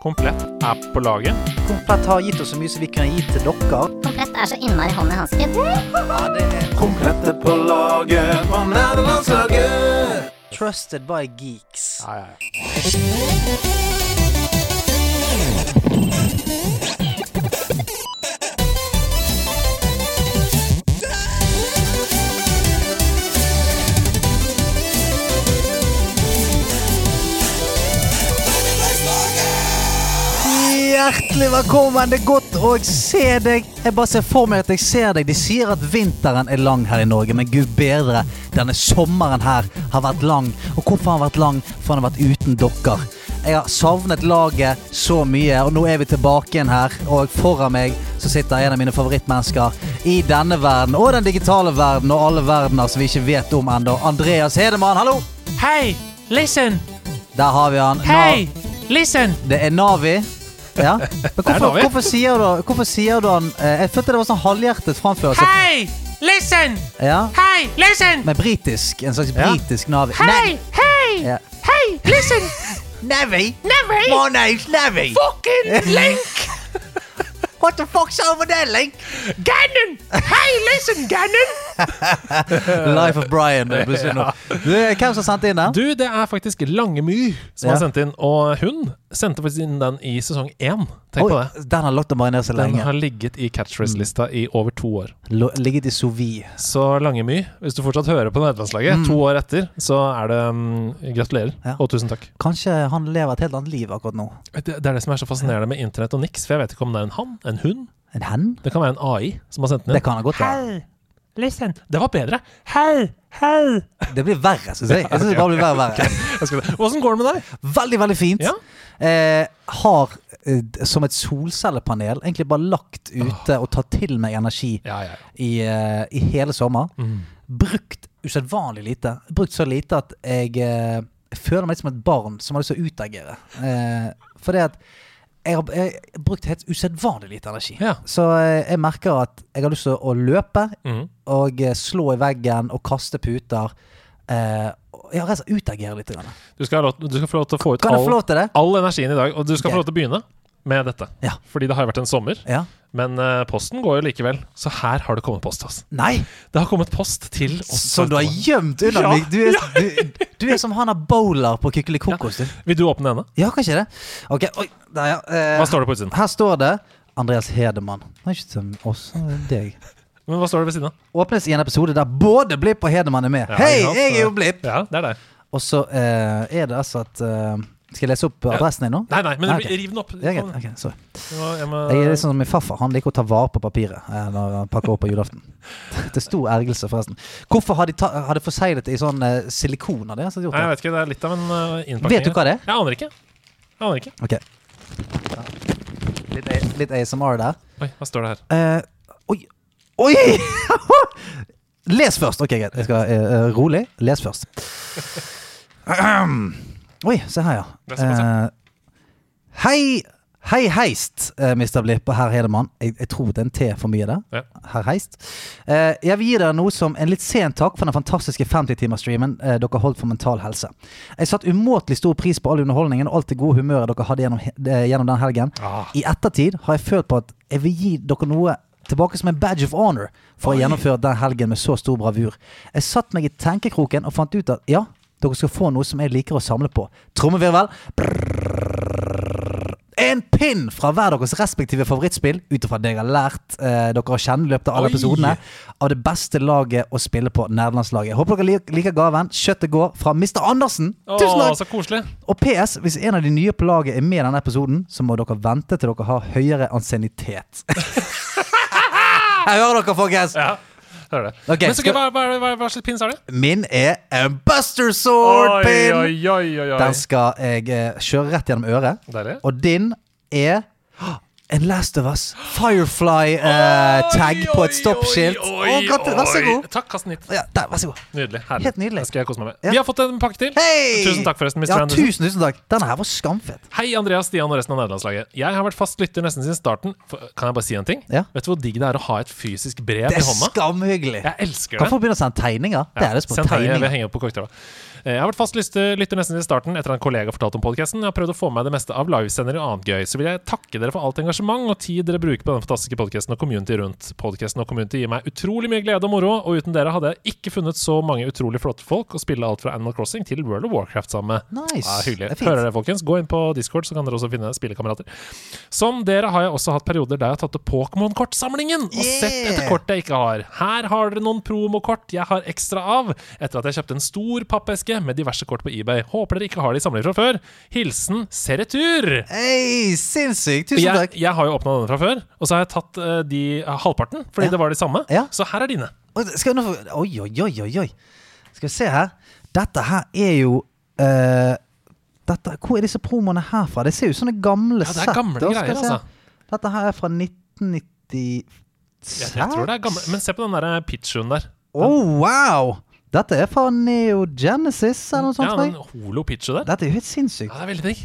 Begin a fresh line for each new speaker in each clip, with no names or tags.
Komplett er på laget.
Komplett har gitt oss så mye som vi kan gi til dere.
Komplett er så innmari hånd i hansken.
Komplette på laget fra nederlandslaget.
Trusted by geeks.
Ja, ja, ja.
Hjertelig velkommen. Det er godt å se deg. Jeg bare ser for meg at jeg ser deg. De sier at vinteren er lang her i Norge, men gud bedre. Denne sommeren her har vært lang. Og hvorfor har den vært lang? For den har vært uten dere. Jeg har savnet laget så mye, og nå er vi tilbake igjen her. Og foran meg så sitter en av mine favorittmennesker i denne verden, og den digitale verden, og alle verdener som vi ikke vet om ennå. Andreas Hedemann, hallo!
Hei, listen!
Der har vi han.
Hei, listen!
Det er Navi. Ja. Men hvorfor,
Navi.
hvorfor sier du, hvorfor sier du han eh, Jeg følte det var sånn halvhjertet framførelse.
Hei, listen!
Ja.
Hei, listen!
Med britisk. En slags
Ja.
britisk Navi.
Hei, hei,
Ja.
hei, listen!
Navi?
Never
name's Navi.
fucking link!
What the fuck's over there, Link?
Gannon! Hei, listen, Gannon!
Life of Brian. det er plutselig nå. Du, Hvem som sendte inn den?
Du, det er faktisk Langemyr som
Ja.
har sendt inn, og hun sendte faktisk inn den i sesong én. Tenk på det.
den har lagt å marinere seg
Den
lenge.
har ligget i catchphrase-lista i over to år.
Lo- Ligget i sous vide.
Så Langemyr, hvis du fortsatt hører på nederlandslaget to år etter, så er det mm, Gratulerer,
Ja.
og tusen takk.
Kanskje han lever et helt annet liv akkurat nå.
Det, det er det som er så fascinerende med internett og niks, for jeg vet ikke om det er en han, en hun.
En hen?
Det kan være en AI som har sendt den
Det
inn.
kan han godt være.
Hei, listen!
Det var bedre.
Hei, hei!
Det blir verre, syns jeg. Jeg synes det bare blir verre og verre.
Jeg skal- Åssen går det med deg?
Veldig, veldig fint.
Ja.
Eh, har eh, d- som et solcellepanel egentlig bare lagt ute og tatt til meg energi
Ja, Mm. ja, ja.
i, eh, i hele sommer. Brukt usedvanlig lite. Brukt så lite at jeg eh, føler meg litt som et barn som har lyst til å utagere. Eh, for det at jeg har, jeg har brukt helt usedvanlig lite energi.
Ja.
Så eh, jeg merker at jeg har lyst til å løpe
Mhm.
og eh, slå i veggen og kaste puter. Eh, og- ja, rett og slett utagere litt. Grann.
Du, skal ha lov, du skal få lov til å få ut
Kan jeg få
all,
lov til det?
all energien i dag, og du skal
Ok.
få lov til å begynne med dette.
Ja.
Fordi det har jo vært en sommer.
Ja.
Men eh, posten går jo likevel, så her har det kommet post. Altså.
Nei!
Det har kommet post til oss.
Som du har gjemt unna
Ja.
meg! Du er, du, du er som han har bowler på Kykelikokos, du.
Vil du åpne denne?
Ja, kanskje det. Ok, oi, der, ja. Eh,
Hva står det på utsiden?
Her står det Andreas Hedemann. Det er ikke som oss, det er deg.
Men hva står det ved siden av?
Åpnes i en episode der både Blipp og Hedemann er med.
Ja,
Hei,
ikke sant?
jeg er jo Blipp!
Ja, det er det.
Og så eh, er det altså at eh, Skal jeg lese opp adressen din nå?
Nei, nei, men
Ah, ok.
riv den opp.
Ja, greit. Ok, sorry.
Jeg må- jeg må-
Jeg er litt sånn som min farfar. Han liker å ta vare på papiret eh, når han pakker opp på julaften. Til stor ergrelse, forresten. Hvorfor har de, ta, har de forseglet det i sånn eh, silikon? Har de altså gjort
Nei, jeg
det?
vet ikke, det er litt av en uh, innpakning.
Vet du hva det er?
Jeg aner ikke. Jeg aner ikke.
Ok. Litt, A- litt ASMR der.
Oi, hva står det her?
Eh, oi! Oi! Les først! Ok, greit. Jeg skal eh, eh, Rolig. Les først. Ahem. Oi, se her, ja.
Vær så god, se.
Eh, hei, hei heist, eh, Mr. Blipp og herr Hedemann. Jeg, jeg tror det er en T for mye der.
Ja.
Herr Heist. Eh, jeg vil gi dere noe som en litt sen takk for den fantastiske 50-timersstreamen eh, dere holdt for mental helse. Jeg satte umåtelig stor pris på all underholdningen og alt det gode humøret dere hadde gjennom, he- eh, gjennom den helgen.
Ah.
I ettertid har jeg følt på at jeg vil gi dere noe tilbake som en badge of honor for å gjennomføre den helgen med så stor bravur. Jeg satt meg i tenkekroken og fant ut at ja, dere skal få noe som jeg liker å samle på. Trommevirvel. En pinn fra hver deres respektive favorittspill, ut ifra det jeg har lært eh, dere å kjenne i løpet av alle
Oi.
episodene, av det beste laget å spille på, nederlandslaget. Håper dere lik- liker gaven. Kjøttet går fra Mr. Andersen. Tusen
Å,
takk!
så koselig.
Og PS, hvis en av de nye på laget er med i denne episoden, så må dere vente til dere har høyere ansiennitet. Jeg hører dere, folkens!
Ja, hører det.
Ok,
men så, gøy,
skal-
hva, hva, hva, hva slags pins er det?
Min er en Buster Sword-pin!
oi, oi, oi.
Den skal jeg eh, kjøre rett gjennom øret.
Deilig.
Og din er en Last of Us Firefly-tag på et stoppskilt. Å, gratis- Vær så god.
Takk, kast nytt.
Ja, der, vær så god.
Nydelig. Herlig.
Helt nydelig.
Det skal jeg kose meg med.
Ja.
Vi har fått en pakke til.
Hei!
Tusen takk, forresten, Mr.
Ja,
Andersen.
tusen, tusen takk. Denne her var skamfett.
Hei, Andreas, Stian og resten av nederlandslaget. Jeg har vært fast lytter nesten siden starten. For, kan jeg bare si en ting?
Ja.
Vet du hvor digg det er å ha et fysisk brev i
Det er
hånda?
skamhyggelig.
Jeg elsker
Kan
det.
folk begynne å sende tegninger? Det er det som
Send
er
her, jeg vil
tegninger.
henge opp på korktavla. Eh, Jeg har vært fast lyster, lytter nesten til starten etter at en kollega fortalte om podkasten. Jeg har prøvd å få med meg det meste av livesendere og annet gøy. Så vil jeg takke dere for alt engasjement og tid dere bruker på denne fantastiske podkasten og community rundt. Podkasten og community gir meg utrolig mye glede og moro, og uten dere hadde jeg ikke funnet så mange utrolig flotte folk å spille alt fra Animal Crossing til World of Warcraft sammen med.
Nice.
Ja, hyggelig.
Det er fint.
Hører dere, folkens? Gå inn på Discord, så kan dere også finne spillekamerater. Som dere har jeg også hatt perioder der jeg har tatt opp Pokémon-kortsamlingen og
Yeah!
sett etter kort jeg ikke har. Her har dere noen promokort jeg har ekstra av, etter at jeg kjøpte en stor pappeske med diverse kort på eBay. Håper dere ikke har de i samling fra før. Hilsen Seretur!
Hei, sinnssykt. Tusen
Jeg,
takk.
jeg har jo åpna denne fra før, og så har jeg tatt eh, de eh, halvparten, fordi
Ja.
det var de samme.
Ja.
Så her er dine.
Oi, Skal vi nå få Oi, oi, oi, oi. oi. Skal vi se her. Dette her er jo eh, dette, Hvor er disse promoene herfra? Det ser jo ut som det gamle
Ja,
sett.
det er gamle
da. Skal
greier,
vi se.
altså.
Dette her er fra 1996.
Jeg, jeg tror det er gamle. Men se på den der pitchuen der.
Oh, wow! Dette er fra Neo Genesis eller noe sånt.
Ja,
tror
den
jeg.
holo-pitchu der.
Dette er jo helt sinnssykt.
Ja, det er veldig digg.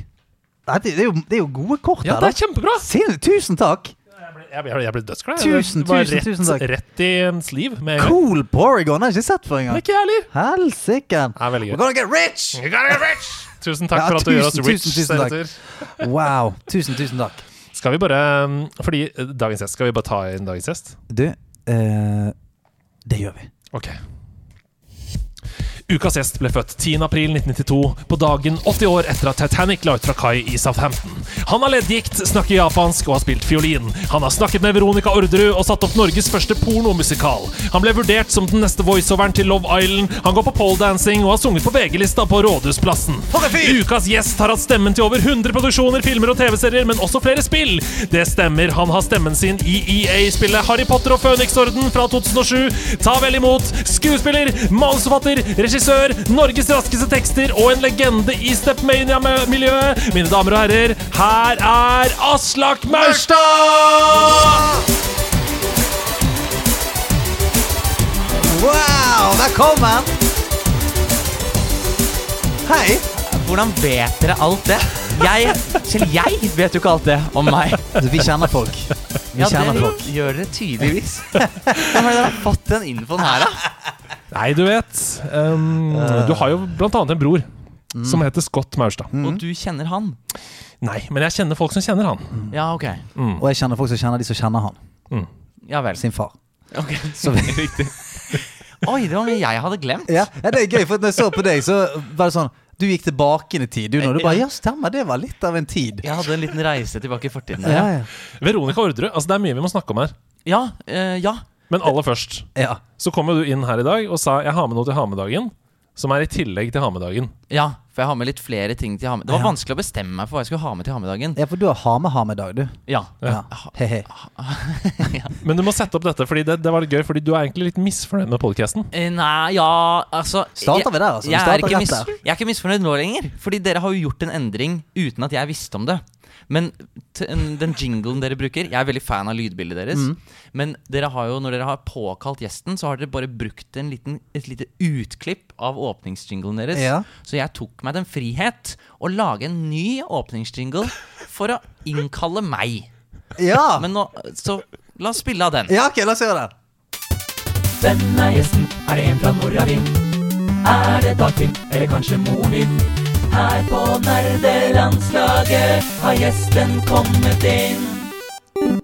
Dette, det, er jo, det er jo gode kort
Ja,
her,
det er kjempebra!
Sin, tusen takk!
Jeg ble, jeg ble, jeg ble dødsglad. jeg.
Tusen,
Det var
tusen,
rett,
tusen takk.
Rett i en sleeve med en gang.
Cool Porygon har jeg ikke sett før
Det er
engang.
ikke jeg heller.
Helsike!
Det er veldig
We're
gøy.
gonna get rich!
You gotta get rich! Tusen takk
Ja,
for at du gjør oss
tusen,
rich.
tusen, tusen takk.
Senator.
Wow. Tusen, tusen takk.
Skal vi bare um, Fordi eh, dagens gjest Skal vi bare ta inn dagens gjest?
Du, eh, det gjør vi.
Ok. Ukas gjest ble født 10.4.1992, på dagen 80 år etter at Titanic la ut fra kai i Southampton. Han har ledd dikt, snakker japansk og har spilt fiolin. Han har snakket med Veronica Orderud og satt opp Norges første pornomusikal. Han ble vurdert som den neste voiceoveren til Love Island. Han går på poledancing og har sunget på VG-lista på Rådhusplassen.
For en fyr!
Ukas gjest har hatt stemmen til over 100 produksjoner, filmer og TV-serier, men også flere spill. Det stemmer, han har stemmen sin i EA-spillet Harry Potter og Føniksorden fra 2007. Ta vel imot skuespiller, manusforfatter, regissør, Norges raskeste tekster og en legende i Stepmania-miljøet. Mine damer og herrer, her er Aslak Maurstad!
Wow, velkommen! Hei!
Hvordan vet dere alt det? Jeg, selv jeg vet jo ikke alt det om meg.
Du, vi kjenner folk. Vi
Ja,
kjenner
det
folk.
gjør dere tydeligvis. Hvem har dere fått den infoen her, da?
Nei, du vet um, Du har jo blant annet en bror. Som heter Scott Maurstad.
Mm.
Og du kjenner han?
Nei, men jeg kjenner folk som kjenner han.
Ja, ok.
Og jeg kjenner folk som kjenner de som kjenner han.
Ja vel.
Sin far.
Ok, så riktig. Oi, det var mye jeg hadde glemt.
Ja, ja, det er gøy, for når jeg så på deg, så var det sånn Du gikk tilbake inn i tid, du, når du bare Ja, stemmer, det var litt av en tid.
Jeg hadde en liten reise tilbake i fortiden.
Ja,
der,
ja.
Veronica Orderud, altså det er mye vi må snakke om her.
Ja, eh, ja.
Men aller først
ja.
så kom jo du inn her i dag og sa jeg har med noe til hamedagen, som er i tillegg til hamedagen.
ja, for jeg har med litt flere ting til ha med. Det var vanskelig å bestemme meg for hva jeg skulle ha med til hamedagen.
ja for du har ha-med-ha-med-dag, du.
Ja.
Ja. He-he.
Men du må sette opp dette, fordi det, det var litt gøy, fordi du er egentlig litt misfornøyd med podkasten.
Eh, Nei, ja, altså
Starter vi der, altså? Vi
Jeg, er
starter
ikke
rett
mis,
der.
jeg er ikke misfornøyd nå lenger. Fordi dere har jo gjort en endring uten at jeg visste om det. Men t en- den jinglen dere bruker Jeg er veldig fan av lydbildet deres.
Mm.
Men dere har jo, når dere har påkalt gjesten, så har dere bare brukt en liten, et lite utklipp av åpningsjinglen deres.
Ja.
Så jeg tok meg den frihet å lage en ny åpningsjingle for å innkalle meg.
Ja!
Men nå, så la oss spille av den.
Ja, ok, la oss gjøre det.
Hvem er gjesten? Er det en fra Nordavind? Er det Dagfinn, eller kanskje Movind? Her på nerdelandslaget har gjesten kommet inn.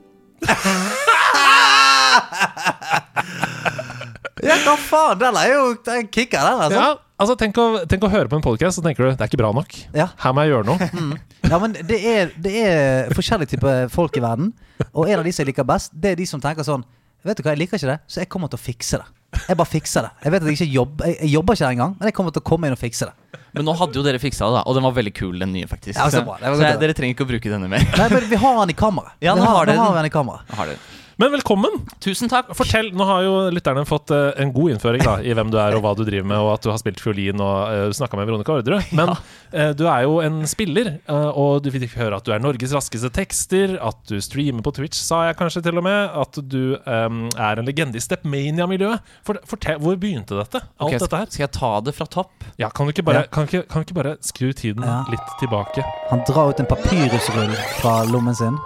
Ja, hva faen? Den er jo den kicker, den, altså.
Ja, altså tenk å, tenk å høre på en podkast, så tenker du det er ikke bra nok.
Ja.
Her må jeg gjøre noe.
Ja, men det er, det er forskjellige typer folk i verden. Og en av de som jeg liker best, det er de som tenker sånn Vet du hva, jeg liker ikke det, så jeg kommer til å fikse det. Jeg bare fikser det. Jeg vet at jeg ikke jobber Jeg, jeg jobber ikke der engang, men jeg kommer til å komme inn og fikse det.
Men nå hadde jo dere fiksa det, da og den var veldig kul, den nye, faktisk.
Ja, så bra. Det var
Så
godt å
jeg,
høre.
dere trenger ikke å bruke denne mer.
Nei, men vi har han i kammeret.
Ja,
vi
nå
har,
har
nå
dere
har
den.
vi han i kammeret.
Har dere.
Men velkommen!
Tusen takk.
Fortell, Nå har jo lytterne fått eh, en god innføring da, i hvem du er og hva du driver med, og at du har spilt fiolin og uh, snakka med Veronica Orderud. Men eh, du er jo en spiller, eh, og du fikk høre at du er Norges raskeste tekster, at du streamer på Twitch, sa jeg kanskje til og med, at du eh, er en legende i Stepmania-miljøet. For, fortell, Hvor begynte dette? Alt
Ok, sk-
dette her?
Skal jeg ta det fra topp?
Ja, kan du ikke bare,
Ja.
kan ikke, kan ikke bare skru tiden
Ja.
litt tilbake?
Han drar ut en papyrusrull fra lommen sin.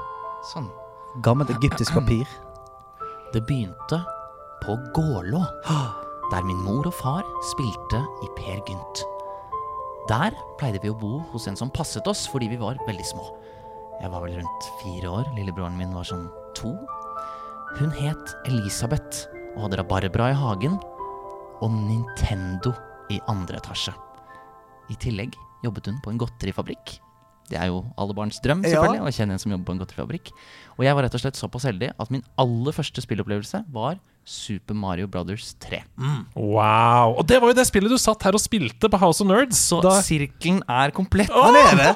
Sånn.
Gammelt egyptisk papir.
Det begynte på Gålå, der min mor og far spilte i Per Gynt. Der pleide vi å bo hos en som passet oss fordi vi var veldig små. Jeg var vel rundt fire år, lillebroren min var sånn to. Hun het Elisabeth og hadde rabarbra i hagen og Nintendo i andre etasje. I tillegg jobbet hun på en godterifabrikk. Det er jo alle barns drøm,
Ja.
selvfølgelig, å kjenne en som jobber på en godterifabrikk. Og jeg var rett og slett såpass heldig at min aller første spillopplevelse var Super Mario Brothers 3.
Wow! Og det var jo det spillet du satt her og spilte på House of Nerds.
Så
da,
sirkelen er komplett.
Han er det!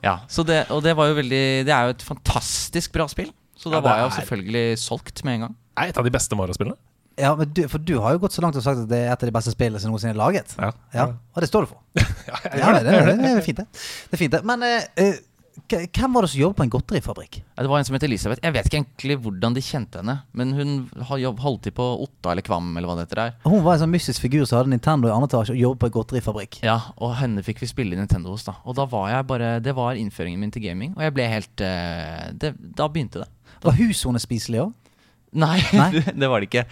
Ja, så det, og det var jo veldig Det er jo et fantastisk bra spill. Så da
Ja, det
var jeg jo
er-
selvfølgelig solgt med en gang.
er et av de beste Mario-spillene.
Ja, men du, for du har jo gått så langt og sagt at det er et av de beste spillene som noensinne er laget.
Ja.
ja Og det står du for. ja, det, det, det er fint, det. Det er fint det. Men eh, eh, k- hvem var det som jobbet på en godterifabrikk?
Ja, Det var en som het Elisabeth. Jeg vet ikke egentlig hvordan de kjente henne, men hun har jobb, holdt til på Otta eller Kvam eller hva det heter der.
Hun var en sånn mystisk figur som hadde Nintendo i andre etasje og jobbet på en godterifabrikk.
Ja, og henne fikk vi spille i Nintendo hos, da. Og da var jeg bare Det var innføringen min til gaming, og jeg ble helt eh, det, Da begynte det.
Var huset hennes spiselig òg?
Nei,
Nei?
det var det ikke.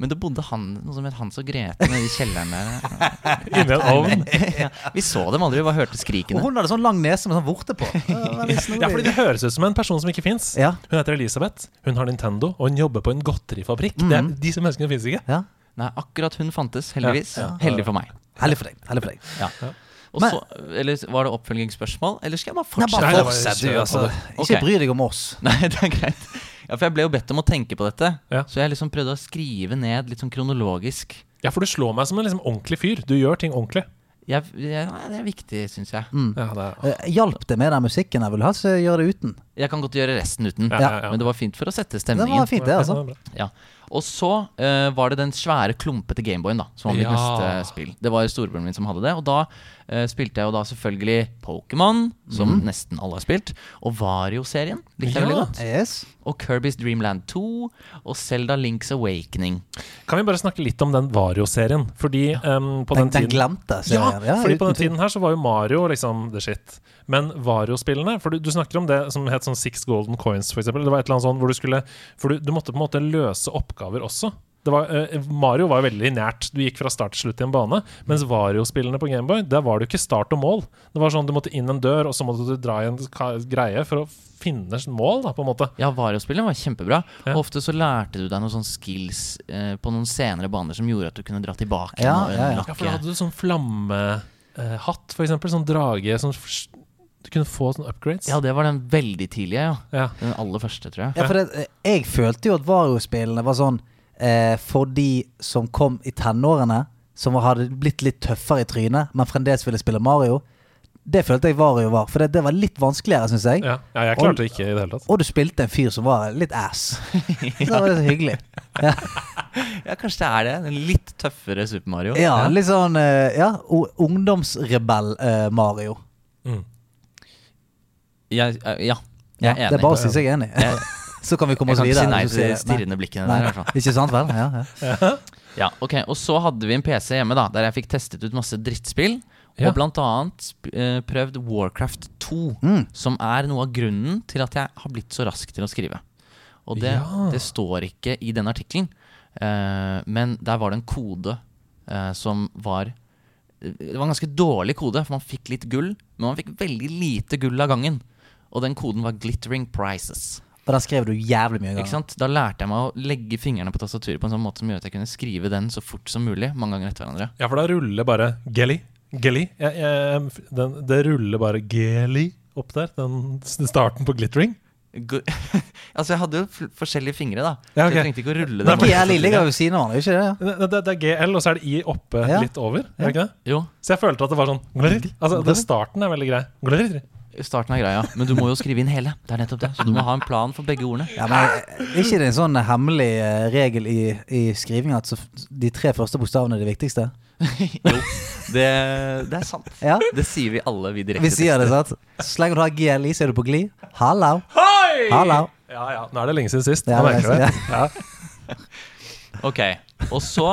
Men det bodde han, noe som het Hans og Grete nede i kjelleren der.
Inni en ovn.
Ja, vi så dem aldri, vi bare hørte
Og
skrikene.
hun hadde sånn lang nese med sånn vorte på. Det var veldig
Ja, fordi
snodig.
det høres ut som en person som ikke fins.
Ja.
Hun heter Elisabeth, hun har Nintendo, og hun jobber på en godterifabrikk. Det er, de som menneskene fins ikke.
Ja,
Nei, akkurat hun fantes, heldigvis.
Ja.
Heldig for meg.
Heldig for deg. Heldig for deg.
Ja. Og
Men-
så, eller Var det oppfølgingsspørsmål, eller skal jeg bare
Nei,
fortsette?
bare
det var-
fortsett, du.
kjør på
Altså.
det.
Ikke
Ok.
bry deg om oss.
Nei, det er greit. Ja, For jeg ble jo bedt om å tenke på dette,
Ja.
så jeg liksom prøvde å skrive ned litt sånn kronologisk.
Ja, for du slår meg som en liksom ordentlig fyr. Du gjør ting ordentlig.
Jeg, jeg, nei, det er viktig, syns jeg.
Ja, det er.
Eh, Hjalp det med den musikken jeg ville ha, så gjør det uten.
Jeg kan godt gjøre resten uten,
Ja, ja, ja.
men det var fint for å sette
Det
stemningen.
var fint, det, altså.
Ja, det er bra.
Ja. Og så eh, var det den svære, klumpete Gameboyen, da. Som var mitt
Ja.
neste spill. Det var jo storebroren min som hadde det. Og da eh, spilte jeg jo da selvfølgelig Pokémon, som nesten alle har spilt. Og Vario-serien likte jeg
Ja.
veldig godt.
Yes.
Og Kirby's Dreamland 2. Og Selda Links Awakening.
Kan vi bare snakke litt om den Vario-serien? Fordi em, på den,
Den, den
tiden
glemte. ser
ja,
jeg.
fordi på
uten
den tiden her så var jo Mario liksom the shit. Men Vario-spillene For du, du snakker om det som het sånn Six Golden Coins, for eksempel. Det var et eller annet sånn hvor du skulle For du, du måtte på en måte løse oppgaver også. Det var, eh, Mario var jo veldig lineært. Du gikk fra start til slutt i en bane. Mens Vario-spillene på Gameboy, der var det jo ikke start og mål. Det var sånn Du måte inn en dør, og så måtte du dra i en ka- greie for å finne mål, da, på en måte.
Ja, Vario-spillene var kjempebra.
Ja.
Og ofte så lærte du deg noen sånne skills eh, på noen senere baner som gjorde at du kunne dra tilbake
Ja,
og
ja, ja.
Ja, for da
unlocke.
hadde du sånn flammehatt, for eksempel. Sånn drage som f- Du kunne få sånne upgrades.
Ja, det var den veldig tidlige, ja.
Ja.
Den aller første, tror jeg.
Ja, for det, eh, jeg følte jo at Vario-spillene var sånn eh, for de som kom i tenårene, som hadde blitt litt tøffere i trynet, men fremdeles ville spille Mario. Det følte jeg Vario var, for det, det var litt vanskeligere, syns jeg.
Ja, ja, jeg klarte det ikke i det hele tatt.
Og du spilte en fyr som var litt ass. Så det var så hyggelig. Ja,
Ja, kanskje det er det. Den litt tøffere Super Mario.
ja litt sånn eh, ja, o- eh, ungdomsrebell-Mario.
Mm.
Jeg, eh, ja, jeg
ja,
er enig.
det er bare å si seg enig.
Jeg-
Så kan vi komme
Jeg
oss
kan
videre.
ikke si nei
hvis du sier
til de
det. Nei.
stirrende blikkene
Nei.
der. i hvert fall.
Ikke sant vel? Ja, ja.
Ja, ok, Og så hadde vi en PC hjemme da der jeg fikk testet ut masse drittspill.
Ja.
Og blant annet sp- eh, prøvd Warcraft 2, som er noe av grunnen til at jeg har blitt så rask til å skrive. Og det,
Ja.
det står ikke i den artikkelen, eh, men der var det en kode eh, som var eh, Det var en ganske dårlig kode, for man fikk litt gull, men man fikk veldig lite gull av gangen. Og den koden var 'glittering prices'.
Og den skrev du jævlig mye.
Ikke sant? Da lærte jeg meg å legge fingrene på tastaturet på en sånn måte som gjør at jeg kunne skrive den så fort som mulig. mange ganger etter hverandre.
Ja, for da ruller bare Gelly. Gelly. Jeg, jeg, den, det ruller bare Gelly opp der. Den s- starten på Glittering.
Go- altså, jeg hadde jo fl- forskjellige fingre, da.
Ja,
Så jeg
ok.
trengte ikke å rulle
Nei,
dem.
for jeg
GL ligger jo ved siden av hverandre, ikke det?
Det, det, det er GL, og så er det I oppe
Ja.
litt over. Er det ikke det?
Jo,
Så jeg følte at det var sånn glitterer. Altså, det, Starten er veldig grei. Glitterer.
starten av greia, men du må jo skrive inn hele. Det er nettopp det. Så du må ha en plan for begge ordene.
Ja, men er ikke det en sånn hemmelig eh, regel i, i skriving at så, f- de tre første bokstavene er det viktigste?
Jo, det, det er sant.
Ja.
Det sier vi alle, vi direkte.
Vi sier det, sant? Så lenge du har GLI, så er du på glid. Hallo!
Hei!
Hallo.
Ja, ja. Nå er det lenge siden sist.
Ja,
Nå merker du
det er
det.
lenge
Ja.
Ok, og så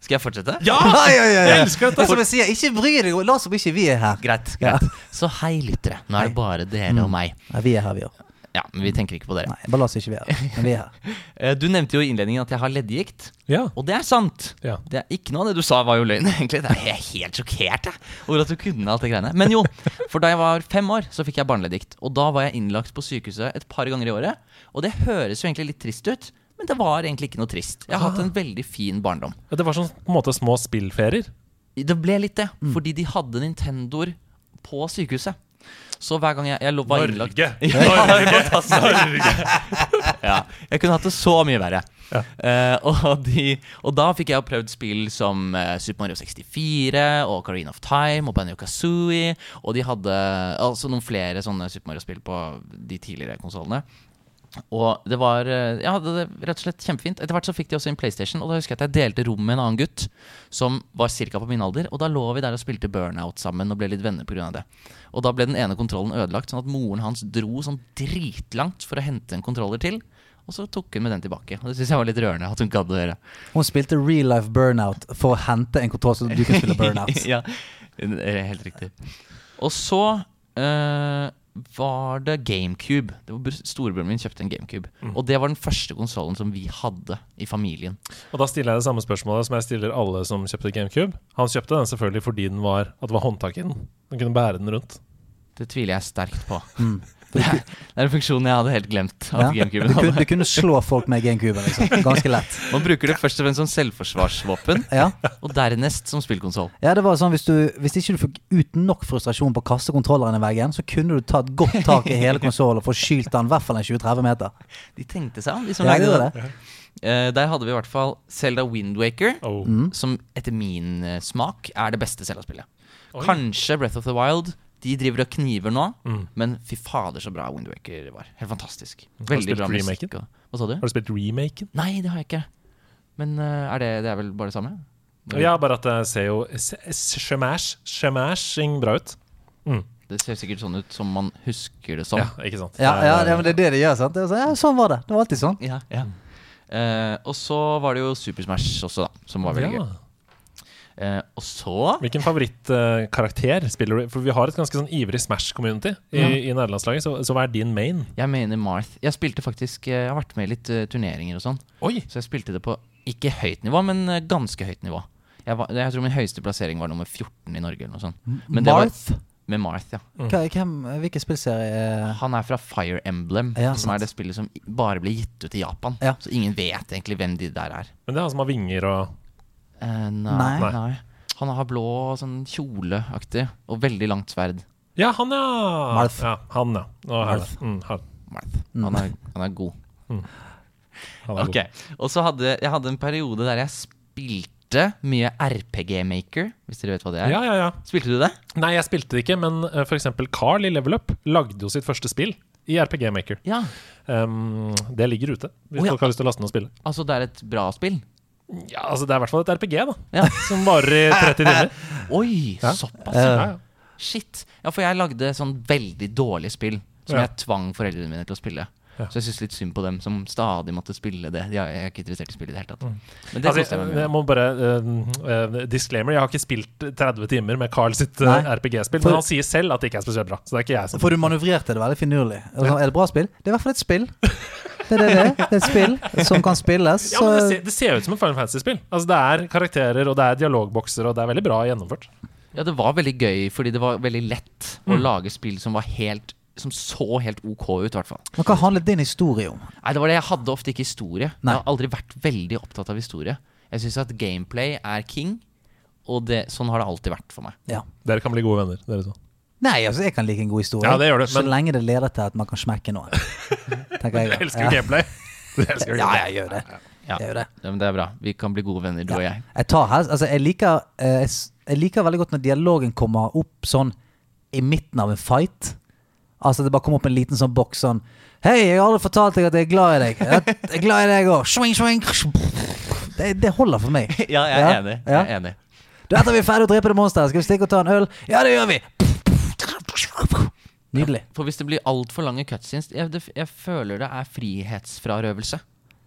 Skal jeg fortsette?
Ja! Jeg elsker
Og
dette!
som jeg sier, ikke bry deg, og la som ikke vi er her.
Greit.
Ja.
greit Så hei, Mm. lyttere. Nå er det bare dere og meg.
Ja, vi er her, vi òg.
Ja, men vi tenker ikke på dere.
Nei, bare la oss ikke vi er her. Men vi er her.
Eh, Du nevnte jo i innledningen at jeg har leddgikt.
Ja.
Og det er sant.
Ja.
Det er Ikke noe av det du sa var jo løgn, egentlig. Det er jeg helt sjokkert jeg, over at du kunne alt det greiene. Men jo, for da jeg var fem år, så fikk jeg barneleddgikt. Og da var jeg innlagt på sykehuset et par ganger i året. Og det høres jo egentlig litt trist ut, men det var egentlig ikke noe trist. Jeg har hatt en veldig fin barndom.
Det var sånn på en måte små spillferier.
Det ble litt det, fordi de hadde Nintendoer på sykehuset. Så hver gang jeg, jeg lo- var innlagt
Norge! Norge.
ja. Jeg kunne hatt det så mye verre. Eh, og, de, og da fikk jeg jo prøvd spill som eh, Super Mario 64 og Careen of Time og Banjo Kazooie. Og de hadde altså noen flere sånne Super Mario-spill på de tidligere konsollene. Og det var eh, Jeg hadde det rett og slett kjempefint. Etter hvert så fikk de også en PlayStation, og da husker jeg at jeg delte rom med en annen gutt som var ca. på min alder. Og da lå vi der og spilte burnout sammen og ble litt venner pga. det. Og da ble den ene kontrollen ødelagt, sånn at moren hans dro sånn dritlangt for å hente en kontroller til. Og så tok hun med den tilbake. Og det syns jeg var litt rørende at hun gadd å gjøre.
Hun spilte real life burnout for å hente en kontroll så du kan spille burnout.
ja, det er helt riktig. Og så eh, var det GameCube. Det var br- Storebroren min kjøpte en GameCube. Og det var den første konsollen som vi hadde i familien.
Og da stiller jeg det samme spørsmålet som jeg stiller alle som kjøpte GameCube. Han kjøpte den selvfølgelig fordi den var, at det var håndtak i den. Han kunne bære den rundt.
Det tviler jeg sterkt på. Det, er, det er en funksjon jeg hadde helt glemt.
Mm.
At
Ja. Du,
GameCuben
kunne,
hadde.
du kunne slå folk med gamecuben, liksom. Ganske lett.
Man bruker det først og fremst som selvforsvarsvåpen,
Ja.
og dernest som spillkonsoll.
Ja, det var sånn hvis, du, hvis ikke du fikk ut nok frustrasjon på å kaste kontrolleren i veggen, så kunne du ta et godt tak i hele konsollen og få skylt den i hvert fall en 20-30 meter.
De tenkte seg om, de som
Ja, jeg
lagde
gjorde
det. Eh, der hadde vi i hvert fall Selda Windwaker,
Oh.
Mm.
som etter min eh, smak er det beste Selda-spillet. Kanskje Breath of the Wild. De driver og kniver nå,
Mm.
men fy fader så bra Windwaker var. Helt fantastisk.
du
Veldig
spilt
bra musikk.
remaken?
og- Hva sa du?
Har du spilt remaken?
Nei, det har jeg ikke. Men eh, er det, det er vel bare det samme?
Ja, bare at det ser jo Shemashing bra ut.
Det ser sikkert sånn ut som man husker det som.
Ja, ikke sant?
Ja, ja, ja men det er det de gjør, sant? Det er sånn, ja, sånn var det. Det var alltid sånn.
Ja, ja. Eh, og så var det jo Super Smash også, da. Som var veldig
Ja.
gøy. Eh, og så
Hvilken favorittkarakter spiller du? For vi har et ganske sånn ivrig Smash-community i, i nederlandslaget, så, så hva er din main?
Jeg mener Marth. Jeg spilte faktisk eh, Jeg har vært med i litt eh, turneringer og sånn.
Oi!
Så jeg spilte det på ikke høyt nivå, men eh, ganske høyt nivå. Jeg, var, jeg tror min høyeste plassering var nummer 14 i Norge eller noe sånt. Men det var-
Marth?
Med Marth, ja.
Mm.
Hva- Hvem, hvilken spillserie eh,
Han er fra Fire Emblem,
Ja,
som
sant.
er det spillet som i- bare ble gitt ut i Japan.
Ja.
Så ingen vet egentlig hvem de der er.
Men det er han som har vinger og
Eh,
Nei.
nei.
Nei.
nei. Han har blå sånn kjoleaktig og veldig langt sverd.
Ja, han, ja!
Marth.
Ja, han, ja. Nå er det.
Marth.
Mm, han,
Marth. Han er, han er god.
han er
Ok, Og så hadde jeg hadde en periode der jeg spilte mye RPG Maker, hvis dere vet hva
god.
det er.
Ja, ja, ja.
Spilte du det?
Nei, jeg spilte det ikke, men eh, for eksempel Carl i Level Up lagde jo sitt første spill i RPG Maker.
Ja.
Um, det ligger ute, hvis
Å, ja.
folk har lyst til å laste ned og spille.
Altså, det er et bra spill?
Ja, altså Det er i hvert fall et RPG, da.
Ja.
Som varer i 30 timer.
Oi,
Ja.
såpass?
Ja, ja.
Shit. Ja, for jeg lagde sånn veldig dårlig spill som
Ja.
jeg tvang foreldrene mine til å spille. Så jeg syns litt synd på dem som stadig måtte spille det. Jeg, jeg er ikke interessert i å spille i det hele tatt. Men det sånn
Altså,
koste jeg
jeg
meg med.
må bare eh, eh, Disclaimer, jeg har ikke spilt 30 timer med Carl sitt eh,
Nei.
RPG-spill,
For-
men han sier selv at det ikke er spesielt bra. Så det er ikke jeg som
For du manøvrerte det veldig finurlig. Og så, Er det bra spill? Det er i hvert fall et spill. Det er det det er. Det er et spill som kan spilles.
ja, men det,
Så
ser, det ser ut som en Final Fantasy-spill. Altså, det er karakterer, og det er dialogbokser, og det er veldig bra gjennomført.
Ja, det var veldig gøy, fordi det var veldig lett å lage spill som var helt som så helt OK ut, i hvert fall.
men hva handlet din historie om?
Nei, det var det. Jeg hadde ofte ikke historie.
Nei.
Jeg har aldri vært veldig opptatt av historie. Jeg syns at gameplay er king, og det, sånn har det alltid vært for meg.
Ja.
Dere kan bli gode venner, dere to.
Nei, altså jeg kan like en god historie.
Ja, det gjør du,
Så
men-
lenge det leder til at man kan smekke noen. Tenker jeg.
Jeg elsker jo gameplay. Jeg elsker jo
Ja,
gameplay.
jeg gjør det.
Ja.
Jeg gjør det.
Ja, men det er bra. Vi kan bli gode venner, du og jeg.
Jeg tar helst Altså, jeg liker eh, jeg s- Jeg liker veldig godt når dialogen kommer opp sånn i midten av en fight. Altså Det bare kom opp en liten sånn boks sånn Hei, jeg har aldri fortalt deg at jeg er glad i deg. Jeg jeg er glad i deg òg. Swing, swing. Det, det holder for meg.
Ja, jeg er
Ja,
enig.
ja.
Jeg er enig.
Du, etter vi er ferdig å drepe det monsteret, skal vi stikke og ta en øl? Ja, det gjør vi! Nydelig.
For hvis det blir altfor lange cutscenes jeg, det, jeg føler det er frihetsfrarøvelse.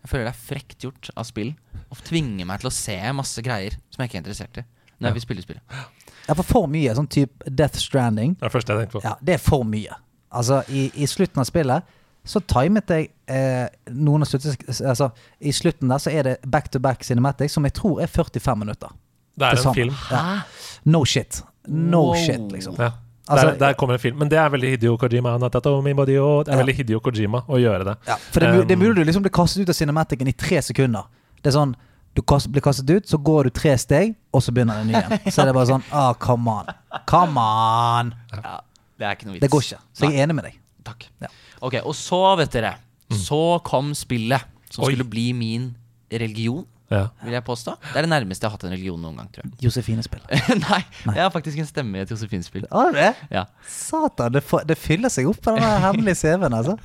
Jeg føler det er frekt gjort av spill å tvinge meg til å se masse greier som jeg ikke er interessert i. Når jeg vil spille spillet.
Ja, for for mye sånn type Death Stranding.
Det er det første jeg tenkte på.
Ja, det er for mye. Altså, i, i slutten av spillet så timet jeg eh, noen av sluttes... Altså, i slutten der så er det back to back cinematic, som jeg tror er 45 minutter.
Det
til
er en
sammen.
film.
No shit. No
Wow.
shit, liksom.
Ja.
Altså-
der, der kommer en film. Men det er veldig Hidio Kojima. Not that only body, oh. Det er veldig Hideo Kojima å gjøre det.
Ja, for det er, mu-
Um,
det er mulig du liksom blir kastet ut av cinematicen i tre sekunder. Det er sånn, Du kast, blir kastet ut, så går du tre steg, og så begynner en ny en. Så er det bare sånn ah, Come on. Come on.
Ja, det er ikke noe vits.
Det går ikke. Så jeg er enig med deg.
Takk.
Ja.
Ok, og så, vet dere, så kom spillet som
Oi.
skulle bli min religion,
Ja.
vil jeg påstå. Det er det nærmeste jeg har hatt en religion noen gang, tror jeg.
Josefine-spill.
Nei, jeg har faktisk en stemme i et Josefin-spill.
Har du det?
Ja.
Satan, det, får- det fyller seg opp på den der hemmelige CV-en, altså.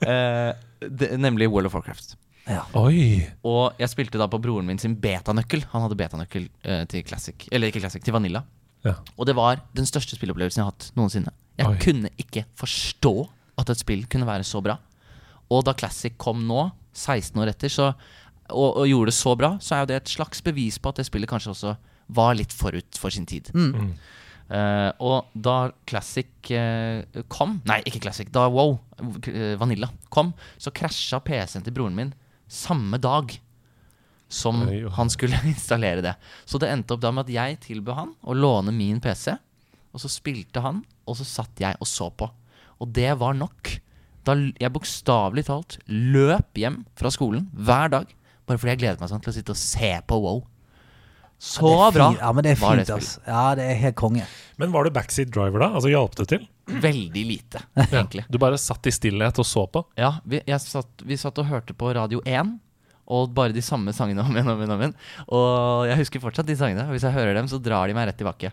Eh, det, nemlig World of Warcraft.
Oi!
Og jeg spilte da på broren min sin betanøkkel. Han hadde betanøkkel eh, til Classic, eller ikke Classic, til Vanilla.
Ja.
Og det var den største spillopplevelsen jeg har hatt noensinne. Jeg
Oi.
kunne ikke forstå at et spill kunne være så bra. Og da Classic kom nå, 16 år etter, så, og, og gjorde det så bra, så er jo det et slags bevis på at det spillet kanskje også var litt forut for sin tid. Eh, og da Classic eh, kom Nei, ikke Classic. Da Wow, eh, Vanilla, kom, så krasja PC-en til broren min samme dag som
Oi, oi.
han skulle installere det. Så det endte opp da med at jeg tilbød han å låne min PC. Og så spilte han, og så satt jeg og så på. Og det var nok. Da l- jeg bokstavelig talt løp hjem fra skolen hver dag bare fordi jeg gledet meg sånn til å sitte og se på Wow. Så
Det er
bra
fint. Ja, men det er
var det
fint,
spillet.
altså. Ja, det er helt konge.
Men var du backseat driver da? Altså Hjalp det til?
Veldig lite, egentlig.
Du bare satt i stillhet og så på?
Ja, vi, jeg satt, vi satt og hørte på Radio 1, og bare de samme sangene om igjen, om igjen, om igjen. Og jeg husker fortsatt de sangene. og Hvis jeg hører dem, så drar de meg rett tilbake.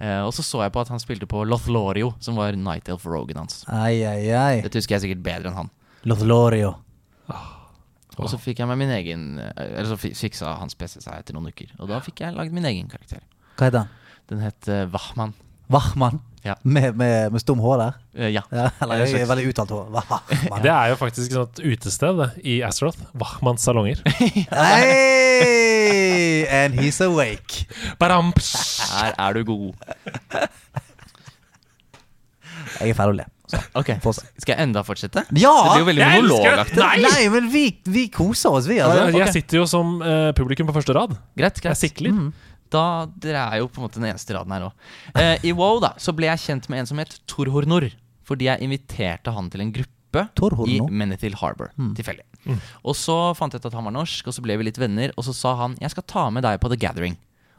Eh, og så så jeg på at han spilte på Lothlorio, som var Night Elf Rogan hans.
Ai, ai, ai.
Dette husker jeg sikkert bedre enn han.
Lothlorio.
Og så fikk jeg meg min egen eh, Eller så fi- fiksa hans PC seg etter noen uker. Og da fikk jeg lagd min egen karakter.
Hva heter han?
Den het eh, Wachmann.
Wachmann?
Ja.
Med, med, med stum H der?
Eh, ja.
Ja, eller
slags-
veldig uttalt H. Wachmann.
Det er jo faktisk et sånt utested det, i Astroth. Wachmanns salonger.
Hey, and he's awake.
Badam, pss.
Her er du god.
Jeg er ferdig å le. Så,
Ok,
fortsett.
Skal jeg enda fortsette?
Ja!
Det blir jo veldig
Jeg elsker det!
monologaktig.
Nei!
Nei, men vi, vi koser oss, vi.
Altså,
Altså.
Jeg sitter jo som eh, publikum på første rad.
Greit,
Jeg
greit.
sikler.
Da, Dere er jo på en måte den eneste raden her òg. Eh, I WoW da, så ble jeg kjent med en som het Torhornor. Fordi jeg inviterte han til en gruppe
Torhornor? Mm.
i Menethil Harbour. Tilfeldig.
Mm.
Og så fant jeg ut at han var norsk, og så ble vi litt venner. Og så sa han 'jeg skal ta med deg på The Gathering'.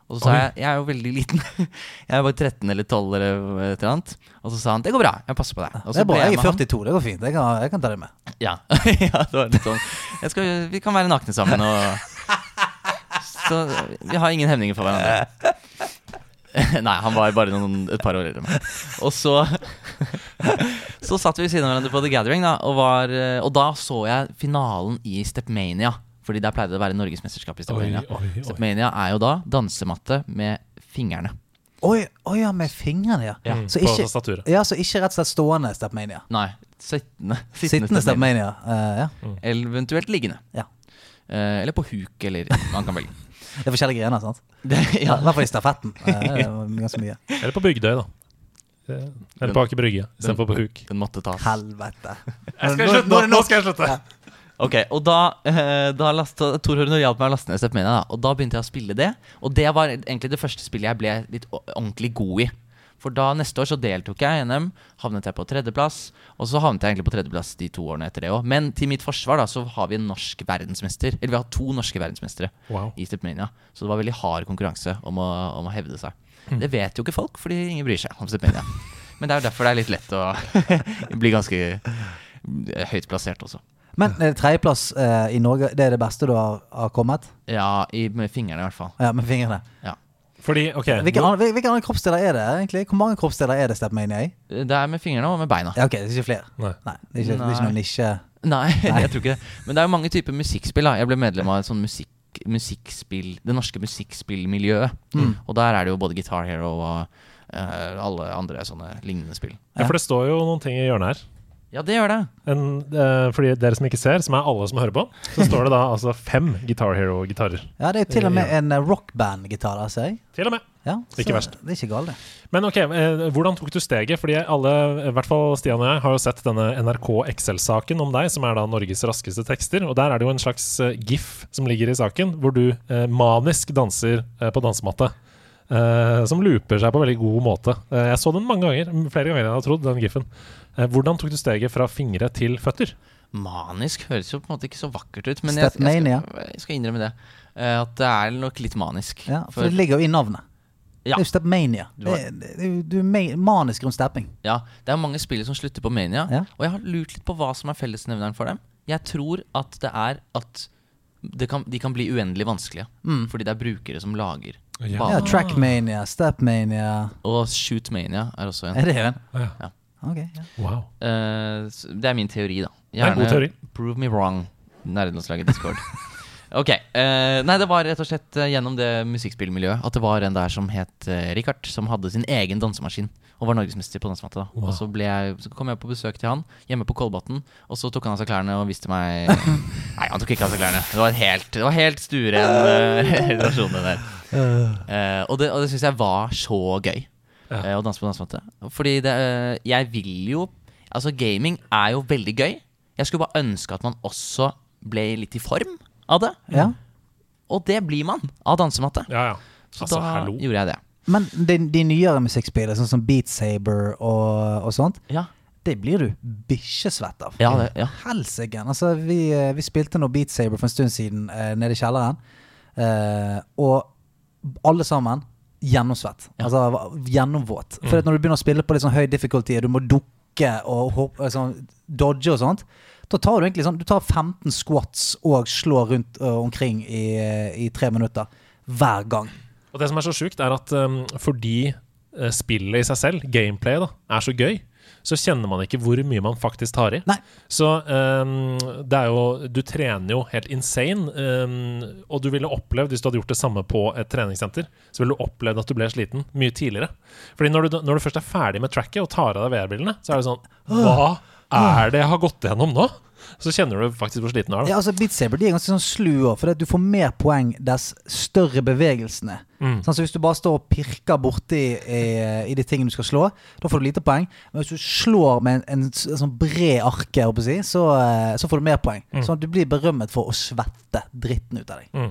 Og så sa jeg 'jeg er jo veldig liten'. jeg var 13 eller 12 eller et eller annet. Og så sa han 'det går bra, jeg passer på deg'. Og
Det
så
er bra.
ble
Jeg
med
er
han.
42, det går fint. Jeg kan, jeg kan ta det med.
Ja. ja det var litt sånn jeg skal, Vi kan være nakne sammen og Så vi har ingen hemninger for hverandre. Nei, han var bare noen, et par år eldre enn meg. Og så Så satt vi ved siden av hverandre på The Gathering, da, og, var, eh, og da så jeg finalen i Stepmania. Fordi der pleide det å være norgesmesterskap i Stepmania.
Oi, oi, oi.
Stepmania er jo da dansematte med fingrene.
Oi, oi ja, med fingrene, ja.
Mm,
Så
på
ikke,
tastaturet.
ja, så ikke rett og slett stående Stepmania.
Nei, sittende.
Sittende
Stepmania.
Stepmania. Eh, ja.
Eller Eventuelt liggende.
Ja.
Eh, eller på huk, eller man kan velge.
Det er forskjellige grener, sant?
Det,
Ja,
ja,
I hvert fall i stafetten. Eh, det er ganske mye.
Eller på Bygdøy, da. Eh, Eller på Aker Brygge istedenfor på Huk.
Den måtte tas.
Helvete.
skal slutte nå, nå skal jeg slutte!
Ok, og da, eh, da lasta, Tor Hornor hjalp meg å laste ned Stepmania, da, og da begynte jeg å spille det. Og det var egentlig det første spillet jeg ble litt o- ordentlig god i. For da neste år så deltok jeg i NM, havnet jeg på tredjeplass. Og så havnet jeg egentlig på tredjeplass de to årene etter det òg. Men til mitt forsvar da, så har vi en norsk verdensmester. Eller vi har to norske verdensmestere
Wow.
i Stepmania. Så det var veldig hard konkurranse om å, om å hevde seg. Det vet jo ikke folk, fordi ingen bryr seg om Stepmania. Men det er jo derfor det er litt lett å bli ganske eh, høyt plassert også.
Men eh, tredjeplass eh, i Norge, det er det beste du har, har kommet?
Ja, i, med fingrene i hvert fall.
Ja, med fingrene.
Ja.
Fordi, ok
Hvilke andre, hvil- hvilke andre kroppsdeler er det egentlig? Hvor mange kroppsdeler er det Step Mania i?
Det er med fingrene og med beina.
Ja, ok, det er ikke flere.
Nei.
Nei, det er ikke, Det er ikke noen nisje.
Nei, jeg tror ikke det. Men det er jo mange typer musikkspill. da Jeg ble medlem av et sånn musikk, musikkspill det norske musikkspillmiljøet. Og der er det jo både Guitar Hero og eh, alle andre sånne lignende spill.
Ja, for det står jo noen ting i hjørnet her.
Ja, det gjør det.
En, eh, fordi dere som ikke ser, som er alle som hører på, så står det da altså fem Guitar Hero-gitarer.
Ja, det er jo til og med en eh, rockband-gitar der, ser jeg.
Til og med.
Ja, så
Ikke verst.
Det er ikke galt, det.
Men ok, eh, hvordan tok du steget? Fordi alle, i hvert fall Stian og jeg, har jo sett denne NRK Excel-saken om deg, som er da Norges raskeste tekster. Og der er det jo en slags eh, gif som ligger i saken, hvor du eh, manisk danser eh, på dansematte. eh, som looper seg på veldig god måte. Eh, jeg så den mange ganger, m- flere ganger enn jeg hadde trodd, den gifen. Eh, hvordan tok du steget fra fingre til føtter?
Manisk høres jo på en måte ikke så vakkert ut, men jeg, jeg, skal,
Stepmania.
jeg skal innrømme det. eh, at det er nok litt manisk.
Ja, for
For-
det ligger jo i navnet. Det
Ja.
er jo Stepmania.
Du har-
Det, det, det, du er ma- manisk rundt stepping.
Ja, det er mange spillere som slutter på Mania.
Ja.
Og jeg har lurt litt på hva som er fellesnevneren for dem. Jeg tror at det er at det kan, de kan bli uendelig vanskelige.
Mm.
Fordi det er brukere som lager
Ja.
Ja,
banen.
Trackmania, Stepmania
Og Shootmania er også en.
Er det en?
Ja.
Ok, ja.
Wow.
Eh, s- det er min teori, da.
er en god teori.
Prove me wrong, nerdelandslaget Discord. ok. eh, nei, det var rett og slett eh, gjennom det musikkspillmiljøet at det var en der som het eh, Richard, som hadde sin egen dansemaskin. Og var norgesmester på dansematte. da
Wow.
Og så, ble jeg, så kom jeg på besøk til han hjemme på Kolbotn, og så tok han av seg klærne og viste meg Nei, han tok ikke av seg klærne. Det var helt, det var helt stueren eh, relasjon, det der. Eh, og det, og det syns jeg var så gøy. eh, å danse på dansemåte. Fordi det, eh, jeg vil jo Altså, gaming er jo veldig gøy. Jeg skulle bare ønske at man også ble litt i form av det.
ja.
Og det blir man av dansematte.
Ja, ja.
Så
Altså,
da
hallo.
gjorde jeg det.
Men de, de nyere musikkspillene, sånn som Beat Saber og, og sånt,
Ja,
det blir du bikkjesvett av.
ja, det, ja.
Helsike. Altså, vi, eh, vi spilte nå Beat Saber for en stund siden eh, nede i kjelleren. Eh, og alle sammen gjennomsvett. Altså va- gjennomvåt.
Mm.
For at når du begynner å spille på litt sånn høy difficulty, og du må dukke og hoppe, eh, sånn, dodge og sånt, da tar du egentlig sånn Du tar 15 squats og slår rundt eh, omkring i, eh, i tre minutter. Hver gang.
Og det som er så sjukt, er at um, fordi eh, spillet i seg selv, gameplay, da, er så gøy, så kjenner man ikke hvor mye man faktisk tar i.
Nei.
Så um, det er jo Du trener jo helt insane, um, og du ville opplevd, hvis du hadde gjort det samme på et treningssenter, så ville du opplevd at du ble sliten mye tidligere. Fordi når du, når du først er ferdig med tracket og tar av deg VR-brillene, så er det sånn Hva er det jeg har gått gjennom nå? Så kjenner du faktisk hvor sliten du er.
Ja,
Da.
altså Beat Saber de er ganske sånn slu òg, for du får mer poeng dess større bevegelsene.
Mm.
Sånn, så hvis du bare står og pirker borti i, i de tingene du skal slå, da får du lite poeng. Men hvis du slår med en, en, s- sånn bred arke, jeg holdt på å si, så, eh, så får du mer poeng. Sånn at du blir berømmet for å svette dritten ut av deg.
Mm.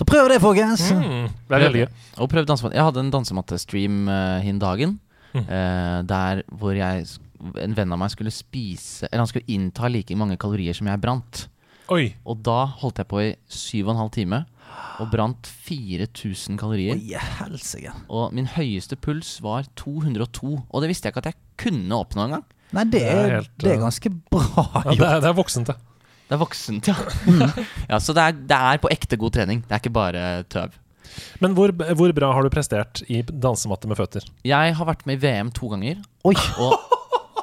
Så prøv det, folkens!
Mm, det er veldig gøy.
Og prøvd dansematte. Jeg hadde en dansemattestream uh, hin dagen. eh, der hvor jeg, s- en venn av meg skulle spise Eller han skulle innta like mange kalorier som jeg brant.
Oi.
Og da holdt jeg på i syv og en halv time og brant 4000 kalorier.
Oi, helsike.
Og min høyeste puls var 202. Og det visste jeg ikke at jeg kunne oppnå engang.
Nei,
Det
det er, det
er
er,
helt, eh,
ganske bra
Ja, det,
gjort.
er, det er voksent, det.
Det er voksent, ja. ja så det er, det er på ekte god trening. Det er ikke bare tøv.
Men hvor, hvor bra har du prestert i dansematte med føtter?
Jeg har vært med i VM to ganger.
Oi.
Og,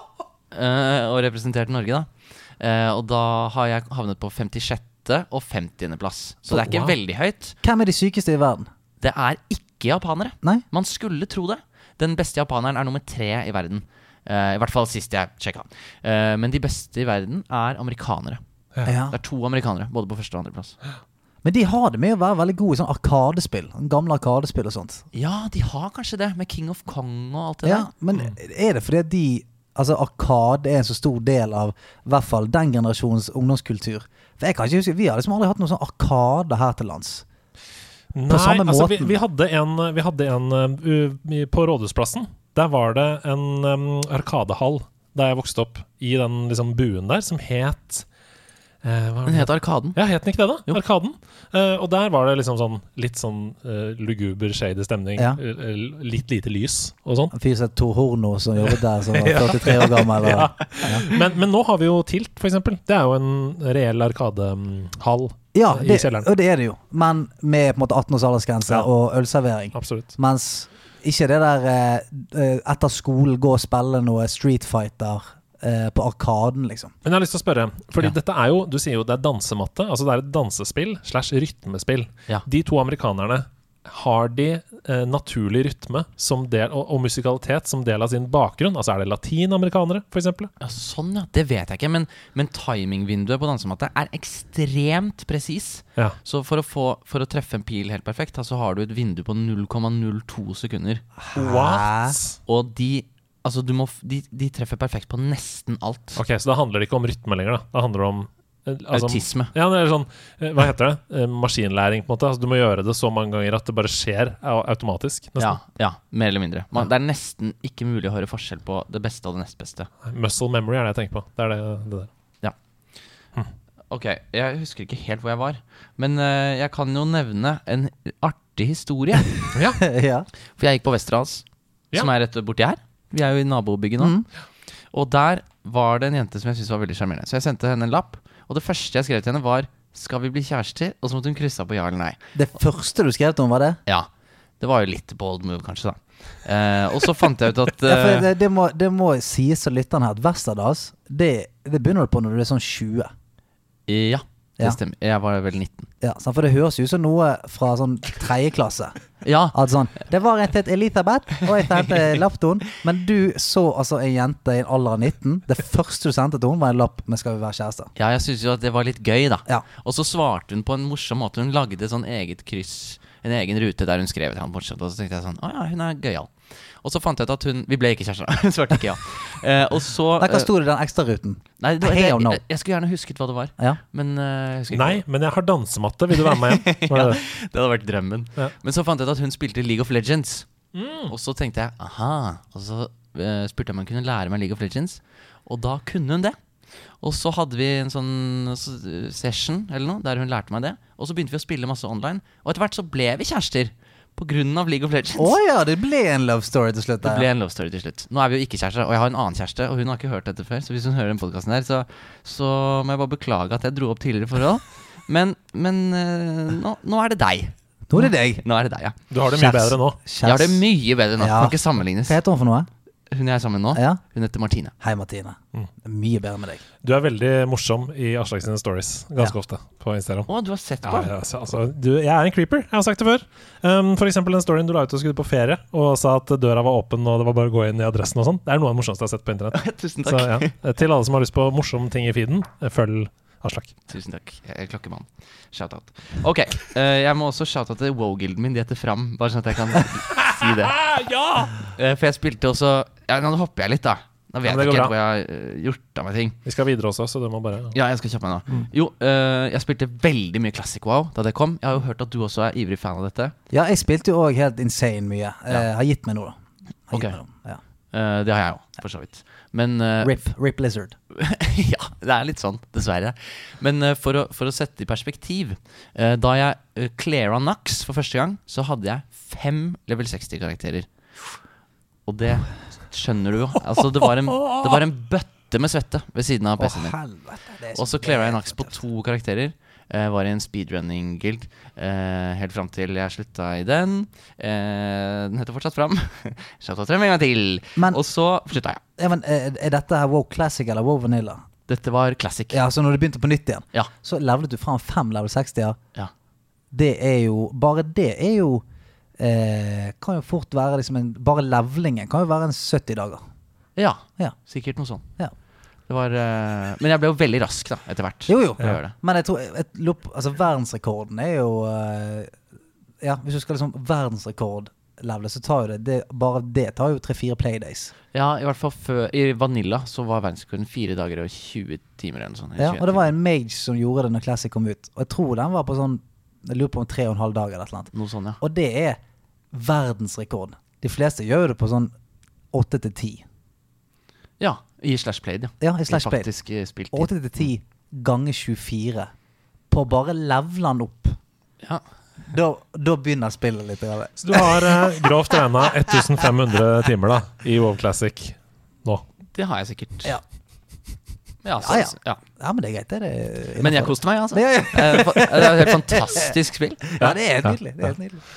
eh, og representert Norge, da. Eh, og da har jeg havnet på 56. og 50. plass. Så det er ikke
Wow.
veldig høyt.
Hvem er de sykeste i verden?
Det er ikke japanere.
Nei?
Man skulle tro det. Den beste japaneren er nummer tre i verden. Eh, I hvert fall sist jeg sjekka. Eh, men de beste i verden er amerikanere.
Ja.
Det er to amerikanere, både på første og andreplass.
Men de har det med å være veldig gode i sånn arkadespill. Gamle arkadespill og sånt.
Ja, de har kanskje det, med King of Kong og alt det
Ja, men
Mm.
er det fordi at de Altså Arkade er en så stor del av i hvert fall den generasjons ungdomskultur. For jeg kan ikke huske, Vi har liksom aldri hatt noen sånn Arkade her til lands.
Nei,
samme
altså, vi,
måten.
vi hadde en, vi hadde en um, u- i- på Rådhusplassen. Der var det en um, arkadehall da jeg vokste opp, i den liksom, buen der, som het eh, eh, hva var det?
Den het Arkaden.
Ja, het den ikke det, da?
Jo.
Arkaden. Eh, og der var det liksom sånn litt sånn eh, luguber, shady stemning.
Ja.
eh, eh, litt lite lys og sånn.
En fyr som het Tor Horno, som jobbet der, som var 43 år gammel. Og,
Men, men nå har vi jo Tilt, for eksempel. Det er jo en reell arkadehall. eh,
ja,
I
det,
kjelleren.
og det er det jo. Men med på en måte 18 års aldersgrense
Ja.
og ølservering.
Absolutt.
Mens ikke det der eh, eh, etter skolen gå og spille noe Street Fighter eh, på Arkaden, liksom.
Men jeg har lyst til å spørre, fordi
Ja.
dette er jo Du sier jo det er dansematte. Altså det er et dansespill slash rytmespill.
Ja.
De to amerikanerne, har de eh, naturlig rytme som del, og, og musikalitet som del av sin bakgrunn? Altså er det latinamerikanere, for eksempel?
Ja, sånn, ja. Det vet jeg ikke. Men, men timingvinduet på dansematte er ekstremt presis.
Ja.
Så for å, få, for å treffe en pil helt perfekt, da, så har du et vindu på 0,02 sekunder.
What?
Og de Altså, du må f de, de treffer perfekt på nesten alt.
Ok, Så da handler det ikke om rytme lenger, da. Da handler det om eh, altså,
Autisme.
Ja, det er sånn, eh, hva heter det? Eh, Maskinlæring, på en måte. Altså, du må gjøre det så mange ganger at det bare skjer au- automatisk.
Ja,
Nesten.
ja, mer eller mindre. Man, det er nesten ikke mulig å høre forskjell på det beste og det nest beste.
Muscle memory er det jeg tenker på. Det er det, det der.
Ok, jeg husker ikke helt hvor jeg var, men eh, jeg kan jo nevne en artig historie.
ja.
For jeg gikk på Westerdals,
Ja.
som er rett borti her. Vi er jo i nabobygget nå. Og der var det en jente som jeg syntes var veldig sjarmerende. Så jeg sendte henne en lapp, og det første jeg skrev til henne, var 'Skal vi bli kjærester?' Og så måtte hun krysse av på ja eller nei.
Det første du skrev til henne, var det?
Ja. Det var jo litt bold move, kanskje, da. Eh, og så fant jeg ut at
Ja, for
eh,
det, det, må, det må sies til lytterne her at Westerdals, det, det begynner du på når du er sånn 20.
eh, Ja,
Ja.
det stemmer. Jeg var vel 19.
Ja, sant? For det høres jo ut som noe fra sånn tredje klasse.
Ja,
At sånn Det var en tett Elisabeth, og jeg sendte laptoen. Men du så altså en jente i en alder av 19. Det første du sendte til henne, var en lapp med 'Skal vi være kjærester'.
Ja, jeg syntes jo at det var litt gøy, da.
Ja.
Og så svarte hun på en morsom måte. Hun lagde sånn eget kryss, en egen rute der hun skrev til han fortsatt. Og så tenkte jeg sånn Å ja, hun er gøyal. Og så fant jeg ut at hun Vi ble ikke kjærester, da. Hun svarte ikke ja. Eh, og så
Nei, hva
eh,
sto det i den ekstraruten?
Nei, det, var-
Hell no.
jeg, jeg skulle gjerne husket hva det var,
Ja.
men eh, jeg husker ikke.
Nei, men jeg har dansematte. Vil du være med hjem? Var det det?
Det hadde vært drømmen.
Ja.
Men så fant jeg ut at hun spilte League of Legends. Og så tenkte jeg aha. Og så eh, spurte jeg om hun kunne lære meg League of Legends. Og da kunne hun det. Og så hadde vi en sånn s- session eller noe der hun lærte meg det. Og så begynte vi å spille masse online. Og etter hvert så ble vi kjærester. På grunn av League of Legends.
Å ja, det ble en love story til slutt.
Det
der,
ble
ja.
en love story til slutt. Nå er vi jo ikke kjærester, og jeg har en annen kjæreste, og hun har ikke hørt dette før. Så hvis hun hører den podkasten her, så, så må jeg bare beklage at jeg dro opp tidligere forhold. Men, men eh, nå, nå er det deg.
Nå er det deg.
Nå er det deg, ja.
Du har det mye
Kjæreste.
bedre nå.
Jeg har det mye bedre nå.
Ja.
Kan ikke sammenlignes.
Hva heter hun for noe?
Hun jeg er sammen med nå,
Ja.
hun heter Martine.
Hei, Martine.
Mm.
Det er mye bedre med deg.
Du er veldig morsom i Aslak sine stories ganske ofte på Instagram.
Å, du har sett på?
Ja, ja, altså, altså, du, jeg er en creeper, jeg har sagt det før. Um, for eksempel den storyen du la ut og skulle på ferie og sa at døra var åpen og det var bare å gå inn i adressen og sånn. Det er noe av det morsomste jeg har sett på internett.
Tusen
Så
takk.
ja, Eh, Til alle som har lyst på morsomme ting i feeden, eh, følg Aslak.
Tusen takk. Jeg er klokkemann. Shout-out. Ok, eh, jeg må også shout-out til wow-gilden min. De heter Fram, bare sånn at jeg kan si det. Eh, for jeg spilte også Ja, nå hopper jeg litt, da. Nå vet
Ja, men det
jeg
går bra.
ikke helt hvor jeg har eh, gjort av meg ting.
Vi skal videre også, så du må bare
Ja, jeg skal kjappe meg
Mm.
nå. Jo, eh, jeg spilte veldig mye Classic Wow da det kom. Jeg har jo hørt at du også er ivrig fan av dette.
Ja, jeg spilte jo òg helt insane mye. Eh, har gitt meg noe, da. Har
Ok.
gitt meg noe. Ja.
Eh, det har jeg òg, for så vidt. Men eh,
Rip, Rip Lizard.
ja, det er litt sånn, dessverre. Men eh, for, å, for å sette det i perspektiv eh, Da jeg uh, cleara Nux for første gang, så hadde jeg fem level 60-karakterer. Og det skjønner du jo. Altså, det var en, det var en bøtte med svette ved siden av
Å,
PC-en min.
helvete. det er så-
Og så cleara jeg Nax på to karakterer. Eh, var i en speedrunning-guild eh, helt fram til jeg slutta i den. Eh, den heter fortsatt Fram. Shout out frem en gang til.
Men-
og så slutta jeg.
Ja, men, eh, er dette her Wow Classic eller Wow Vanilla?
Dette var classic.
Ja, så når du begynte på nytt igjen,
Ja.
så levelet du fram fem level 60-er.
ja.
Det er jo Bare det er jo eh, Kan jo fort være liksom en Bare levelingen kan jo være en 70 dager.
ja.
Ja.
Sikkert noe sånt.
ja.
Det var, eh, men jeg ble jo veldig rask da, etter hvert.
Jo, jo.
For å gjøre det.
Men jeg tror jeg lurer på- altså, verdensrekorden er jo eh, Ja, hvis du skal liksom verdensrekordlevele, så tar jo det, det Bare det tar jo tre-fire playdays.
Ja, i hvert fall før I Vanilla så var verdensrekorden fire dager og 20 timer eller noe sånt.
Ja,
21
og det var
timer.
en mage som gjorde det når Classic kom ut. Og jeg tror den var på sånn Jeg lurer på om tre og en halv dag eller et eller annet.
Noe sånt, ja.
Og det er verdensrekord. De fleste gjør jo det på sånn åtte til ti.
Ja, I Slash Played, ja.
Ja, i Slash Played.
faktisk eh, spilt tid.
Åtte til ti ganger 24 på å bare levele han opp.
Ja.
Da, da begynner spillet litt. grann.
Så du har eh, grovt regna 1500 timer da i WoW Classic nå.
Det har jeg sikkert.
Ja.
Ja,
Ja,
så,
ja.
ja.
Ja, men det er greit. Det er det
Men jeg koste meg, altså.
Ja, ja.
Eh, fa- Det er et helt fantastisk spill.
Ja, det er helt nydelig. Det er helt nydelig.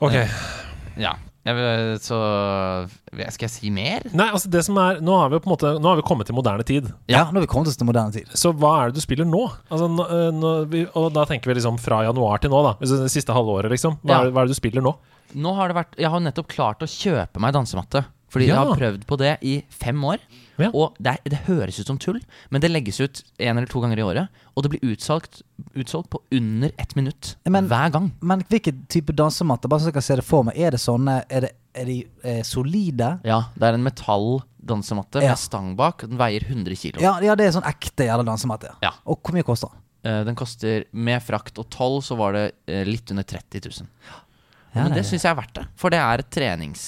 Ok.
Ja. Jeg vil, så Skal jeg si mer?
Nei, altså det som er Nå har vi jo på en måte Nå har vi kommet til moderne tid.
Ja.
Ja, nå har vi kommet oss til moderne tid.
Så hva er det du spiller nå? Altså, nå, eh, nå vi, og da tenker vi liksom fra januar til nå, da. Hvis det er det siste halvåret, liksom. Hva,
Ja.
er, det- hva er det du spiller nå?
Nå har det vært Jeg har nettopp klart å kjøpe meg dansematte. Fordi jeg
Ja.
har prøvd på det i fem år.
Ja.
Og det, er, det høres ut som tull, men det legges ut én eller to ganger i året. Og det blir utsolgt, utsolgt på under ett minutt
Men-
hver gang.
Men hvilken type dansematte? Bare så jeg kan se det for meg. Er det sånne Er, det, er de eh, solide?
Ja, det er en metall dansematte
Ja.
med stang bak. og Den veier 100 kilo.
Ja, ja, det er sånn ekte jævla dansematte.
Ja.
Og hvor mye koster den?
Eh, Den koster med frakt og toll, så var det eh, litt under 30 000. Men det syns jeg er verdt det, for det er et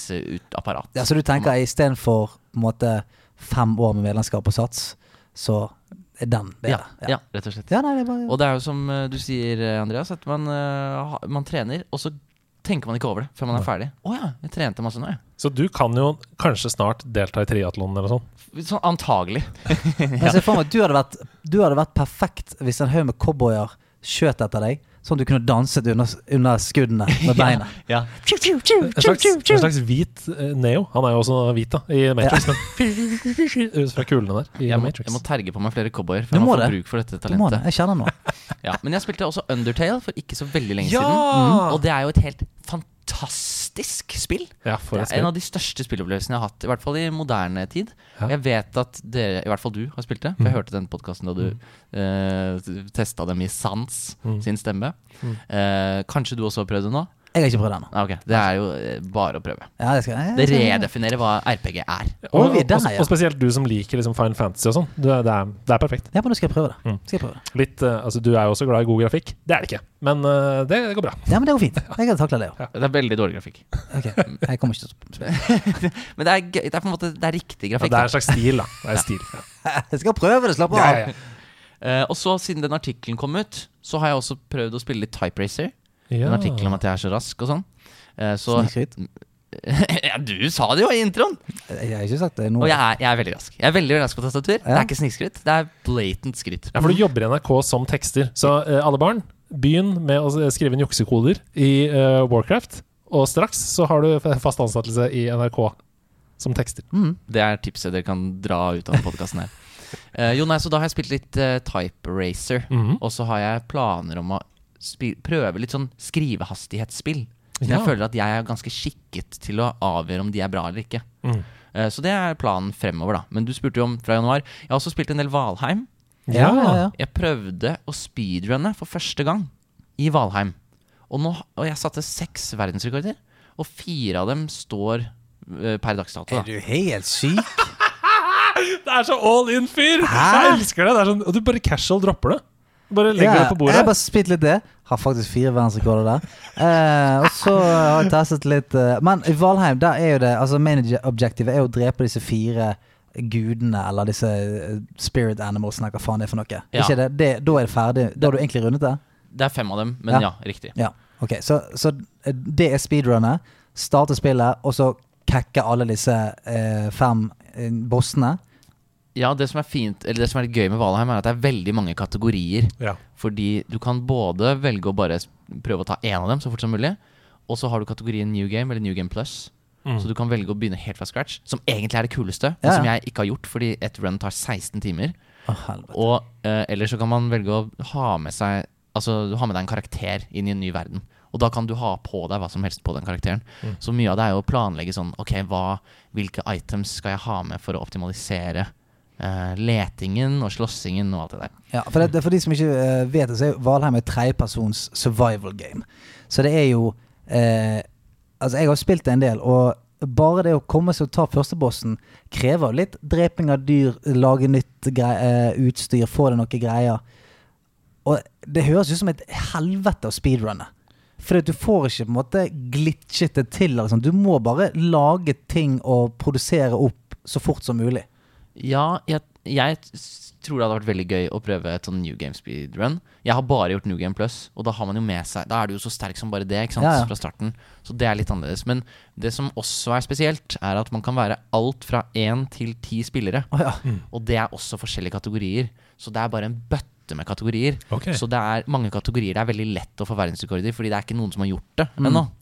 treningsapparat.
Ja, så du tenker
Mm.
istedenfor på en måte fem år med medlemskap og sats, så er den
ja,
bedre?
ja, rett og slett.
Ja, nei, det er bare
Og det er jo som eh, du sier, eh, Andreas, at man, eh, ha- man trener, og så tenker man ikke over det før man er ferdig. Å ja, jeg trente masse nå, jeg.
Så du kan jo kanskje snart delta i triatlon eller noe sånt.
Sånn antagelig.
Men se for meg at du hadde vært, du hadde vært perfekt hvis en haug med cowboyer skjøt etter deg, sånn at du kunne danset under, under skuddene med beina.
Ja.
Tju, tju, tju,
En
tju,
slags,
tju,
en
tju.
slags hvit eh, Neo. Han er jo også hvit da i Matrix, men ut fra kulene der i
Jeg, må,
Matrix.
jeg må terge på meg flere cowboyer,
Du
for jeg
må
må få
det.
bruk for dette
Du må det.
talentet.
Jeg kjenner noe.
Ja. Men jeg spilte også Undertale for ikke så veldig lenge
Ja!
siden, Mhm. og det er jo et helt fantastisk spill.
ja, for
Det
et
er en
spill.
av de største spillopplevelsene jeg har hatt, i hvert fall i moderne tid.
Ja.
Jeg vet at dere, i hvert fall du, har spilt det. For jeg hørte den podkasten da du mm. testa dem i Sans
Mm.
sin stemme. Eh, kanskje du også har prøvd det nå?
Jeg har ikke prøvd ennå.
Ah, ok, Det er jo eh, bare å prøve.
Ja, det skal jeg.
Det
sånn-
jeg skal-
redefinerer hva RPG er.
Å,
Og,
vi er
og,
der, ja.
og spesielt du som liker liksom Fine Fantasy og sånn. Du er- Det, er- det er perfekt.
Ja, men nå skal jeg prøve det.
Mm.
Skal jeg prøve det.
Litt, eh, altså, du er jo også glad i god grafikk. Det er det ikke, men eh, det går bra.
Ja, men det går fint. Jeg kan takle det òg.
Det er veldig dårlig grafikk.
Ok, jeg kommer ikke til å spille.
Men det er, gøy- det er på en måte Det er riktig
Ja,
grafikk.
det er
da.
en slags stil, da. Det er stil. Ja.
Jeg skal prøve det, slapp av.
Ja, ja, ja.
Eh, og så, siden den artikkelen kom ut, så har jeg også prøvd å spille litt Type Racer. En artikkel om at jeg er så rask og sånn. Eh, så
Snikskryt.
ja, Du sa det jo i introen!
Jeg jeg har ikke sagt det nå.
Og jeg er, jeg er veldig rask. Jeg er veldig rask på tastatur. Det er ikke snikskryt, det er blatant skryt.
Ja, for du jobber i NRK som tekster. Så eh, alle barn, begynn med å s- eh, skrive inn juksekoder i eh, Warcraft, og straks så har du f- fast ansettelse i NRK som tekster.
Mm. Det er tipset dere kan dra ut av podkasten her. Eh, jo, nei, så da har jeg spilt litt eh, Type Racer,
Mhm.
og så har jeg planer om å spi prøve litt sånn skrivehastighetsspill. Så
Ja.
Jeg føler at jeg er ganske skikket til å avgjøre om de er bra eller ikke.
Mhm.
Eh, så det er planen fremover, da. Men du spurte jo om fra januar. Jeg har også spilt en del Valheim.
Ja, ja, ja.
Jeg prøvde å speedrunne for første gang i Valheim. Og, nå, og jeg satte seks verdensrekorder, og fire av dem står eh, per dags dato.
Er
Da.
du helt syk?
Det er så all in-fyr! Jeg elsker det! det er sånn, og du bare casual dropper det. Bare legger det på
Ja, Jeg
bordet.
har bare spilt litt det. Har faktisk fire verdensrekorder der. Eh, og så har jeg testet litt eh, Men i Valheim, der er jo det Altså main objective er jo å drepe disse fire gudene, eller disse eh, spirit animalsene, hva faen det er for noe.
Ja.
Ikke det? det? Da er det ferdig? Da har du egentlig rundet det?
Det er fem av dem, men
Ja.
ja, riktig.
Ja. Ok, så, så eh, det er speedrunnet. Starte spillet, og så kekke alle disse eh, fem eh, bossene.
Ja, det som er fint, eller det som er litt gøy med Valheim, er at det er veldig mange kategorier.
Ja.
Fordi du kan både velge å bare s- prøve å ta én av dem så fort som mulig, og så har du kategorien New Game eller New Game Plus.
Mm.
Så du kan velge å begynne helt fra scratch, som egentlig er det kuleste, men
Mm. Ja, ja.
som jeg ikke har gjort, fordi et run tar 16 timer.
Å, helvete.
Og eh, ellers så kan man velge å ha med seg Altså du har med deg en karakter inn i en ny verden. Og da kan du ha på deg hva som helst på den karakteren. Så mye av det er jo å planlegge sånn Ok, hva, hvilke items skal jeg ha med for å optimalisere eh, letingen og slåssingen og alt det der.
Ja, for, det, for de som ikke eh, vet det, så er jo Valheim et tredjepersons survival game. Så det er jo eh, Altså, jeg har spilt det en del, og bare det å komme seg og ta førstebossen krever jo litt dreping av dyr, lage nytt grei, eh, utstyr, få det noe greier. Og det høres ut som et helvete å speedrunne. For du får ikke på en måte glitchet det til. Eller sånn. Du må bare lage ting og produsere opp så fort som mulig.
Ja, jeg, jeg t- s- tror det hadde vært veldig gøy å prøve et sånn New Game speedrun. Jeg har bare gjort New Game Plus, og da har man jo med seg Da er du jo så sterk som bare det ikke sant?
Ja, ja.
fra starten. Så det er litt annerledes. Men det som også er spesielt, er at man kan være alt fra én til ti spillere.
Å ja.
Og det er også forskjellige kategorier. Så det er bare en bøtte med kategorier.
Ok.
Så det er mange kategorier det er veldig lett å få verdensrekord i, fordi det er ikke noen som har gjort det ennå.
Mm.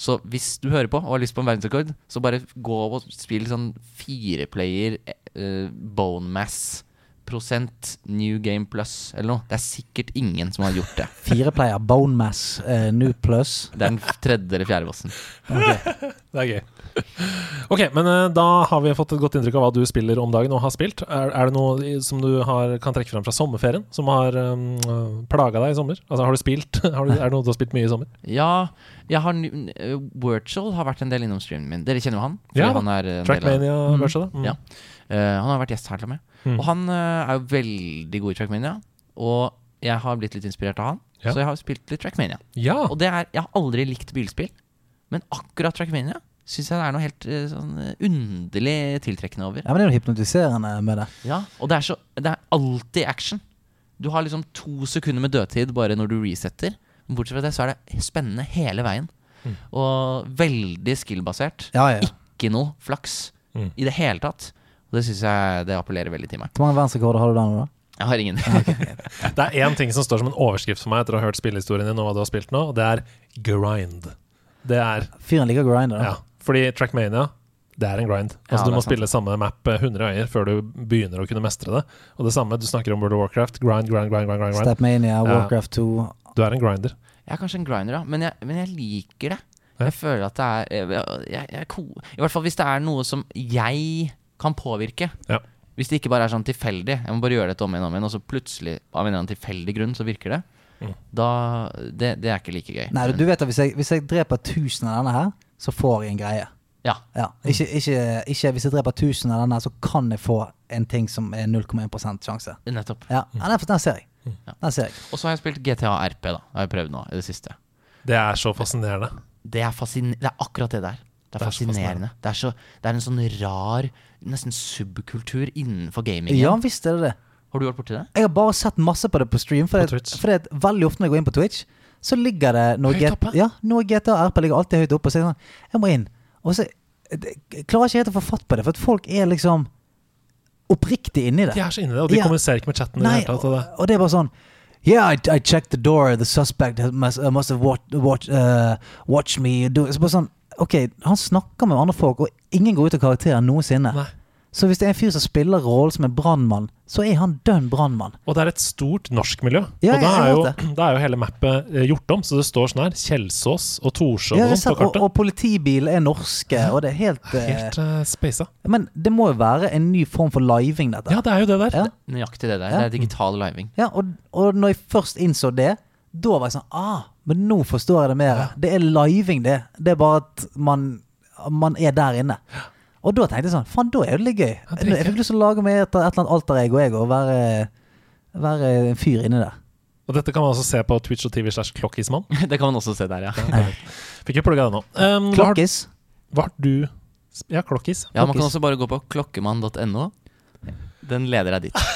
Så hvis du hører på og har lyst på en verdensrekord, så bare gå og spill sånn fireplayer uh, bone mass prosent New Game Plus eller noe. Det er sikkert ingen som har gjort det.
Fire player, bone mass, eh, new plus.
Det er den tredje eller fjerde bossen.
Det er gøy. Ok, men eh, da har vi fått et godt inntrykk av hva du spiller om dagen og har spilt. Er, er det noe i- som du har, kan trekke fram fra sommerferien, som har um, øh, plaga deg i sommer? Altså, har du spilt? Har du, er det noe du har spilt mye i sommer?
Ja, jeg har ny- eh, Virtual har vært en del innom streamen min. Dere kjenner jo han? fordi
Ja da.
han er en del av-
Trackmania-børsa, da? Mm.
Ja. Eh, han har vært gjest her til og med. Og han eh, er jo veldig god i Trackmania. Og jeg har blitt litt inspirert av han,
Ja.
så jeg har spilt litt Trackmania.
Ja.
Og det er, jeg har aldri likt bilspill, men akkurat Trackmania syns jeg det er noe helt eh, sånn eh, underlig tiltrekkende over.
Ja, men Det er jo hypnotiserende med det.
Ja, og det er, så, det er alltid action. Du har liksom to sekunder med dødtid bare når du resetter. Men bortsett fra det, så er det spennende hele veien. Og veldig skill-basert.
Ja, ja.
Ikke noe flaks
Mm.
i det hele tatt. Og det syns jeg det appellerer veldig til meg.
Hvor mange verdensrekorder har du der nå, da?
Jeg har ingen.
Det er én ting som står som en overskrift for meg etter å ha hørt spillehistorien din, og hva du har spilt nå, og det er grind. Det er
Fyren liker å grinde, da.
Ja. Fordi Trackmania, det er en grind. Altså
Ja,
Du
det
må
er sant.
spille samme map eh, 100 øyer før du begynner å kunne mestre det. Og det samme, du snakker om World of Warcraft. Grind, grind, grind. grind, grind, grind.
Stepmania, Warcraft 2
Du er en grinder.
Jeg er kanskje en grinder, da, men jeg, men jeg liker det.
Ja.
Jeg føler at det er jeg, jeg, jeg, ko- I hvert fall hvis det er noe som jeg kan påvirke.
Ja.
Hvis det ikke bare er sånn tilfeldig, jeg må bare gjøre dette om igjen og om igjen, og så plutselig, av en eller annen tilfeldig grunn, så virker det. Da det, det er ikke like gøy.
Nei, du- du vet at hvis jeg, hvis jeg dreper 1000 av denne her, så får jeg en greie.
Ja.
Ja. Ikke, ikke, ikke hvis jeg dreper 1000 av denne, her, så kan jeg få en ting som er 0,1 sjanse.
Nettopp.
Ja, ja, den, den ser jeg.
Ja.
Den ser jeg.
Og så har jeg spilt GTA RP, da. Det har jeg prøvd nå i det siste.
Det er så fascinerende.
Det er, fascin det er akkurat det der. Det er,
Det er så
fascinerende. Det er, så, det er en sånn rar, nesten subkultur innenfor gamingen.
Ja visst er det det.
Har du vært borti det?
Jeg har bare sett masse på det på stream. For,
På
det,
Twitch.
for det, at veldig ofte når jeg går inn på Twitch, så ligger det noe,
Høyt
G-
oppe.
ja, noe GTA og RP ligger alltid høyt oppe. Og så er jeg sånn Jeg må inn. Og så jeg, jeg klarer ikke helt å få fatt på det, for at folk er liksom oppriktig inni det.
De er så inni det, og de
Ja.
kommuniserer ikke med chatten. i det
Nei,
hele tatt,
og,
og det-
og det er bare sånn Yeah, I, I checked the door. The suspect has- must, uh, must have watched watch, uh, watch me do Så bare sånn Ok, han snakker med andre folk, og ingen går ut av karakteren noensinne.
Nei.
Så hvis det er en fyr som spiller rollen som en brannmann, så er han dønn brannmann.
Og det er et stort norsk miljø.
Ja,
og da
jeg- jeg
er,
vet
jo, da er jo hele mappet eh, gjort om, så det står sånn her Kjelsås og Torshov
Ja,
og
jeg
sånn
ser-
på
og,
kartet.
og politibil er norske, og det er helt, eh,
Helt uh, speisa.
Men det må jo være en ny form for living, dette.
Ja, det er jo det der.
Ja.
Nøyaktig det der.
Ja.
Det er digital living.
Ja, og, og når jeg først innså det, da var jeg sånn Ah, men nå forstår jeg det mer. Det er living, det. Det er bare at man, man er der inne. Og da tenkte jeg sånn Faen, da er det litt gøy.
dritgøy.
Jeg fikk lyst til å lage meg et, et eller annet alter ego, jeg, og være, være en fyr inni der.
Og dette kan man altså se på Twitch og TV slash Klokkismann.
Det kan man også se der, ja.
Fikk jo plugga det nå. Um, hva, har,
Klokkis.
hva har du sp- Ja, Klokkis.
Ja, Man kan
Klokkis.
også bare gå på klokkemann.no. Den leder deg dit.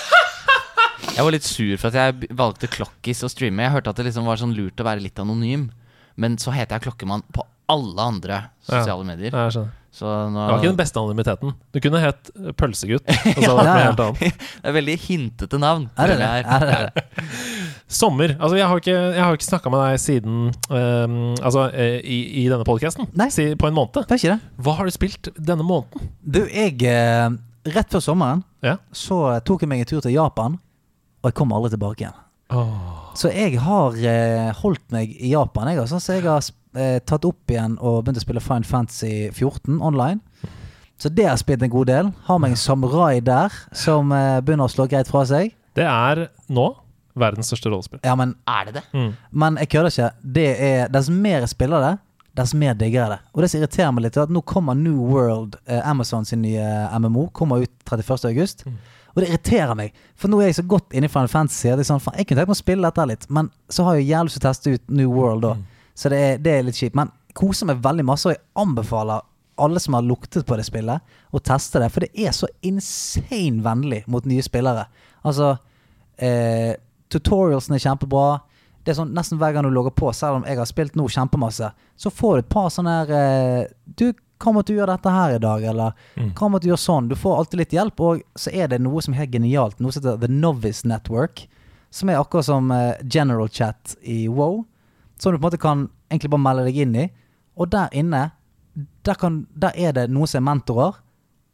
Jeg var litt sur for at jeg b- valgte Klokkis å streame. Jeg hørte at det liksom var sånn lurt å være litt anonym, men så heter jeg Klokkemann på alle andre sosiale medier.
Ja, jeg skjønner.
Så nå
Det var ikke den beste anonymiteten. Du kunne hett eh, Pølsegutt. Og så hadde det vært
Ja,
noe
ja.
helt annet.
Det er veldig hintete navn.
Er det det?
føler jeg
Er det det?
Sommer. Altså, jeg har ikke, jeg har ikke snakka med deg siden ehm, Altså, eh, i, i denne podkasten.
Nei.
Si, på en måned.
Var ikke det?
Hva har du spilt denne måneden?
Du, jeg eh, Rett før sommeren
Ja.
så tok jeg meg en tur til Japan, og jeg kom aldri tilbake igjen.
Åh.
Så jeg har eh, holdt meg i Japan. Jeg, altså. Så jeg har eh, tatt opp igjen og begynt å spille Fine Fantasy 14 online. Så det har jeg spilt en god del. Har meg en samurai der som eh, begynner å slå greit fra seg.
Det er nå verdens største rollespill.
Ja, men,
Er det det?
men jeg kødder ikke. Det er, dess mer jeg spiller det, dess mer digger jeg det. Og det som irriterer meg litt, er at nå kommer New World, eh, Amazon sin nye eh, MMO, kommer ut 31. august. Og det irriterer meg, for nå er jeg så godt inne i Final Fantasy. at det er sånn, faen, jeg kunne tenkt meg å spille dette her litt, men så har jeg jævlig lyst til å teste ut New World da. Så det er, det er litt kjipt. Men koser meg veldig masse, og jeg anbefaler alle som har luktet på det spillet, å teste det. For det er så insane vennlig mot nye spillere. Altså eh, Tutorialsen er kjempebra. Det er sånn Nesten hver gang du logger på, selv om jeg har spilt nå kjempemasse, så får du et par sånne her eh, Du, hva om at du gjør dette her i dag? Eller hva om at du gjør sånn? Du får alltid litt hjelp, og så er det noe som er helt genialt. Noe som heter The Novice Network. Som er akkurat som eh, general chat i Wow. Som du på en måte kan egentlig bare melde deg inn i. Og der inne, der, kan, der er det noen som er mentorer.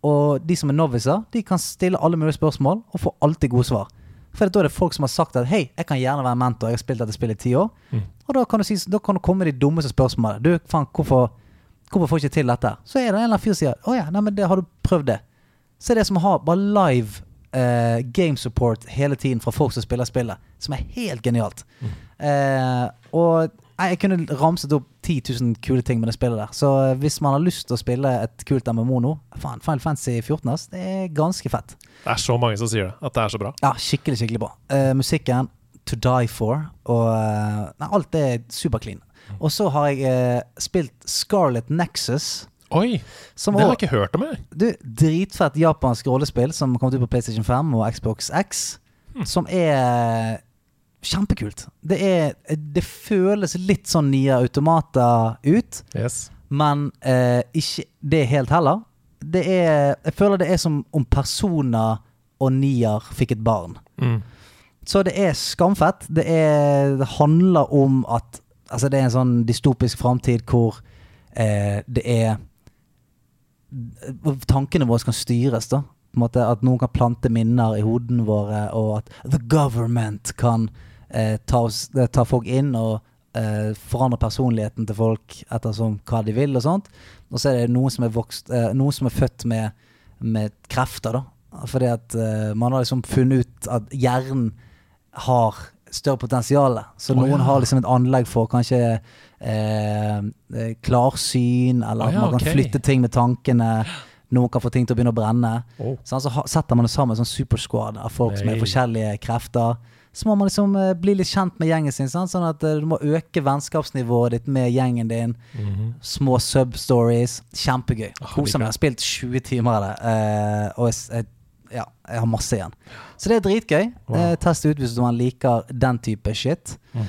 Og de som er noviser, de kan stille alle mulige spørsmål og få alltid gode svar. For da er det folk som har sagt at hei, jeg kan gjerne være mentor, jeg har spilt dette spillet i ti år. Og da kan, du si, da kan du komme med de dummeste spørsmålene. Du, faen, hvorfor, hvorfor får jeg ikke til dette? Så er det en eller annen fyr som sier å ja, nei, men det, har du prøvd det? Så er det som å ha bare live eh, game support hele tiden fra folk som spiller spillet, som er helt genialt.
Mm.
Eh, og nei, jeg kunne ramset opp 10 000 kule ting med det spillet der. Så eh, hvis man har lyst til å spille et kult MMO nå, faen, Final Fantasy 14 ass, det er ganske fett.
Det er så mange som sier det. At det er så bra.
Ja, skikkelig, skikkelig bra. Eh, musikken To Die For, og eh, Nei, alt er superclean.
Mm.
Og så har jeg eh, spilt Scarlet Nexus.
Oi!
Som
det har
også-
jeg ikke hørt om, jeg.
du, dritfett japansk rollespill som kom ut på PlayStation 5 og Xbox X. Som er eh, kjempekult. Det, er, eh, det føles litt sånn nye automater ut,
Yes.
men eh, ikke det helt heller. Det er, jeg føler det er som om personer og nier fikk et barn.
Mm.
Så det er skamfett. Det, er, det handler om at Altså, det er en sånn dystopisk framtid hvor eh, det er hvor Tankene våre kan styres, da. På en måte At noen kan plante minner i hodene våre, og at the government kan eh, ta, oss, eh, ta folk inn og eh, forandre personligheten til folk ettersom hva de vil og sånt. Og så er det noen som er, vokst, eh, noen som er født med, med krefter, da. Fordi at eh, man har liksom funnet ut at hjernen har større potensial. Så
Å,
noen
ja.
har liksom et anlegg for kanskje eh, eh, klarsyn, eller
Å,
at
ja,
man kan
ok.
flytte ting med tankene. Noen kan få ting til å begynne å brenne.
Oh.
Sånn, så ha- setter man det sammen en sånn supersquad av folk som
Nei.
er forskjellige krefter. Så må man liksom eh, bli litt kjent med gjengen sin, sant? sånn at eh, du må øke vennskapsnivået ditt med gjengen din.
Mhm.
Små substories. Kjempegøy. Koser meg. Jeg har spilt 20 timer av det, eh, og jeg, s- jeg, ja, jeg har masse igjen. Så det er dritgøy. Eh, test ut hvis man liker den type shit.
Mm.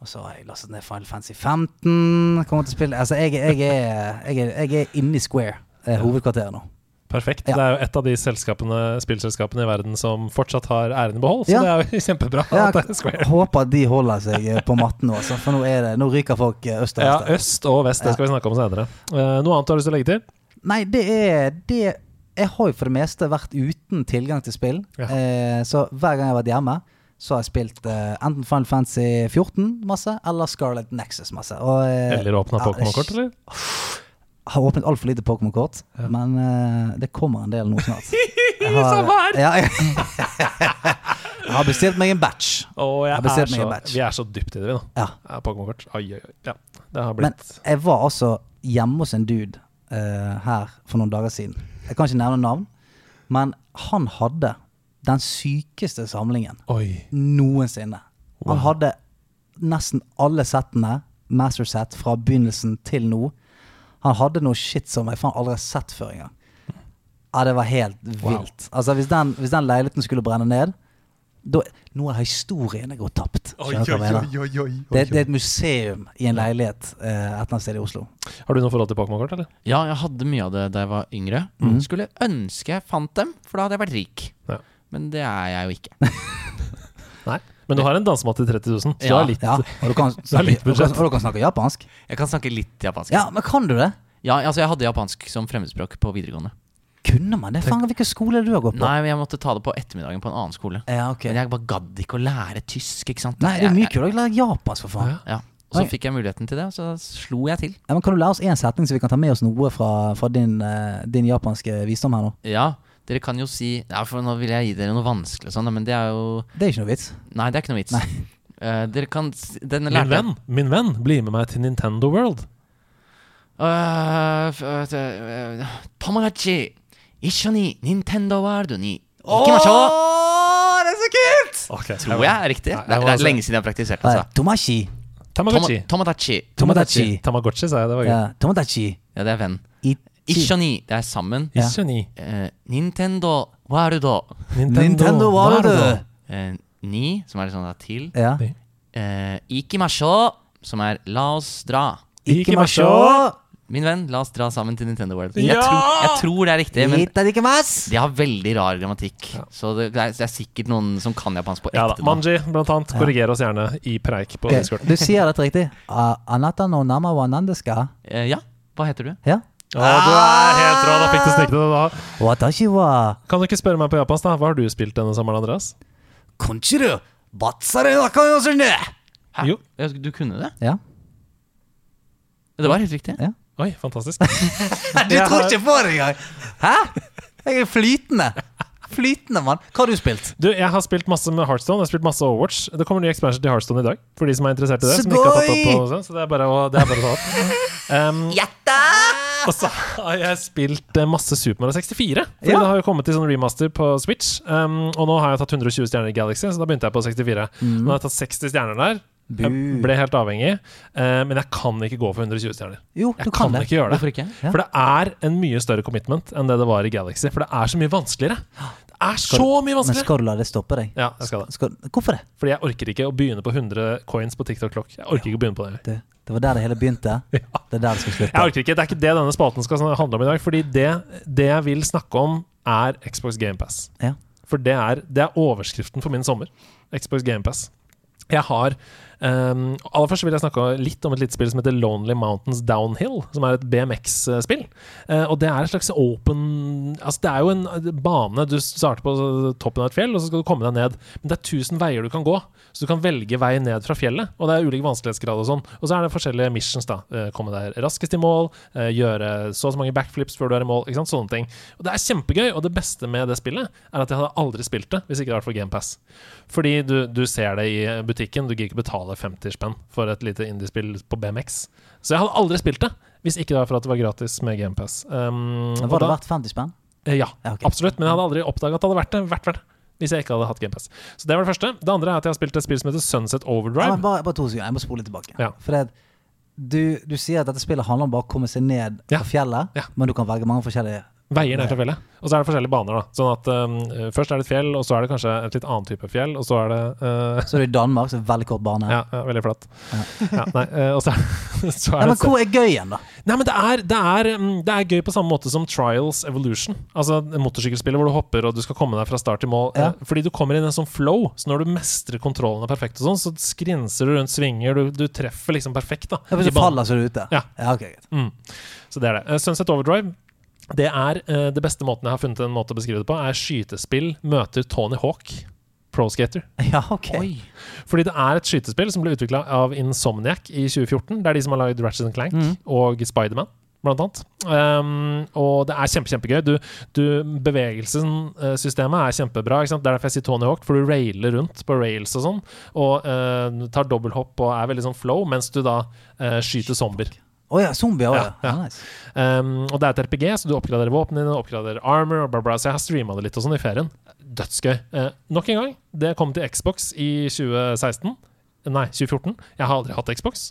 Og så har jeg lastet ned Final Fantasy 15. Kommer til å spille Altså, jeg, jeg, er, jeg, er, jeg er inne i Square, eh, hovedkvarteret nå.
Perfekt.
Ja.
Det er jo et av de selskapene- spillselskapene i verden som fortsatt har æren i behold, så
Ja.
det er jo kjempebra. at det er
Jeg
Square.
håper at de holder seg eh, på matten nå, altså, for nå, er det, nå ryker folk eh, øst og
Ja,
vest. her.
øst og vest, det skal vi snakke om senere. Eh, noe annet du har lyst til å legge til?
Nei, det er det Jeg har jo for det meste vært uten tilgang til spill.
Ja.
Eh, så hver gang jeg har vært hjemme, så har jeg spilt eh, enten Final Fantasy 14 masse, eller Scarlet Nexus masse. Og, eh,
Eller åpna
ja, det-
Pokémon-kort, eller?
Har åpnet altfor lite Pokémon-kort, men eh, det kommer en del nå snart. Jeg har,
Samme her!
Ja, jeg, jeg har bestilt meg en batch.
Å, jeg
Jeg bestilte
er
meg en
så,
batch.
vi er så dypt i det, vi nå.
Ja.
Ja, Pokémon-kort. Oi, oi, oi. Ja, det har
Men
blitt
jeg var altså hjemme hos en dude eh, her for noen dager siden. Jeg kan ikke nevne navn, men han hadde den sykeste samlingen
Oi.
noensinne. Han hadde nesten alle settene, master set, fra begynnelsen til nå. Han hadde noe shit som jeg faen aldri har sett før engang. Ja, det var helt vilt. Altså, hvis den, hvis den leiligheten skulle brenne ned, da Nå har historiene gått tapt. Skjønner du hva jeg mener? Det, det er et museum i en leilighet eh, et eller annet sted i Oslo.
Har du noe forhold til Pokémon-kort, eller?
Ja, jeg hadde mye av det da jeg var yngre. Skulle ønske jeg fant dem, for da hadde jeg vært rik.
Ja.
Men det er jeg jo ikke.
Nei. Men du har en dansemat til 30 000, så
Ja.
du har litt
Ja, og du kan,
er litt
snakke, og du kan,
budsjett.
og du kan snakke japansk.
Jeg kan snakke litt japansk.
Ja, men kan du det?
Ja, altså Jeg hadde japansk som fremmedspråk på videregående.
Kunne man det? Faen, hvilken skole du har gått på?
Nei, men Jeg måtte ta det på ettermiddagen på en annen skole.
Ja, ok.
Men jeg bare gadd ikke å lære tysk. ikke sant?
Nei, det er mye
Jeg-
kulere å lære japansk, for faen.
Ja.
jeg- Ja, og Så
Nei.
fikk jeg muligheten til det, og så slo jeg til.
Ja, men kan du lære oss én setning, så vi kan ta med oss noe fra, fra din, eh, din japanske visdom her nå?
Ja, dere kan jo si Ja, for nå vil jeg gi dere noe vanskelig og sånn, men det er jo
Det er ikke noe vits.
Nei, det er ikke noe vits. Eh, dere kan s- Den
Min
lærte jeg-
venn, min venn, bli med meg til Nintendo World.
Øh, f- øh, t- øh, Tomodachi, Isho ni Nintendo World ni Ikimasho.
det er så kult!
Okay.
Tror jeg er riktig.
Nei,
Det er, det er lenge siden jeg har praktisert. Altså.
Tomashi.
Tamagotchi.
Tomo- Tomodachi.
Tomodachi.
Tamagotchi, sa jeg. Det var gøy.
Ja, tomodachi.
Ja, det er venn.
I,
Ishani, det er sammen.
Ja.
Ishani.
Eh, Nintendo Warudo.
Nintendo,
Nintendo var det.
Eh, ni, som er litt sånn da til.
Ja.
Uh, ikimasho, som er la oss dra.
Ikimasho.
Min venn, la oss dra sammen til Nintendo World.
Ja!
Jeg, tror, jeg tror det er riktig, men
Itadikimasu.
de har veldig rar grammatikk. Så det, det, er, det er sikkert noen som kan japansk på
Ja da.
ekte. nå.
Manji, blant annet. Korriger oss gjerne i preik på
Ok,
Discord.
Du sier dette riktig. Ah, Anata no nama wa nandeska.
Eh, ja, hva heter du?
Ja.
Å, du er helt rå! Da fikk du snike deg da.
Watashi wa
Kan du ikke spørre meg på japansk, da? Hva har du spilt denne sommeren, Andreas?
konchiru batsare nakayosunde.
Hæ?
Jo.
Ja, Du kunne det?
Ja.
Det var helt riktig.
Ja.
Oi, fantastisk.
Du
Jeg
tror
har-
ikke på det engang! Hæ? Jeg er flytende. Flytende, mann. Hva har du spilt?
Du, jeg har spilt masse med Heartstone. Jeg har spilt masse Overwatch. Det kommer ny expansion til Heartstone i dag. For de som er interessert i det. Som ikke har tatt opp på, så det er bare å, det er bare å ta opp. Um, og så har jeg spilt eh, masse Super Mario 64. For
Ja.
det har jo kommet i sånn remaster på Switch. Um, og nå har jeg tatt 120 stjerner i Galaxy, så da begynte jeg på 64.
Mm.
Nå har jeg tatt 60 stjerner der. Jeg ble helt avhengig. Eh, men jeg kan ikke gå for 120 stjerner.
Jo, du
Jeg
kan
kan,
det.
ikke gjøre det.
Hvorfor ikke?
Ja.
For det er en mye større commitment enn det det var i Galaxy. For det er så mye vanskeligere. Det er så mye
Men
vanskeligere!
skal du la det stoppe deg?
Ja, jeg skal det.
Skal, hvorfor det?
Fordi jeg orker ikke å begynne på 100 coins på TikTok Clock. Jeg orker ikke å begynne på det.
Du, det var der det hele begynte. Det er der det skal
Jeg
slutte.
orker ikke, Det er ikke det denne spalten skal handle om i dag. Fordi det, det jeg vil snakke om, er Xbox GamePass.
Ja.
For det er, det er overskriften for min sommer. Xbox GamePass. Jeg har ehm, Aller først vil jeg snakke litt om et lite spill som heter Lonely Mountains Downhill. Som er et BMX-spill. Eh, og det er et slags open Altså Det er jo en bane. Du starter på toppen av et fjell, og så skal du komme deg ned. Men det er 1000 veier du kan gå, så du kan velge vei ned fra fjellet. Og det er ulik vanskelighetsgrad og sånn. Og så er det forskjellige missions. da Eh, Komme deg raskest i mål, eh, gjøre så og så mange backflips før du er i mål. Ikke sant? Sånne ting. Og det er kjempegøy, og det beste med det spillet er at jeg hadde aldri spilt det hvis ikke det hadde vært for GamePass. Fordi du, du ser det i butikken, du gidder ikke betale 50 spenn for et lite indiespill på BMX. Så jeg hadde aldri spilt det hvis ikke det var for at det var gratis med GamePass. Um,
Men
og
Var det
da-
verdt 50 spenn?
Eh, Ja,
Ja, ok.
absolutt. Men jeg hadde aldri oppdaga at det hadde vært det. Vært verdt det. Hvis jeg ikke hadde hatt GamePass. Så det var det første. Det andre er at jeg har spilt et spill som heter Sunset
Ja,
Overdrive.
men bare, bare to sekunder, jeg må spole tilbake.
Ja.
For det, du, du sier at dette spillet handler om bare å komme seg ned
Ja.
fra fjellet,
Ja.
men du kan velge mange forskjellige
Veier ned til fjellet. Og så er det forskjellige baner. da Sånn at um, Først er det et fjell, og så er det kanskje et litt annen type fjell, og så er det eh,
Så er du i Danmark, så er det veldig kort bane.
ja, ja, veldig flatt. Ja, nei, eh, og så er, så
Nei,
er
men
det
hvor er gøy igjen, da?
Nei, men det er, det, er, mm, det er gøy på samme måte som Trials Evolution. Altså motorsykkelspillet hvor du hopper og du skal komme deg fra start til mål.
Ja.
Eh, Fordi du kommer inn i en sånn flow. Så når du mestrer kontrollene perfekt, og sånn, så skrinser du rundt svinger. Du, du treffer liksom perfekt. da
Ja,
i
Hvis du
banen.
faller, så er du ute?
Ja.
ja ok, greit.
Mm. Så det er det. Eh, Sunset Overdrive det er eh, det beste måten jeg har funnet en måte å beskrive det på, er skytespill møter Tony Hawk, pro skater.
Ja, ok.
Fordi det er et skytespill som ble utvikla av Insomniac i 2014. Det er de som har lagd Ratchet and Clank og Spiderman. Blant annet. Um, og det er kjempe, kjempegøy. Du, du, bevegelsessystemet er kjempebra. Ikke sant? Det er derfor jeg sier Tony Hawk, for du railer rundt på rails og sånn. Og eh, tar dobbelthopp og er veldig sånn flow, mens du da eh, skyter zombier.
Å ja, zombier òg, ja.
Ja, ja.
ja. nice.
Um, og det er et RPG, så du oppgraderer våpnene dine, oppgraderer armor og bla, bla. Så jeg har streama det litt og sånn i ferien. Dødsgøy. Eh, nok en gang, det kom til Xbox i 2016. Nei, 2014. Jeg har aldri hatt Xbox,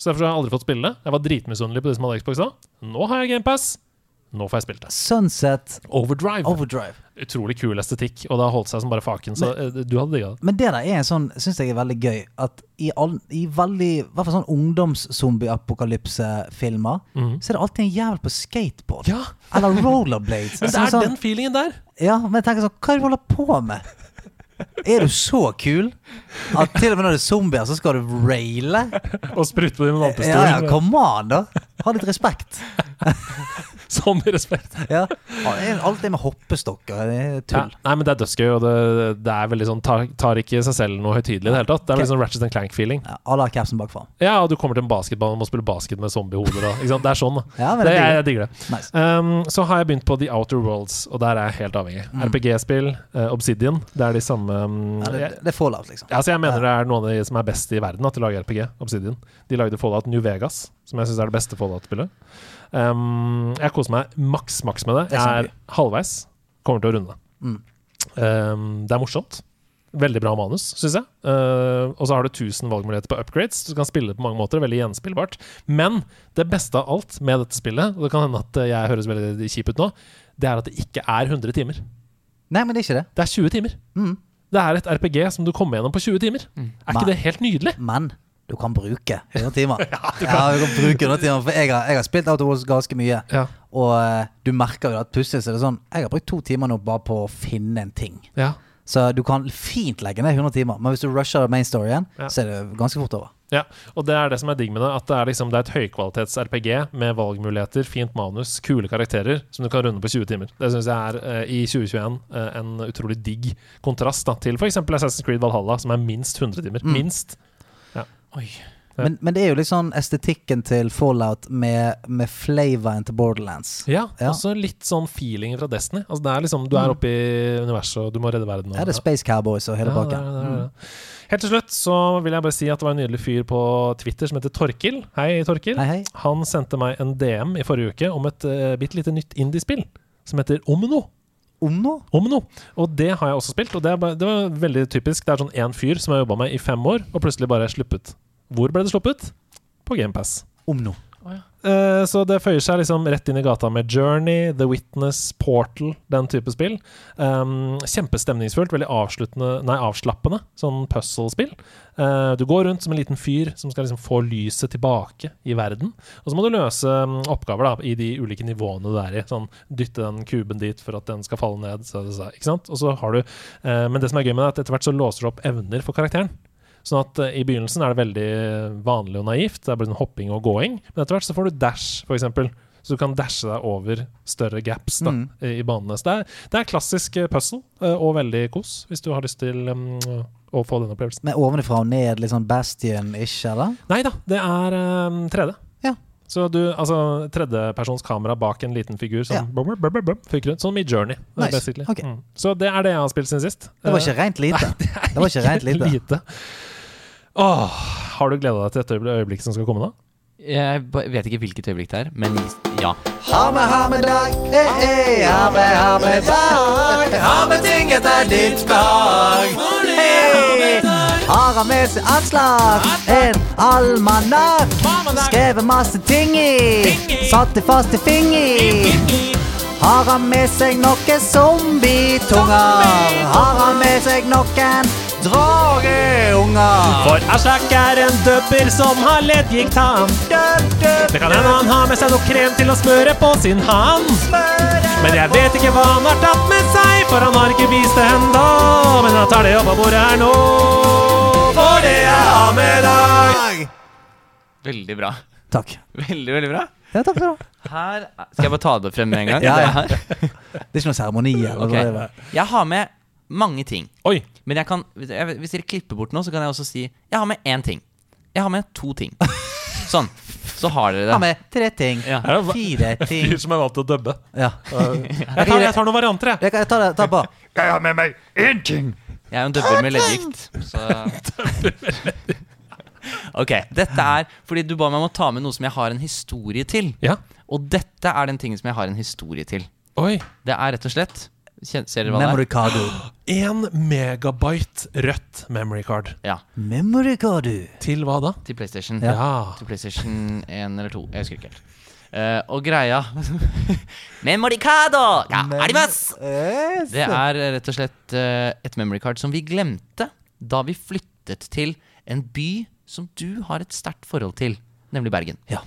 så derfor har jeg aldri fått spille det. Jeg var dritmisunnelig på de som hadde Xbox da. Nå har jeg GamePass. Nå får jeg spilt det.
Sunset
Overdrive.
Overdrive.
Utrolig kul estetikk, og det har holdt seg som bare faken, så eh, du hadde digga det.
Men det der er en sånn, syns jeg er veldig gøy, at i, all, i veldig, i hvert fall sånn ungdomszombie-apokalypse-filmer, så er det alltid en jævel på skateboard.
Mhm. Ja.
Eller rollerblades.
Men det
Som
er
sånn,
den feelingen der.
Ja, men jeg tenker sånn, hva er det du holder på med? Er du så kul at til og med når det er zombier, så skal du raile?
Å sprute på de med vannpistol.
Ja, ja, come on, da! Ha litt respekt.
Sånn med respekt.
Ja. Alt det med hoppestokker, det er
Ja,
tull.
nei, men det er dødsgøy, og det, det er veldig sånn tar, tar ikke seg selv noe høytidelig i det hele tatt. Det er veldig sånn Ratchet and Clank-feeling.
Ja, Alle har capsen bakfra.
Ja, og du kommer til en basketball og må spille basket med zombiehoder og ikke sant? Det er sånn, da.
Ja, men
det,
det
jeg,
digger
jeg digger det.
Nice.
Um, så har jeg begynt på The Outer Worlds, og der er jeg helt avhengig. RPG-spill, eh, Obsidian, det er de samme um,
Mm. Ja, det,
jeg,
det er fallout, liksom.
ja, så jeg mener det er noen av de som er best i verden da, til å lage RPG. Obsidian. De lagde Fallout New Vegas, som jeg syns er det beste Fallout-spillet. Um, jeg koser meg maks, maks med det.
Det er
Jeg er halvveis. Kommer til å runde.
Mm.
Um, Ehm, det er morsomt. Veldig bra manus, syns jeg. Eh, og så har du 1000 valgmuligheter på upgrades. Du kan spille det på mange måter. Veldig gjenspillbart. Men det beste av alt med dette spillet, og det kan hende at jeg høres veldig kjip ut nå, det er at det ikke er 100 timer.
Nei, men det er ikke det.
Det er 20 timer. Det er et RPG som du kommer gjennom på 20 timer. Er
Mm. Nei.
ikke det helt nydelig?
Men du kan bruke 100 timer. ja, du kan bruke 100 timer For jeg har, jeg har spilt Out of Wars ganske mye.
Ja.
Og eh, du merker jo at plutselig så er det sånn Jeg har brukt to timer nå bare på å finne en ting.
Ja.
Så du kan fint legge ned 100 timer, men hvis du rusher main storyen,
Ja.
så er det ganske fort over.
Ja, og det er det som er digg med det. At det er, liksom, det er et høykvalitets-RPG med valgmuligheter, fint manus, kule karakterer som du kan runde på 20 timer. Det syns jeg er eh, i 2021 eh, en utrolig digg kontrast da, til f.eks. Assassin's Creed Valhalla, som er minst 100 timer.
Mm.
Minst. Ja.
Men, men det er jo litt sånn estetikken til Fallout med, med flavoren til Borderlands.
Ja,
Ja.
også litt sånn feeling fra Destiny. Altså, det er liksom, du er oppe i universet, og du må redde verden. Og,
Ja, det er Space Cowboys og hele
Ja, Mm. det
pakken.
er det, det er det. Helt til slutt så vil jeg bare si at det var en nydelig fyr på Twitter som heter Torkil. Hei, Torkil.
Hei, hei.
Han sendte meg en DM i forrige uke om et uh, bitte lite nytt indiespill som heter Omno.
Om nå?
Omno. Og det har jeg også spilt, og det, er bare, det var veldig typisk. Det er sånn én fyr som har jobba med i fem år, og plutselig bare er sluppet. Hvor ble det sluppet? På GamePass.
Om nå.
Eh, Så det føyer seg liksom rett inn i gata med Journey, The Witness, Portal, den type spill. Um, kjempestemningsfullt, veldig avsluttende, nei, avslappende, sånn puzzle-spill. Eh, du går rundt som en liten fyr som skal liksom få lyset tilbake i verden. Og så må du løse um, oppgaver da, i de ulike nivåene du er i. Sånn, dytte den kuben dit for at den skal falle ned. Så, så, så, ikke sant? Og så har du, eh, men det som er gøy med det, er at etter hvert så låser du opp evner for karakteren. Sånn at eh, I begynnelsen er det veldig vanlig og naivt. Det er bare sånn hopping og gåing. Men etter hvert så får du dash, for eksempel Så du kan dashe deg over større gaps da,
Mm.
i i banene. Så det er, det er klassisk eh, puzzle eh, og veldig kos, hvis du har lyst til mm, å få den opplevelsen.
Med ovenfra og ned, litt sånn Bastion-ish, eller?
Nei da, det er um, 3D.
Ja.
Så du, altså tredjepersons kamera bak en liten figur som
Ja.
bum, bum, bum, bum, bum, fyker rundt. Sånn i Journey, eh,
Nice.
basically.
Ok.
Mm. Så det er det jeg har spilt siden sist. Eh,
Det var ikke rent lite. det var ikke rent lite.
Åh, har du gleda deg til dette øyeblikk- øyeblikket som skal komme nå?
Jeg ba- vet ikke hvilket øyeblikk det er, men ja.
Ha med, ha med dag, eh, eh, ha med, ha med dag.
Ha med ting etter ditt behag.
Hei! Har han med seg Aslak, en almanakk. Skrevet masse ting i, satt det fast i finger. Har han med seg noen zombietunger? Har han med seg noen drageunger?
For Aslak er en døpper som har leddgikttann. Det kan hende han har med seg noe krem til å smøre på sin hand. Men jeg vet ikke hva han har tatt med seg, for han har ikke vist det ennå. Men han tar det opp av bordet her nå. For det er ha med deg.
Veldig bra.
Takk.
Veldig, veldig bra.
Ja, takk skal du ha.
Her er- Skal jeg bare ta det frem med en gang?
Ja, ja.
Det her?
Det er ikke noen seremoni. eller
Ok.
hva det var.
Jeg har med mange ting.
Oi.
Men jeg kan, jeg, hvis dere klipper bort noe, så kan jeg også si Jeg har med én ting. Jeg har med to ting. Sånn. Så har dere det.
Ha med tre ting.
Ja.
Fire ting.
som er vant til å dubbe.
Ja.
Jeg tar, jeg tar noen varianter, jeg.
Jeg kan- jeg tar det ta på.
Jeg er jo en dubber med leddgikt, så Ok. Dette er fordi du ba meg om å ta med noe som jeg har en historie til.
Ja.
Og dette er den tingen som jeg har en historie til.
Oi.
Det er rett og slett kjen- Ser dere hva
Memory
det er?
card.
Én megabyte rødt memory card.
Ja.
Memory card.
Til hva da?
Til PlayStation.
Ja.
Ah. Til PlayStation 1 eller 2. Jeg husker ikke helt. Eh, og greia Memoricado! Ja, arimas!
Yes.
Det er rett og slett eh, et memory card som vi glemte da vi flyttet til en by som du har et sterkt forhold til, nemlig Bergen.
Ja.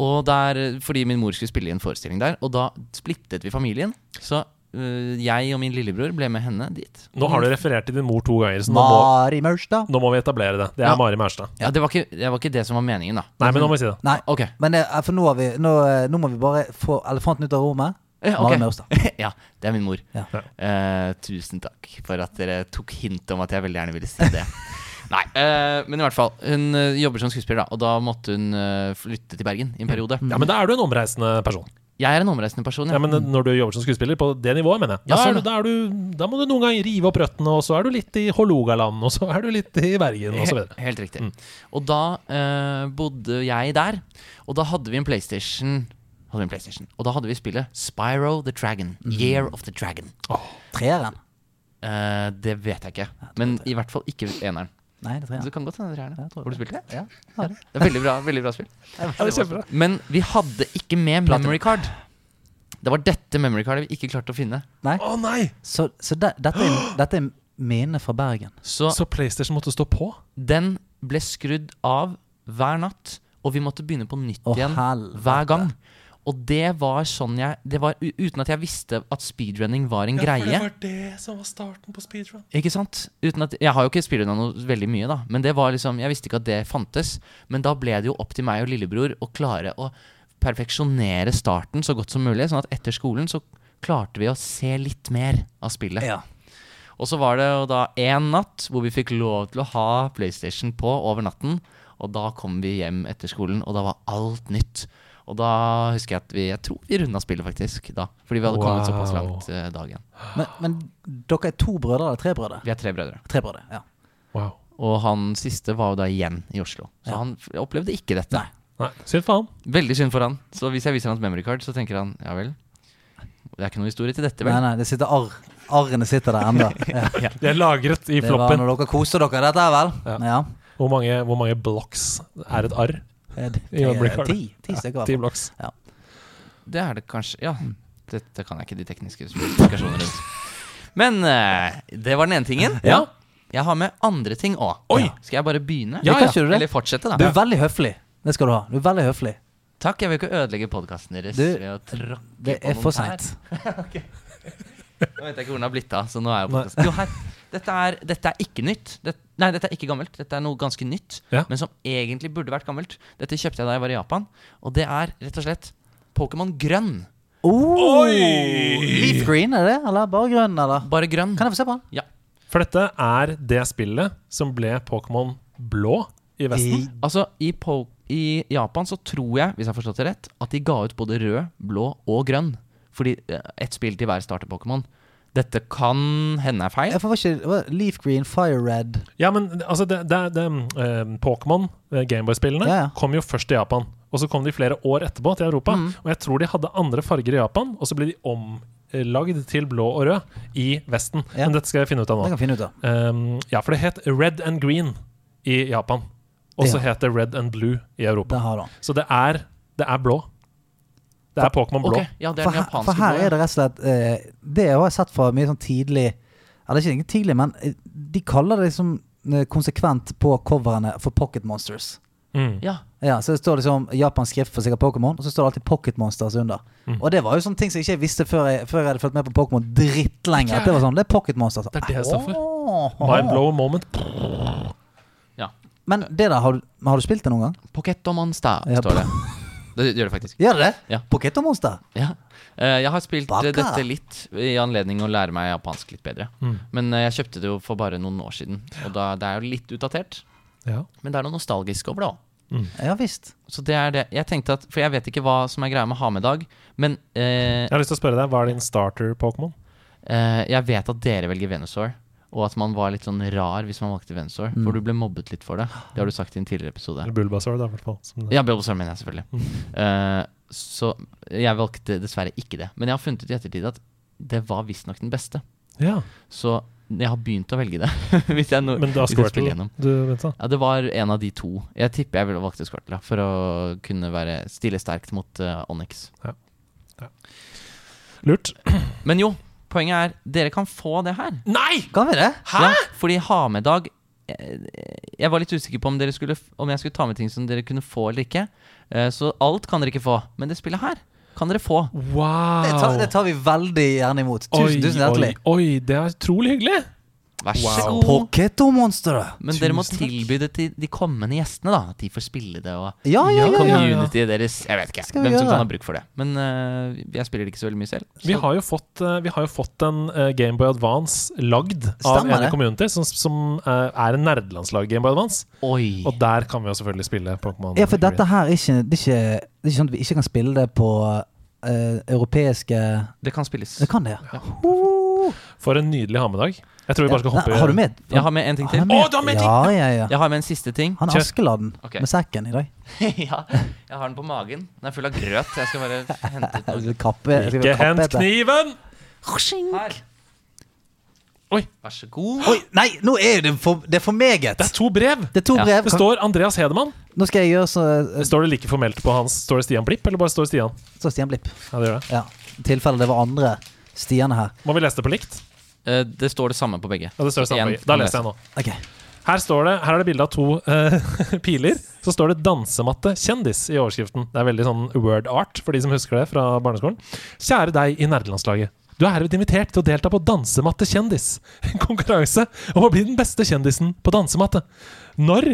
Og der, fordi min mor skulle spille i en forestilling der, og da splittet vi familien. Så eh, jeg og min lillebror ble med henne dit.
Nå har du referert til din mor to ganger, så nå må,
Mari Maurstad.
nå må vi etablere det. Det er
Ja.
Mari Maurstad.
Ja, det var, ikke, det var ikke det som var meningen, da.
Nei, men nå må vi si det.
Nei,
Ok.
men det, er- for nå, har vi, nå, eh, nå må vi bare få elefanten ut av rommet.
Ja, Eh, ok.
Mari Maurstad.
ja, det er min mor.
Ja.
Eh, tusen takk for at dere tok hint om at jeg veldig gjerne ville si det. Nei, eh, men i hvert fall. Hun eh, jobber som skuespiller, da, og da måtte hun eh, flytte til Bergen i en periode. Mm.
Ja, Men da er du en omreisende person.
Jeg er en omreisende person,
Ja,
ja.
men Når du jobber som skuespiller, på det nivået, mener jeg. Da,
Ja, sånn,
er du, da, er du, da må du noen ganger rive opp røttene, og så er du litt i Hålogaland, og så er du litt i Bergen, og så
He-
videre.
Helt riktig. Og da eh, bodde jeg der, og da hadde vi en PlayStation. Hadde vi en Mm. PlayStation Og da hadde vi spillet Spyro the Dragon. Year of the Dragon.
Treeren.
Eh, det vet jeg ikke. Men i hvert fall ikke eneren.
Nei, det tror
Så
jeg.
det kan godt hende dere er det.
tror
Har du spilt det?
Ja, har det.
Det er veldig bra, veldig bra spill. Men vi hadde ikke med memory card. Det var dette memory cardet vi ikke klarte å finne.
Å nei!
Så, så det, dette, er, dette er minnet fra Bergen.
Så
Så PlayStation måtte stå på?
den ble skrudd av hver natt, og vi måtte begynne på nytt
Å,
igjen
helvete.
hver gang. Og det var sånn jeg Det var u- uten at jeg visste at speedrunning var en greie.
det som var starten på speedrun.
Ikke sant? Uten at, jeg har jo ikke speedrunna noe veldig mye, da. Men det var liksom, jeg visste ikke at det fantes. Men da ble det jo opp til meg og lillebror å klare å perfeksjonere starten så godt som mulig. Sånn at etter skolen så klarte vi å se litt mer av spillet.
Ja.
Og så var det jo da én natt hvor vi fikk lov til å ha PlayStation på over natten. Og da kom vi hjem etter skolen, og da var alt nytt. Og da husker jeg at vi Jeg tror vi runda spillet, faktisk. da Fordi vi hadde kommet
Wow.
såpass langt eh, dagen.
Men, men dere er to brødre eller tre brødre?
Vi er tre brødre.
Tre brødre, ja.
Wow.
Og han siste var jo da igjen i Oslo. Så han f- opplevde ikke dette.
Nei.
Nei, synd for han.
Veldig synd for han. Så hvis jeg viser hans memory card, så tenker han ja vel. Det er ikke noe historie til dette,
Nei,
vel?
nei, det sitter arr. Arrene sitter der ennå. Ja.
Det er lagret i
Det var
floppen.
når dere koste dere, dette her, vel?
Ja.
Ja.
Hvor mange, hvor mange blocks er et arr? I
Eh,
memory card.
Ti, ti stykker.
Ti blocks.
Det er det kanskje. Ja. Dette kan jeg ikke de tekniske spesifikasjonene rundt. Men eh, det var den ene tingen.
Ja.
Jeg har med andre ting òg.
Oi.
Skal jeg bare begynne?
Ja,
Vi kan ja. kjøre det.
Eller fortsette,
Du
da.
er veldig høflig. Det skal du ha. Du er veldig høflig.
Takk, jeg vil ikke ødelegge podkasten deres
Du,
ved å tråkke
Det
på
er
noen
for
tær.
seint.
Nå vet jeg ikke hvor den har blitt av, så nå er jo
Nei.
podcasten Jo, her. Dette er, dette er ikke nytt. Det, nei, dette er ikke gammelt. Dette er noe ganske nytt,
Ja.
men som egentlig burde vært gammelt. Dette kjøpte jeg da jeg var i Japan, og det er rett og slett Pokémon grønn.
Oh,
Oi!
leaf green, er det? Eller bare grønn, eller?
Bare grønn.
Kan jeg få se på den?
Ja.
For dette er det spillet som ble Pokémon blå i Vesten.
Altså, i, po i Japan så tror jeg, hvis jeg har forstått det rett, at de ga ut både rød, blå og grønn. Fordi eh, ett spill til hver starter Pokémon. Dette kan hende er feil.
Jeg får ikke hva- Leaf green, fire red
Ja, men altså, det, det, det, eh, Pokémon, eh, Gameboy-spillene,
Ja, ja.
kom jo først til Japan. Og så kom de flere år etterpå til Europa.
Mm.
Og jeg tror de hadde andre farger i Japan, og så ble de omlagd til blå og rød i Vesten.
Ja.
Men dette skal jeg finne ut av
Det
nå.
kan vi finne ut av.
Um, ja, for det het Red and Green i Japan. Og så het det Red and Blue i
Der
Europa.
har du den.
Så det er, det er blå. Det er Pokémon blå.
Ok, ja, det er
For,
den
her, for
japanske
her
blå, ja.
er det rett og slett eh, Det har jeg sett fra mye sånn tidlig Eller ikke egentlig tidlig, men eh, de kaller det liksom eh, konsekvent på coverene for Pocket Monsters.
Mm.
Ja.
Ja, så det står liksom japansk skrift for sikkert Pokémon, og så står det alltid Pocket Monsters under.
Mm.
Og det var jo sånne ting som jeg ikke visste før jeg, før jeg hadde fulgt med på Pokémon drittlenge. At det var sånn, det er Pocket Monsters.
Det er det jeg står for.
Åh.
Mind blow moment.
Men det der, har du, men har du spilt det noen gang?
Pokémon Monster,
Ja,
står det. Det gjør det faktisk.
Gjør det det?
Ja.
Pocket og Monster?
Ja. Eh, jeg har spilt eh,
Baka.
dette litt i anledning å lære meg japansk litt bedre. Men eh, jeg kjøpte det jo for bare noen år siden, og da, det er jo litt utdatert.
Ja.
Men det er noe nostalgisk over det òg.
Ja visst.
Så det er det. Jeg tenkte at, For jeg vet ikke hva som er greia med å ha med i dag, men eh,
Jeg har lyst til å spørre deg, hva er din starter-Pokémon?
eh, jeg vet at dere velger Venusaur. Og at man var litt sånn rar hvis man valgte Venusaur. For du ble mobbet litt for det. Det har du sagt i en tidligere episode.
Eller Bulbasaur, da, i hvert fall. Som det.
Ja, Bulbasaur mener jeg selvfølgelig. Eh, så jeg valgte dessverre ikke det. Men jeg har funnet ut i ettertid at det var visstnok den beste.
Ja.
Så jeg har begynt å velge det. hvis jeg, no
Men da
hvis jeg
skvørte
spiller
du,
gjennom.
du vent da.
Ja, det var en av de to. Jeg tipper jeg ville valgt Squirtle ja, for å kunne være stille sterkt mot eh, Onyx.
Lurt.
Men jo, poenget er dere kan få det her.
Nei!
Kan vi det?
Hæ? Ja, fordi ha med dag eh, Jeg var litt usikker på om, dere skulle, om jeg skulle ta med ting som dere kunne få eller ikke. Eh, Så alt kan dere ikke få, men det spillet her kan dere få.
Wow.
Det tar, det tar vi veldig gjerne imot. Tusen,
Oi,
tusen hjertelig.
Oi, oi, det er utrolig hyggelig.
Vær så
Wow.
god.
Pocket og Monster.
Men dere må
Tusen takk.
tilby det til de kommende gjestene, da. At de får spille det, og
Ja, ja, ja. ja, ja.
communityet deres Jeg vet ikke
Skal vi
hvem som
gjøre?
kan ha bruk for det. Men eh, jeg spiller det ikke så veldig mye selv.
Vi
så-
har jo fått, eh, vi har jo fått en eh, Gameboy Advance lagd av
Stemmer
en
det.
community som, som eh, er en nerdelandslag Gameboy Advance.
Oi.
Og der kan vi jo selvfølgelig spille Pokémon.
Ja, for
Green.
dette her er ikke, det, er ikke, det er ikke sånn at vi ikke kan spille det på eh, europeiske
Det kan spilles.
Det kan det, ja.
For en nydelig ha med dag. Jeg tror vi bare skal hoppe
Nei, Har du med?
Jeg har med en ting til.
Å, du har med
Ja, ja, ja.
Jeg har med en siste ting.
Han
Kjør.
er Askeladden
Ok.
med sekken i dag.
ja, jeg har den på magen. Den er full av grøt. Jeg skal bare hente ut
Jeg
noe.
skal kappe, jeg skal
Ikke
kappe
hent
etter.
kniven!
Her.
Oi,
Vær så god.
Oi, nei, nå er det for, det er for meget.
det er to brev!
Det er to
Ja,
brev.
Det står Andreas Hedemann.
Nå skal jeg gjøre så,
Står det like formelt på hans? Står det Stian Blipp, eller bare står det Stian?
så Stian Blipp.
Ja, det gjør det.
Ja, I tilfelle det var andre Stian her.
Må vi lese det på likt?
Eh, det står det samme på begge.
Ja, det står det samme. på
En
i. Da
må lese.
leser jeg nå.
Ok,
Her står det, her er det bilde av to eh, piler. Så står det 'dansematte kjendis' i overskriften. Det er veldig sånn word art for de som husker det fra barneskolen. Kjære deg i nerdelandslaget. Du er herved invitert til å delta på Dansematte kjendis. En konkurranse om å bli den beste kjendisen på dansematte. Når?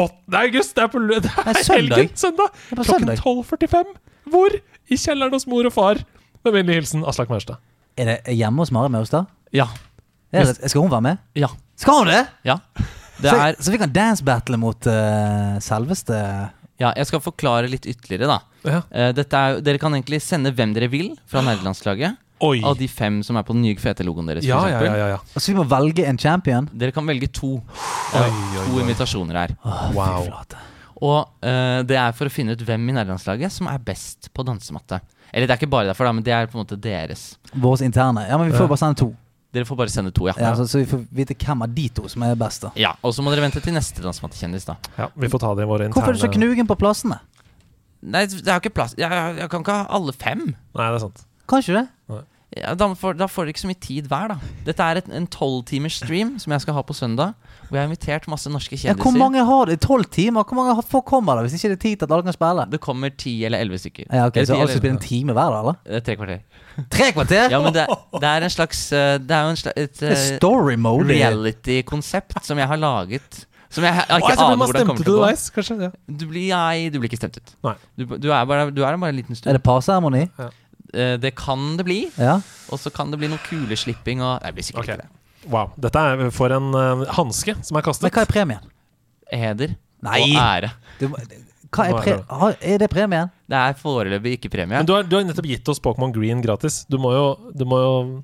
8. august! Det er på lø- det er
Nei, søndag.
helgen! Søndag!
er på
Klokken
søndag.
12.45. Hvor? I kjelleren hos mor og far. Med vennlig hilsen Aslak Maurstad.
Er det hjemme hos Mari Maurstad?
Ja.
Er det- Skal hun være med?
Ja.
Skal hun det?
Ja. Det
så,
er
så vi kan dance-battle mot eh, selveste
Ja, jeg skal forklare litt ytterligere, da.
Ja.
Eh, dette er, jo- dere kan egentlig sende hvem dere vil fra nerdelandslaget.
Oi!
Av de fem som er på den nye fete logoen deres. for
Ja, ja,
eksempel.
ja, ja, ja.
Altså, vi må velge en champion.
Dere kan velge to.
Oi,
To
oi, oi.
invitasjoner her.
Wow.
Og eh, det er for å finne ut hvem i nerdelandslaget som er best på dansematte. Eller det er ikke bare derfor, da, men det er på en måte deres.
Våre interne. Ja, men vi får bare sende to.
Dere får bare sende to, ja.
Ja, så, så vi får vite hvem av de to som er best. da
Ja, Og så må dere vente til neste dansemattekjendis, da.
Ja, vi får ta det i våre interne
Hvorfor er du så knugen på plassene?
Nei, det er jo ikke plass Jeg, jeg, jeg kan ikke ha alle fem.
Nei, det er sant.
Kan ikke det?
Ja, da, får, da får dere ikke så mye tid hver, da. Dette er et, en tolvtimers stream som jeg skal ha på søndag. Hvor jeg har invitert masse norske
Ja,
kjendiser.
hvor mange har det? Tolv timer? Hvor mange har- folk kommer det hvis ikke det er tid til at alle kan spille?
Det kommer ti eller elleve stykker.
Ja, ok,
Eller
Så
ti
alle skal
eller-
spille en time hver, da? eller?
Eh, Tre kvarter.
Tre kvarter?
Ja, men det, er- det er en slags eh, Det er jo en slags, et
Det er
eh,
story mode.
reality-konsept som jeg har laget. Som jeg, jeg
Å,
ikke
jeg tror
aner
man stemte
hvordan kommer til å gå.
underveis, kanskje. Ja.
Du blir, nei, du blir ikke stemt ut.
Nei.
Du, du, er bare, du er der bare en liten
Er
stund.
det parseremoni?
Eh, Det kan det bli.
Ja.
Og så kan det bli noe kuleslipping og Nei, det blir sikkert
Ok.
ikke det.
Wow. Dette er for en uh, hanske som er
Men
kastet.
hva er premien?
Heder
Nei.
og ære.
Du, må- hva er, pre har- er det premien?
Det er foreløpig ikke premie.
Men du har, du har nettopp gitt oss Pokémon Green gratis. Du må jo, du må jo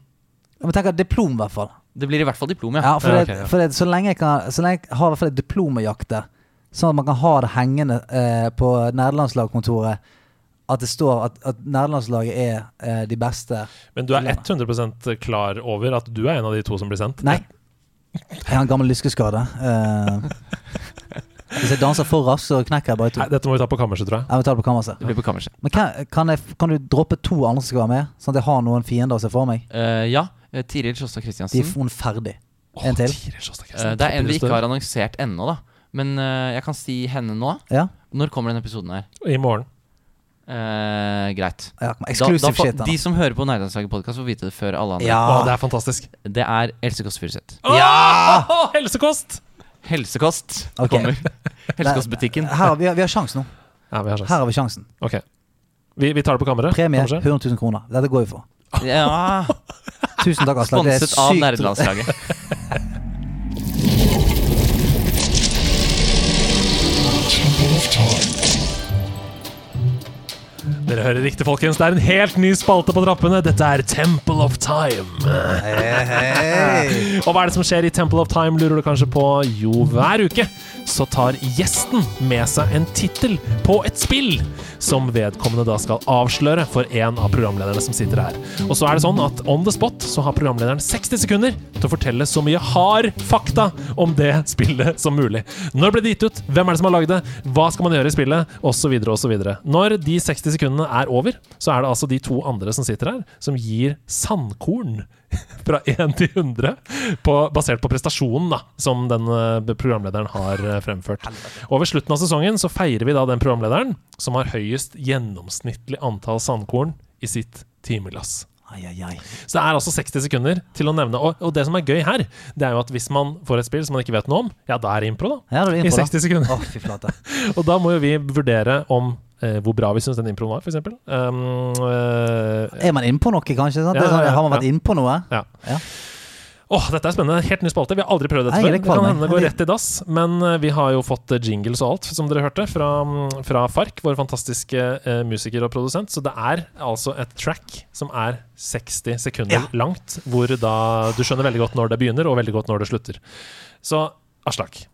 Jeg må tenke diplom, i hvert fall.
Det blir i hvert fall diplom, ja.
Ja, for,
Ja,
det,
ok, ja.
for det, så lenge jeg kan Så lenge jeg har i hvert fall et diplom å jakte, sånn at man kan ha det hengende eh, på nederlandslagkontoret at det står at, at nederlandslaget er eh, de beste
Men du er 100 klar over at du er en av de to som blir sendt?
Nei. Jeg har en gammel lyskeskade. Eh, hvis jeg danser for raskt, så knekker jeg bare to.
Nei, dette må vi ta på kammerset, tror jeg.
Jeg må ta det på kammerset.
Det blir på kammerset.
Men kan, kan, jeg, kan du droppe to andre som skal være med, sånn at jeg har noen fiender å se for meg?
Eh, ja. eh, Tiril Sjåstad
De
Christiansen.
er hun ferdig. En til.
Tiril Sjåstad
Eh,
Christensen,
det er en vi ikke
topp
har annonsert ennå, da. Men eh, jeg kan si henne nå.
Ja.
Når kommer denne episoden her?
I morgen.
Eh, greit.
ja kom,
Da- da
exclusive
får-
shit.
De
Da.
som hører på Nærlandslaget podkast, får vite det før alle andre.
Ja.
Å, det er fantastisk.
Det er Else Kåss Furuseth.
Ja! helsekost!
Helsekost
Ok.
kommer. Helsekostbutikken.
Her har vi, vi har sjansen nå.
Ja, vi har
Her
sjans.
har vi sjansen.
Ok. Vi, vi tar det på kammeret.
Premie
Kammerset.
100 000 kroner. Dette går vi for.
Ja.
Tusen takk, Aslak. Altså, Det er
Sponset av
sykt-
Nerdelandslaget.
Dere hører riktig, folkens. Det er en helt ny spalte på trappene. Dette er Temple of Time.
Eh,
Og hva er det som skjer i Temple of Time, lurer du kanskje på? Jo, hver uke så tar gjesten med seg en tittel på et spill, som vedkommende da skal avsløre for en av programlederne som sitter her. Og så er det sånn at on the spot så har programlederen 60 sekunder til å fortelle så mye hard fakta om det spillet som mulig. Når ble det gitt ut? Hvem er det som har lagd det? Hva skal man gjøre i spillet? Og så videre og så videre. Når de 60 sekundene er over, så er det altså de to andre som sitter her, som gir sandkorn fra 1 til 100, på, basert på prestasjonen da, som den eh, programlederen har eh, fremført. Og ved slutten av sesongen så feirer vi da den programlederen som har høyest gjennomsnittlig antall sandkorn i sitt timeglass.
Ai, ai, ai.
Så det er altså 60 sekunder til å nevne. Og, og det som er gøy her, det er jo at hvis man får et spill som man ikke vet noe om, ja, da er det impro, da.
Her er du
I
innpå, da.
60 sekunder.
Å, fy flate.
Og da må jo vi vurdere om eh, hvor bra vi syns den improen var, f.eks. Um, eh,
Er man innpå noe, kanskje? Sant? Det
Ja,
er
ja,
sånn,
ja,
har man vært
ja.
innpå noe?
ja.
Ja.
Åh, dette er spennende. Helt ny spalte. Vi har aldri prøvd dette
Nei,
før. Det
jeg er
kan
kvalm,
hende det
jeg.
går rett i dass. Men eh, vi har jo fått eh, jingles og alt, som dere hørte, fra, mm, fra Fark, vår fantastiske eh, musiker og produsent. Så det er altså et track som er 60 sekunder
Ja.
langt, hvor da du skjønner veldig godt når det begynner, og veldig godt når det slutter. Så Aslak,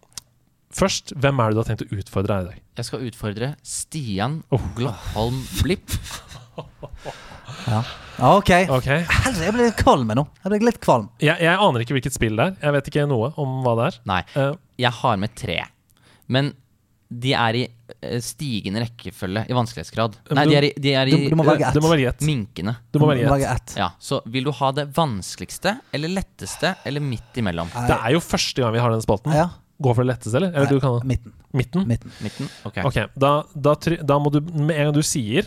først, hvem er det du har tenkt å utfordre her i dag?
Jeg skal utfordre Stian
Oh.
Glaholm Blipp
Ja, OK.
Ok.
Helvete, jeg ble litt kvalm nå. Jeg ble litt kvalm.
Jeg, jeg aner ikke hvilket spill det er. Jeg vet ikke noe om hva det er.
Nei.
Eh,
Jeg har med tre. Men de er i eh, stigende rekkefølge i vanskelighetsgrad.
Men
Nei,
du-
de er i, de er i
Du- du må velge ett.
du må velge ett.
minkene.
Du må velge ett.
Lage ett.
Ja, Så vil du ha det vanskeligste eller letteste eller midt imellom?
Det er jo første gang vi har den spalten.
Ja.
Gå for det letteste, eller? Eller du kan
Midten.
Midten?
Midten.
Midten? Ok.
Ok, da, da, try- da må du Med en gang du sier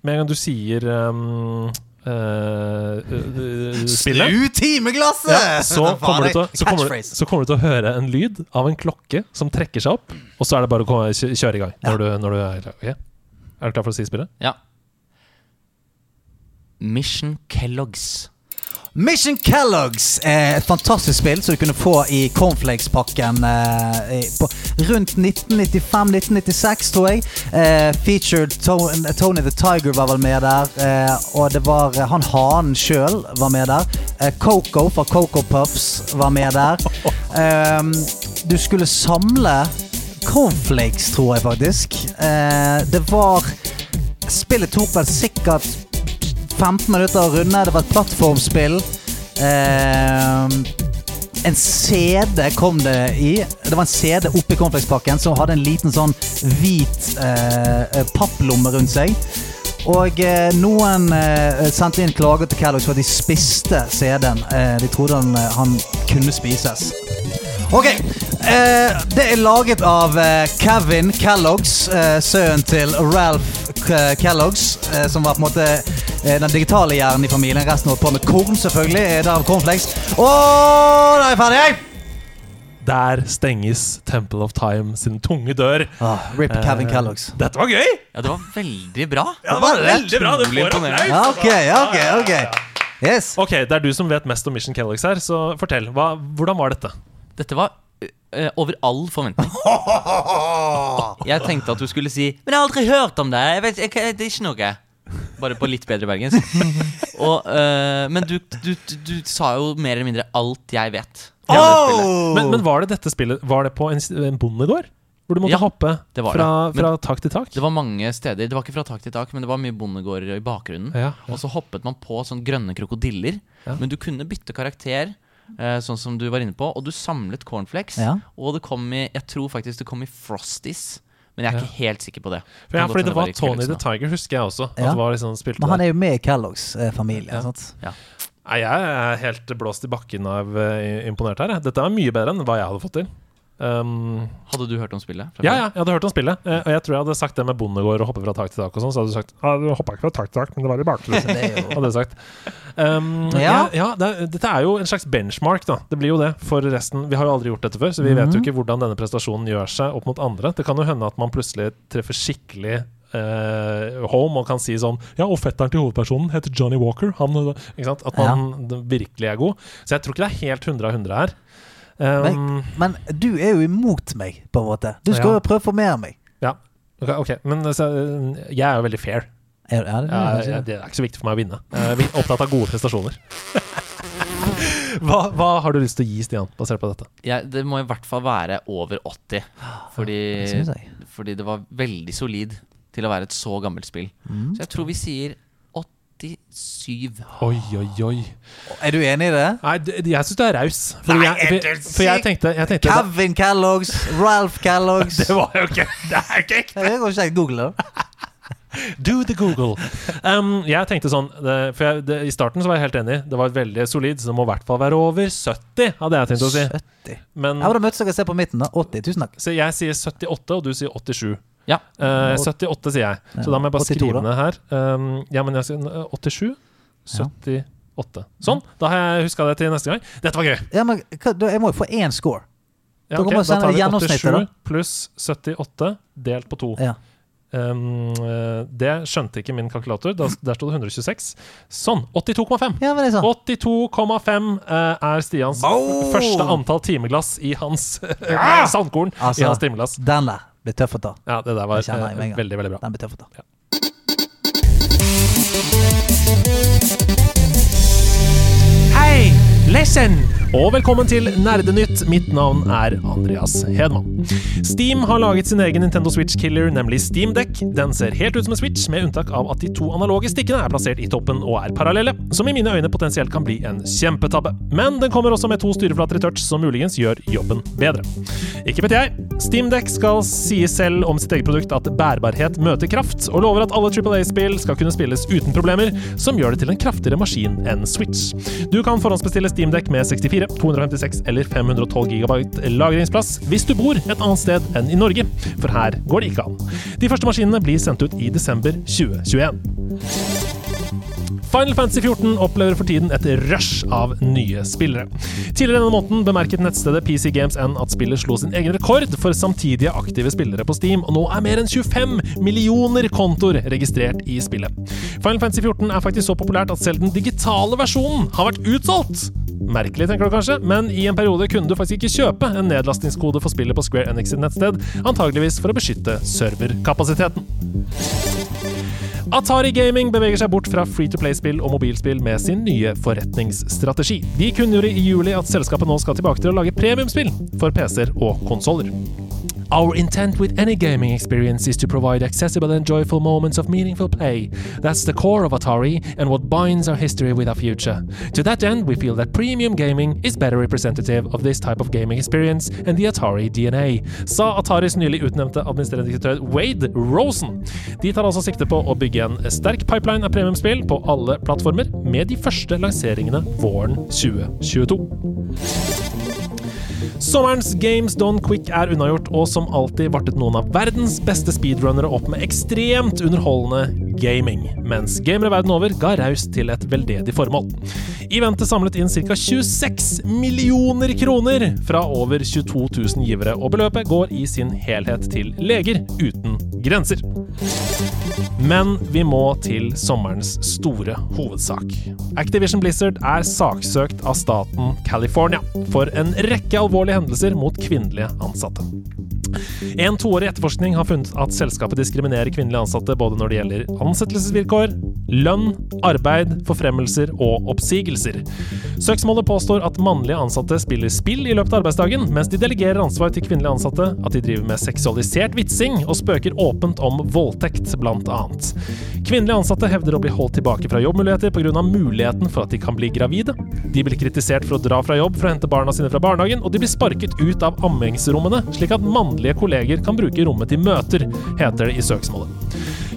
Med en gang du sier um, eh, eh, Spillet
Snu timeglasset!
ja, så, kommer du til, å- så, kommer, du-
Catchphrase.
så kommer du til å høre en lyd av en klokke som trekker seg opp, og så er det bare å komme- kjø- kjøre i gang. Når du, når du er, ok? er du klar for å si spillet?
Ja. Mission Kellogg's.
Mission Kellogg's er et fantastisk spill som du kunne få i cornflakespakken eh, i- på- rundt 1995-1996, tror jeg. Eh, featured To- Tony the Tiger var vel med der, eh, og det var eh, han hanen sjøl var med der. Eh, Coco fra Coco Puffs var med der. Ehm, du skulle samle cornflakes, tror jeg faktisk. Eh, det var Spillet tok vel sikkert 15 minutter å runde. Det var et plattformspill. Ehm, en CD kom det i. Det var en CD oppi cornflakespakken som hadde en liten sånn hvit eh, papplomme rundt seg. Og eh, noen eh, sendte inn klager til Kellogg's for at de spiste CD-en. Eh, de trodde han, han kunne spises. Ok, eh, det er laget av eh, Kevin Kellogg's, eh, sønnen til Ralph K Kellogg's, eh, som var på en måte eh, den digitale hjernen i familien. Resten holdt på med korn, selvfølgelig. Eh, Derav cornflakes. Og da er jeg ferdig! jeg.
Der stenges Temple of Time sin tunge dør.
Ah, Rip Kevin
Eh,
Kellogg's.
Dette var gøy!
Ja, det var veldig bra.
det var veldig bra! Det får applaus!
Ja, ok, ja, ok, ok. Yes.
Ok, Det er du som vet mest om Mission Kellogg's her, så fortell. Hva, hvordan var dette?
Dette var ø, ø, over all forventning. Jeg tenkte at du skulle si 'Men jeg har aldri hørt om det. Jeg vet, jeg, det er ikke noe.' Bare på litt bedre bergensk. Og, ø, men du, du, du, du sa jo mer eller mindre alt jeg vet. om det spillet.
Men, men var det dette spillet Var det på en, s- en bondegård? Hvor du måtte
Ja,
hoppe
det var
fra,
det. Men-
fra tak til tak?
Det var mange steder. Det var ikke fra tak til tak, men det var mye bondegårder i bakgrunnen.
Ja, ja.
Og så hoppet man på sånne grønne krokodiller.
Ja.
Men du kunne bytte karakter, eh, sånn som du var inne på. Og du samlet cornflakes.
Ja.
Og det kom i Jeg tror faktisk det kom i Frosties. Men jeg er ikke helt sikker på det.
ja,
Kan godt
fordi
hende
det var
i
Tony
Kellogg's
the
nå.
Tiger, husker jeg også. At
Ja.
det var liksom spilte
Men han
der.
er jo med i Kellogg's eh, familie.
Ja.
Sant?
Nei, jeg er helt blåst i bakken av eh, imponert her. jeg. Dette er mye bedre enn hva jeg hadde fått til. Um,
Hadde du hørt om spillet? fra
ja,
før?
ja, jeg hadde hørt om spillet, eh, og jeg tror jeg hadde sagt det med bondegård og hoppe fra tak til tak og sånn, så hadde du sagt Ja, du hoppa ikke fra tak til tak, men det var i bakgrunnen.
Det er jo
Hadde jeg sagt. Um, ja,
Ja.
ja det, er- dette er jo en slags benchmark, da. Det blir jo det for resten. Vi har jo aldri gjort dette før, så vi vet jo ikke hvordan denne prestasjonen gjør seg opp mot andre. Det kan jo hende at man plutselig treffer skikkelig eh, home og kan si sånn Ja, og fetteren til hovedpersonen heter Johnny Walker. Han, ikke sant? At man virkelig er god. Så jeg tror ikke det er helt 100 av 100 her. Um,
Men du er jo imot meg, på en måte. Du skal
Ja.
jo prøve å formere meg.
ja. Ok, ok, men eh, så, jeg er jo veldig fair.
Er, er det det?
Ja, ja, det er ikke så viktig for meg å vinne. Jeg er opptatt av gode prestasjoner. Hva, hva har du lyst til å gi, Stian, basert på dette?
Ja, det må i hvert fall være over 80. Fordi,
det synes jeg.
fordi det var veldig solid til å være et så gammelt spill.
Mm.
Så jeg tror vi sier 87.
Oi, oi, oi.
Er du enig i det?
Nei, det- jeg syns du er raus. For, jeg, for, for jeg tenkte, jeg tenkte det,
Kevin Kellogg's, Ralph Kellogg's
det var jo ikke Det er ikke ekte!
Jeg kan ikke google det.
Do the Google. Um, jeg tenkte sånn det, For jeg, det, i starten så var jeg helt enig. Det var veldig solid, så det må i hvert fall være over 70, hadde jeg tenkt å si.
70.
Men,
Jeg burde møtt dere og se på midten. da. 80. Tusen takk.
så jeg sier 78, og du sier 87.
Ja.
Eh, 78 sier jeg, så da må jeg bare
82 da.
skrive ned her. Um, ja, men jeg sier eh, 87, 78. Sånn, da har jeg huska det til neste gang. Dette var gøy!
Ja, men hva, da- jeg må jo få én score.
Ja,
Da
ok,
kan man
da
sende
tar vi
gjennomsnittet,
87
da.
pluss 78 delt på to.
Ja.
Um, eh, det skjønte ikke min kalkulator. Der, der sto det 126. Sånn! 82,5.
Ja, men det er sånn.
82,5 eh, er Stians første antall timeglass i hans sandkorn.
Altså.
I hans timeglass.
Den der blir tøff å ta.
Ja, det der var
Jeg kjenner
eh,
jeg med en gang.
veldig, veldig bra.
Den blir tøff å ta.
Hei,
Listen! Og velkommen til Nerdenytt. Mitt navn er Andreas Hedman. Steam har laget sin egen Nintendo Switch-killer, nemlig Steam Deck. Den ser helt ut som en Switch, med unntak av at de to analoge stikkene er plassert i toppen og er parallelle, som i mine øyne potensielt kan bli en kjempetabbe. Men den kommer også med to styreflater i touch, som muligens gjør jobben bedre. Ikke vet jeg. Steam Deck skal si selv om sitt eget produkt at bærbarhet møter kraft, og lover at alle Triple A-spill skal kunne spilles uten problemer, som gjør det til en kraftigere maskin enn Switch. Du kan forhåndsbestille Steam Deck med 64, 256 eller 512 GB lagringsplass hvis du bor et annet sted enn i Norge, for her går det ikke an. De første maskinene blir sendt ut i desember 2021. Final Fantasy 14 opplever for tiden et rush av nye spillere. Tidligere denne måneden bemerket nettstedet PC Games N at spillet slo sin egen rekord for samtidige aktive spillere på Steam, og nå er mer enn 25 millioner kontoer registrert i spillet. Final Fantasy 14 er faktisk så populært at selv den digitale versjonen har vært utsolgt! Merkelig, tenker du kanskje, men i en periode kunne du faktisk ikke kjøpe en nedlastingskode for spillet på Square Enix sitt nettsted, antageligvis for å beskytte serverkapasiteten. Atari Gaming beveger seg bort fra free to play-spill og mobilspill med sin nye forretningsstrategi. De kunngjorde i juli at selskapet nå skal tilbake til å lage premiumspill for PC-er og konsoller. Our intent with any gaming experience is to provide accessible and joyful moments of meaningful play. That's the core of Atari and what binds our history with our future. To that end, we feel that premium gaming is better representative of this type of gaming experience and the Atari DNA, sa Ataris nylig utnevnte administrerende direktør Wade Rosen. De tar altså sikte på å bygge en sterk pipeline av premiumspill på alle plattformer, med de første lanseringene våren 2022. Sommerens Games Done Quick er unnagjort, og som alltid vartet noen av verdens beste speedrunnere opp med ekstremt underholdende gaming, mens gamere verden over ga raust til et veldedig formål. Eventet samlet inn ca. 26 millioner kroner fra over 22 000 givere, og beløpet går i sin helhet til Leger uten grenser. Men vi må til sommerens store hovedsak. Activision Blizzard er saksøkt av staten California for en rekke alvorlige hendelser mot kvinnelige ansatte. En toårig etterforskning har funnet at selskapet diskriminerer kvinnelige ansatte både når det gjelder ansettelsesvilkår, lønn, arbeid, forfremmelser og oppsigelser. Søksmålet påstår at mannlige ansatte spiller spill i løpet av arbeidsdagen, mens de delegerer ansvar til kvinnelige ansatte, at de driver med seksualisert vitsing og spøker åpent om voldtekt, blant annet. Kvinnelige ansatte hevder å bli holdt tilbake fra jobbmuligheter pga. muligheten for at de kan bli gravide. De blir kritisert for å dra fra jobb for å hente barna sine fra barnehagen, og de blir sparket ut av ammingsrommene, slik at mannlige kolleger kan bruke rommet til møter, heter det i søksmålet.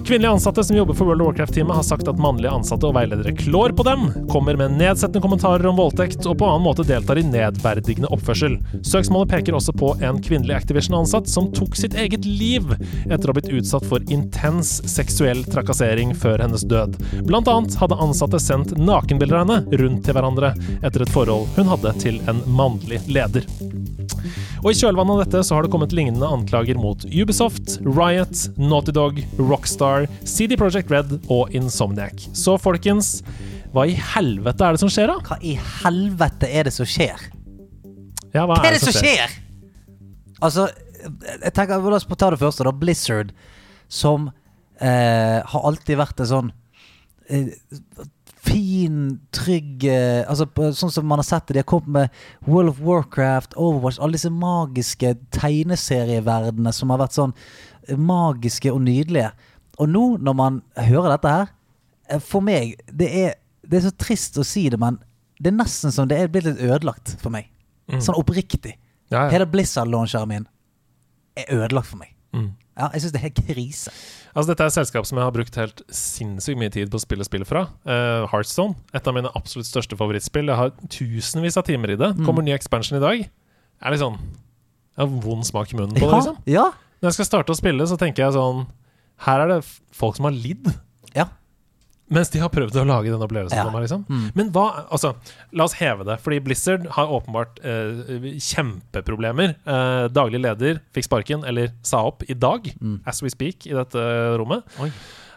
Kvinnelige ansatte som jobber for World of Warcraft-teamet, har sagt at mannlige ansatte og veiledere klår på dem, kommer med nedsettende kommentarer om voldtekt og på annen måte deltar i nedverdigende oppførsel. Søksmålet peker også på en kvinnelig Activision-ansatt som tok sitt eget liv etter å ha blitt utsatt for intens seksuell trakassering før hennes død. Blant annet hadde ansatte sendt nakenbilder av henne rundt til hverandre etter et forhold hun hadde til en mannlig leder. Og I kjølvannet av dette så har det kommet lignende anklager mot Ubisoft, Riot, Naughty Dog, Rockstar, CD Projekt Red og Insomniac. Så folkens, hva i helvete er det som skjer, da?
Hva i helvete er det som skjer?
Ja, hva
Hva er det som skjer? Altså, jeg tenker, la oss ta det første, da. Blizzard, som eh, har alltid vært en sånn eh, fin, trygg eh, altså, på, Sånn som man har sett det. De har kommet med World of Warcraft, Overwatch, alle disse magiske tegneserieverdenene som har vært sånn magiske og nydelige. Og nå, når man hører dette her eh, For meg, det er, det er så trist å si det, men det er nesten som det er blitt litt ødelagt for meg. Sånn oppriktig.
Mm. Ja, ja.
Hele Blizzard-launcheren min er ødelagt for meg.
Mm.
Ja, jeg syns det er helt krise.
Altså, dette er et selskap som jeg har brukt helt sinnssykt mye tid på å spille spill fra. Eh, Heartstone. Et av mine absolutt største favorittspill. Jeg har tusenvis av timer i det.
Mm.
Kommer ny expansion i dag. Jeg er litt sånn Jeg har vond smak i munnen på det,
Ja,
liksom.
ja,
Når jeg skal starte å spille, så tenker jeg sånn Her er det f- folk som har lidd.
ja.
Mens de har prøvd å lage den opplevelsen
Ja.
for meg. liksom Men hva, altså, la oss heve det. Fordi Blizzard har åpenbart eh, kjempeproblemer. Eh, daglig leder fikk sparken, eller sa opp, i dag. As we speak, i dette rommet.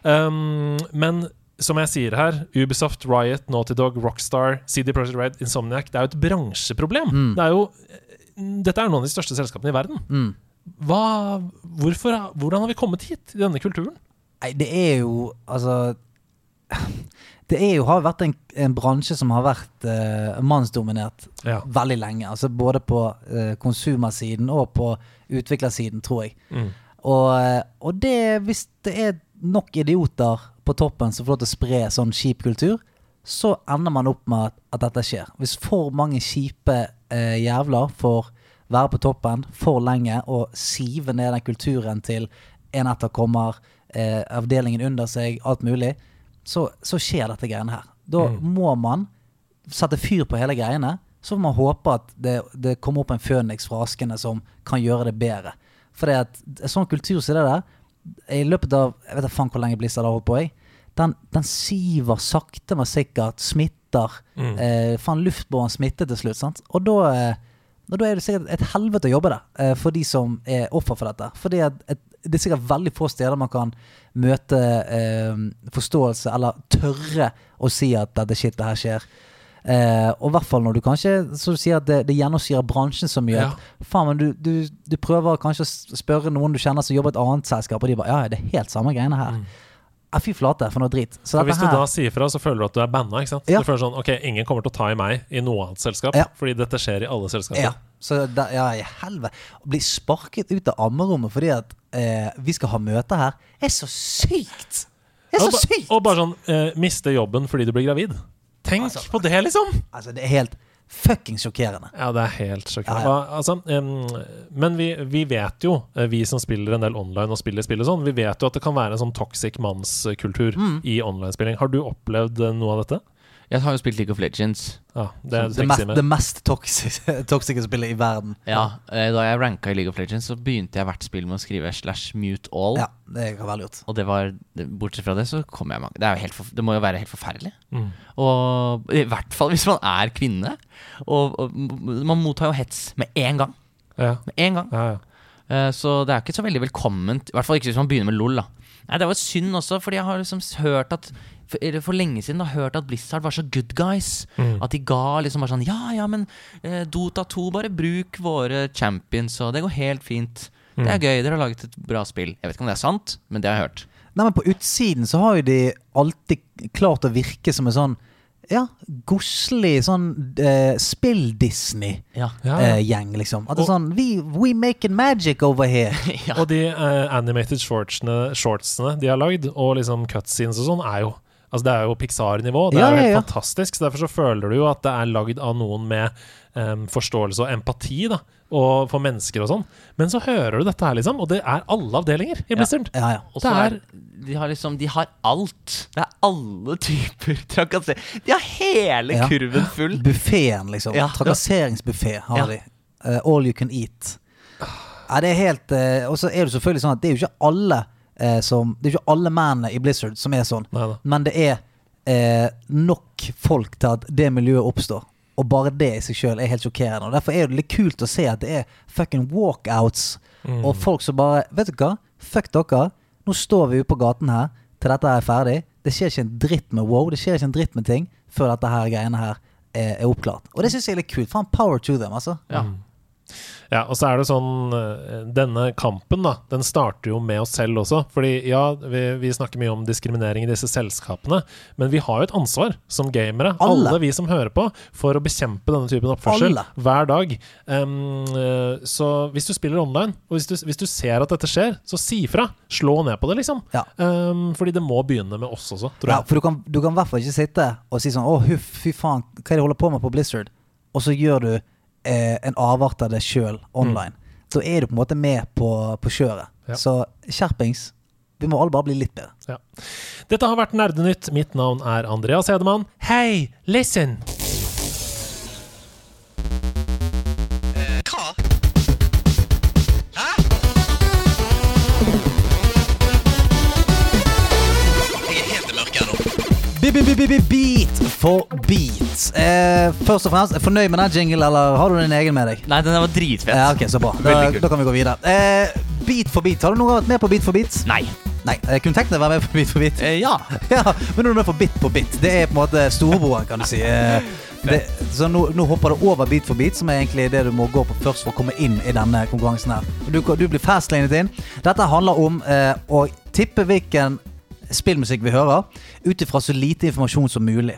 Um, men som jeg sier her, Ubisoft, Riot, Naughty Dog, Rockstar, CD Projekt Red, Insomniac Det er jo et bransjeproblem. Det er jo, eh, dette er noen av de største selskapene i verden. Hva, hvorfor, hvordan har vi kommet hit, i denne kulturen?
Nei, det er jo Altså det er jo, har jo vært en, en bransje som har vært eh, mannsdominert
Ja.
veldig lenge. Altså både på eh, konsumersiden og på utviklersiden, tror jeg. Og, eh, og det, hvis det er nok idioter på toppen som får lov til å spre sånn kjip kultur, så ender man opp med at, at dette skjer. Hvis for mange kjipe eh, jævler får være på toppen for lenge og sive ned den kulturen til en etterkommer, eh, avdelingen under seg, alt mulig, så, så skjer dette greiene her. Da må man sette fyr på hele greiene. Så må man håpe at det, det kommer opp en føniks fra askene som kan gjøre det bedre. For det at sånn kultur som det der, i løpet av Jeg vet da faen hvor lenge Blizzard har holdt på, jeg. Den, den siver sakte, men sikkert. Smitter. Eh, faen, luftbåren smitte til slutt. sant? Og da, eh, og da er det sikkert et helvete å jobbe der eh, for de som er offer for dette. Fordi at et, det er sikkert veldig få steder man kan møte eh, forståelse, eller tørre å si at dette shitet her skjer. Eh, og i hvert fall når du kanskje Så du sier at det, det gjennomsyrer bransjen så mye.
Ja.
at Faen, men du, du, du prøver kanskje å s- spørre noen du kjenner som jobber i et annet selskap, og de bare Ja, ja, det er helt samme greiene her. Ja, fy flate, for noe drit.
Og
Så dette
Mm. hvis du
her-
da sier fra, så føler du at du er banna. ikke sant?
Ja.
Du føler sånn, ok, Ingen kommer til å ta i meg i noe annet selskap,
Ja.
fordi dette skjer i alle selskaper.
Ja, så da, ja, i helvete. Å bli sparket ut av ammerommet fordi at eh, vi skal ha møte her, er så sykt! Det er
Og,
så
ba,
sykt!
og bare sånn eh, miste jobben fordi du blir gravid. Tenk på det, liksom!
Altså, det er helt fucking sjokkerende.
Ja, det er helt sjokkerende.
Ja,
Hva- Altså, em, men vi, vi vet jo, eh, vi som spiller en del online og spiller spill og sånn, vi vet jo at det kan være en sånn toxic mannskultur
Mm.
i online-spilling. Har du opplevd eh, noe av dette?
Jeg har jo spilt League of Legends.
Ja, det er
Det mest,
med.
det mest toksiske, toksiske spillet i verden.
Ja, eh, Da jeg ranka i League of Legends, så begynte jeg hvert spill med å skrive slash mute all.
Ja, det kan være lurt.
Og det var, bortsett fra det, så kom jeg mange Det, er jo helt, forf- det må jo være helt forferdelig. Og i hvert fall hvis man er kvinne. Og, og m- man mottar jo hets med én gang.
Ja,
Med én gang.
ja, ja.
Eh, Så det er jo ikke så veldig velkomment. I hvert fall ikke hvis man begynner med LOL. da Nei, Det var synd også, fordi jeg har liksom s- hørt at for, eller for lenge siden da, hørt at Blizzard var så good guys.
Mm.
At de ga liksom bare sånn Ja, ja, men eh, Dota 2, bare bruk våre champions, og det går helt fint. Det
Mm.
er gøy, dere har laget et bra spill. Jeg vet ikke om det er sant, men det har jeg hørt.
Nei, men på utsiden så har jo de alltid klart å virke som en sånn ja, godslig sånn eh, spill-Disney-gjeng,
Ja,
Ja, ja.
liksom. At det er sånn We, we making magic over here.
ja.
Og de eh, animated shortsene, shortsene de har lagd, og liksom cutscenes og sånn, er jo Altså Det er jo Pixar-nivå. Det
Ja,
er jo helt
ja, ja.
fantastisk. Så Derfor så føler du jo at det er lagd av noen med em, forståelse og empati da og for mennesker og sånn. Men så hører du dette her, liksom, og det er alle avdelinger i Blizzard.
Ja, ja.
Og
Det
så
er
er De har liksom De har alt. Det er alle typer trakasser. De har hele
Ja.
kurven full.
Buffeen, liksom.
Ja.
Trakasseringsbuffé har
Ja.
de. Eh, all you can eat. Ja, det er helt eh, Og så er det selvfølgelig sånn at det er jo ikke alle eh, som Det er jo ikke alle mennene i Blizzard som er sånn,
Neida.
men det er eh, nok folk til at det miljøet oppstår. Og bare det i seg sjøl er helt sjokkerende. Og Derfor er det litt kult å se at det er fucking walkouts og folk som bare Vet du hva? Fuck dere. Nå står vi ute på gaten her til dette her er ferdig. Det skjer ikke en dritt med wow, det skjer ikke en dritt med ting før dette her greiene her er, er oppklart. Og det syns jeg er litt kult. Faen, power to them, altså.
Ja.
Ja, og så er det sånn eh, Denne kampen da, den starter jo med oss selv også. Fordi ja, vi, vi snakker mye om diskriminering i disse selskapene, men vi har jo et ansvar som gamere, alle,
Alle.
vi som hører på, for å bekjempe denne typen oppførsel
Alle.
hver dag. Em, eh, så hvis du spiller online, og hvis du, hvis du ser at dette skjer, så si fra. Slå ned på det, liksom.
Ja.
Em, fordi det må begynne med oss også, tror
Ja,
jeg.
for du kan, du kan i hvert fall ikke sitte og si sånn Å, huff, fy faen, hva er det jeg holder på med på Blizzard? Og så gjør du eh, en avart av det sjøl online. Da er du på en måte med på, på kjøret.
Ja.
Så skjerpings. Vi må alle bare bli litt bedre.
Ja. Dette har vært Nerdenytt. Mitt navn er Andreas Hedemann. Hei, listen!
Beat for beat. Eh, først og fremst, er du fornøyd med den jingle, eller har du din egen med deg?
Nei, den der var dritfett.
Ja, ok, så bra. Da, da kan vi gå videre. Eh, beat for beat. Har du noen gang vært med på Beat for beat?
Nei.
Nei, jeg kunne tenkt meg å være med på Beat for beat.
Eh, ja.
Ja, men nå er du med på Bit på bit. Det er på en måte storebroren, kan du si. Eh, Det, så nå, nå hopper det over bit for bit, som er egentlig det du må gå på først for å komme inn i denne konkurransen her. Du, du blir fastlinet inn. Dette handler om eh, å tippe hvilken spillmusikk vi hører, ut ifra så lite informasjon som mulig.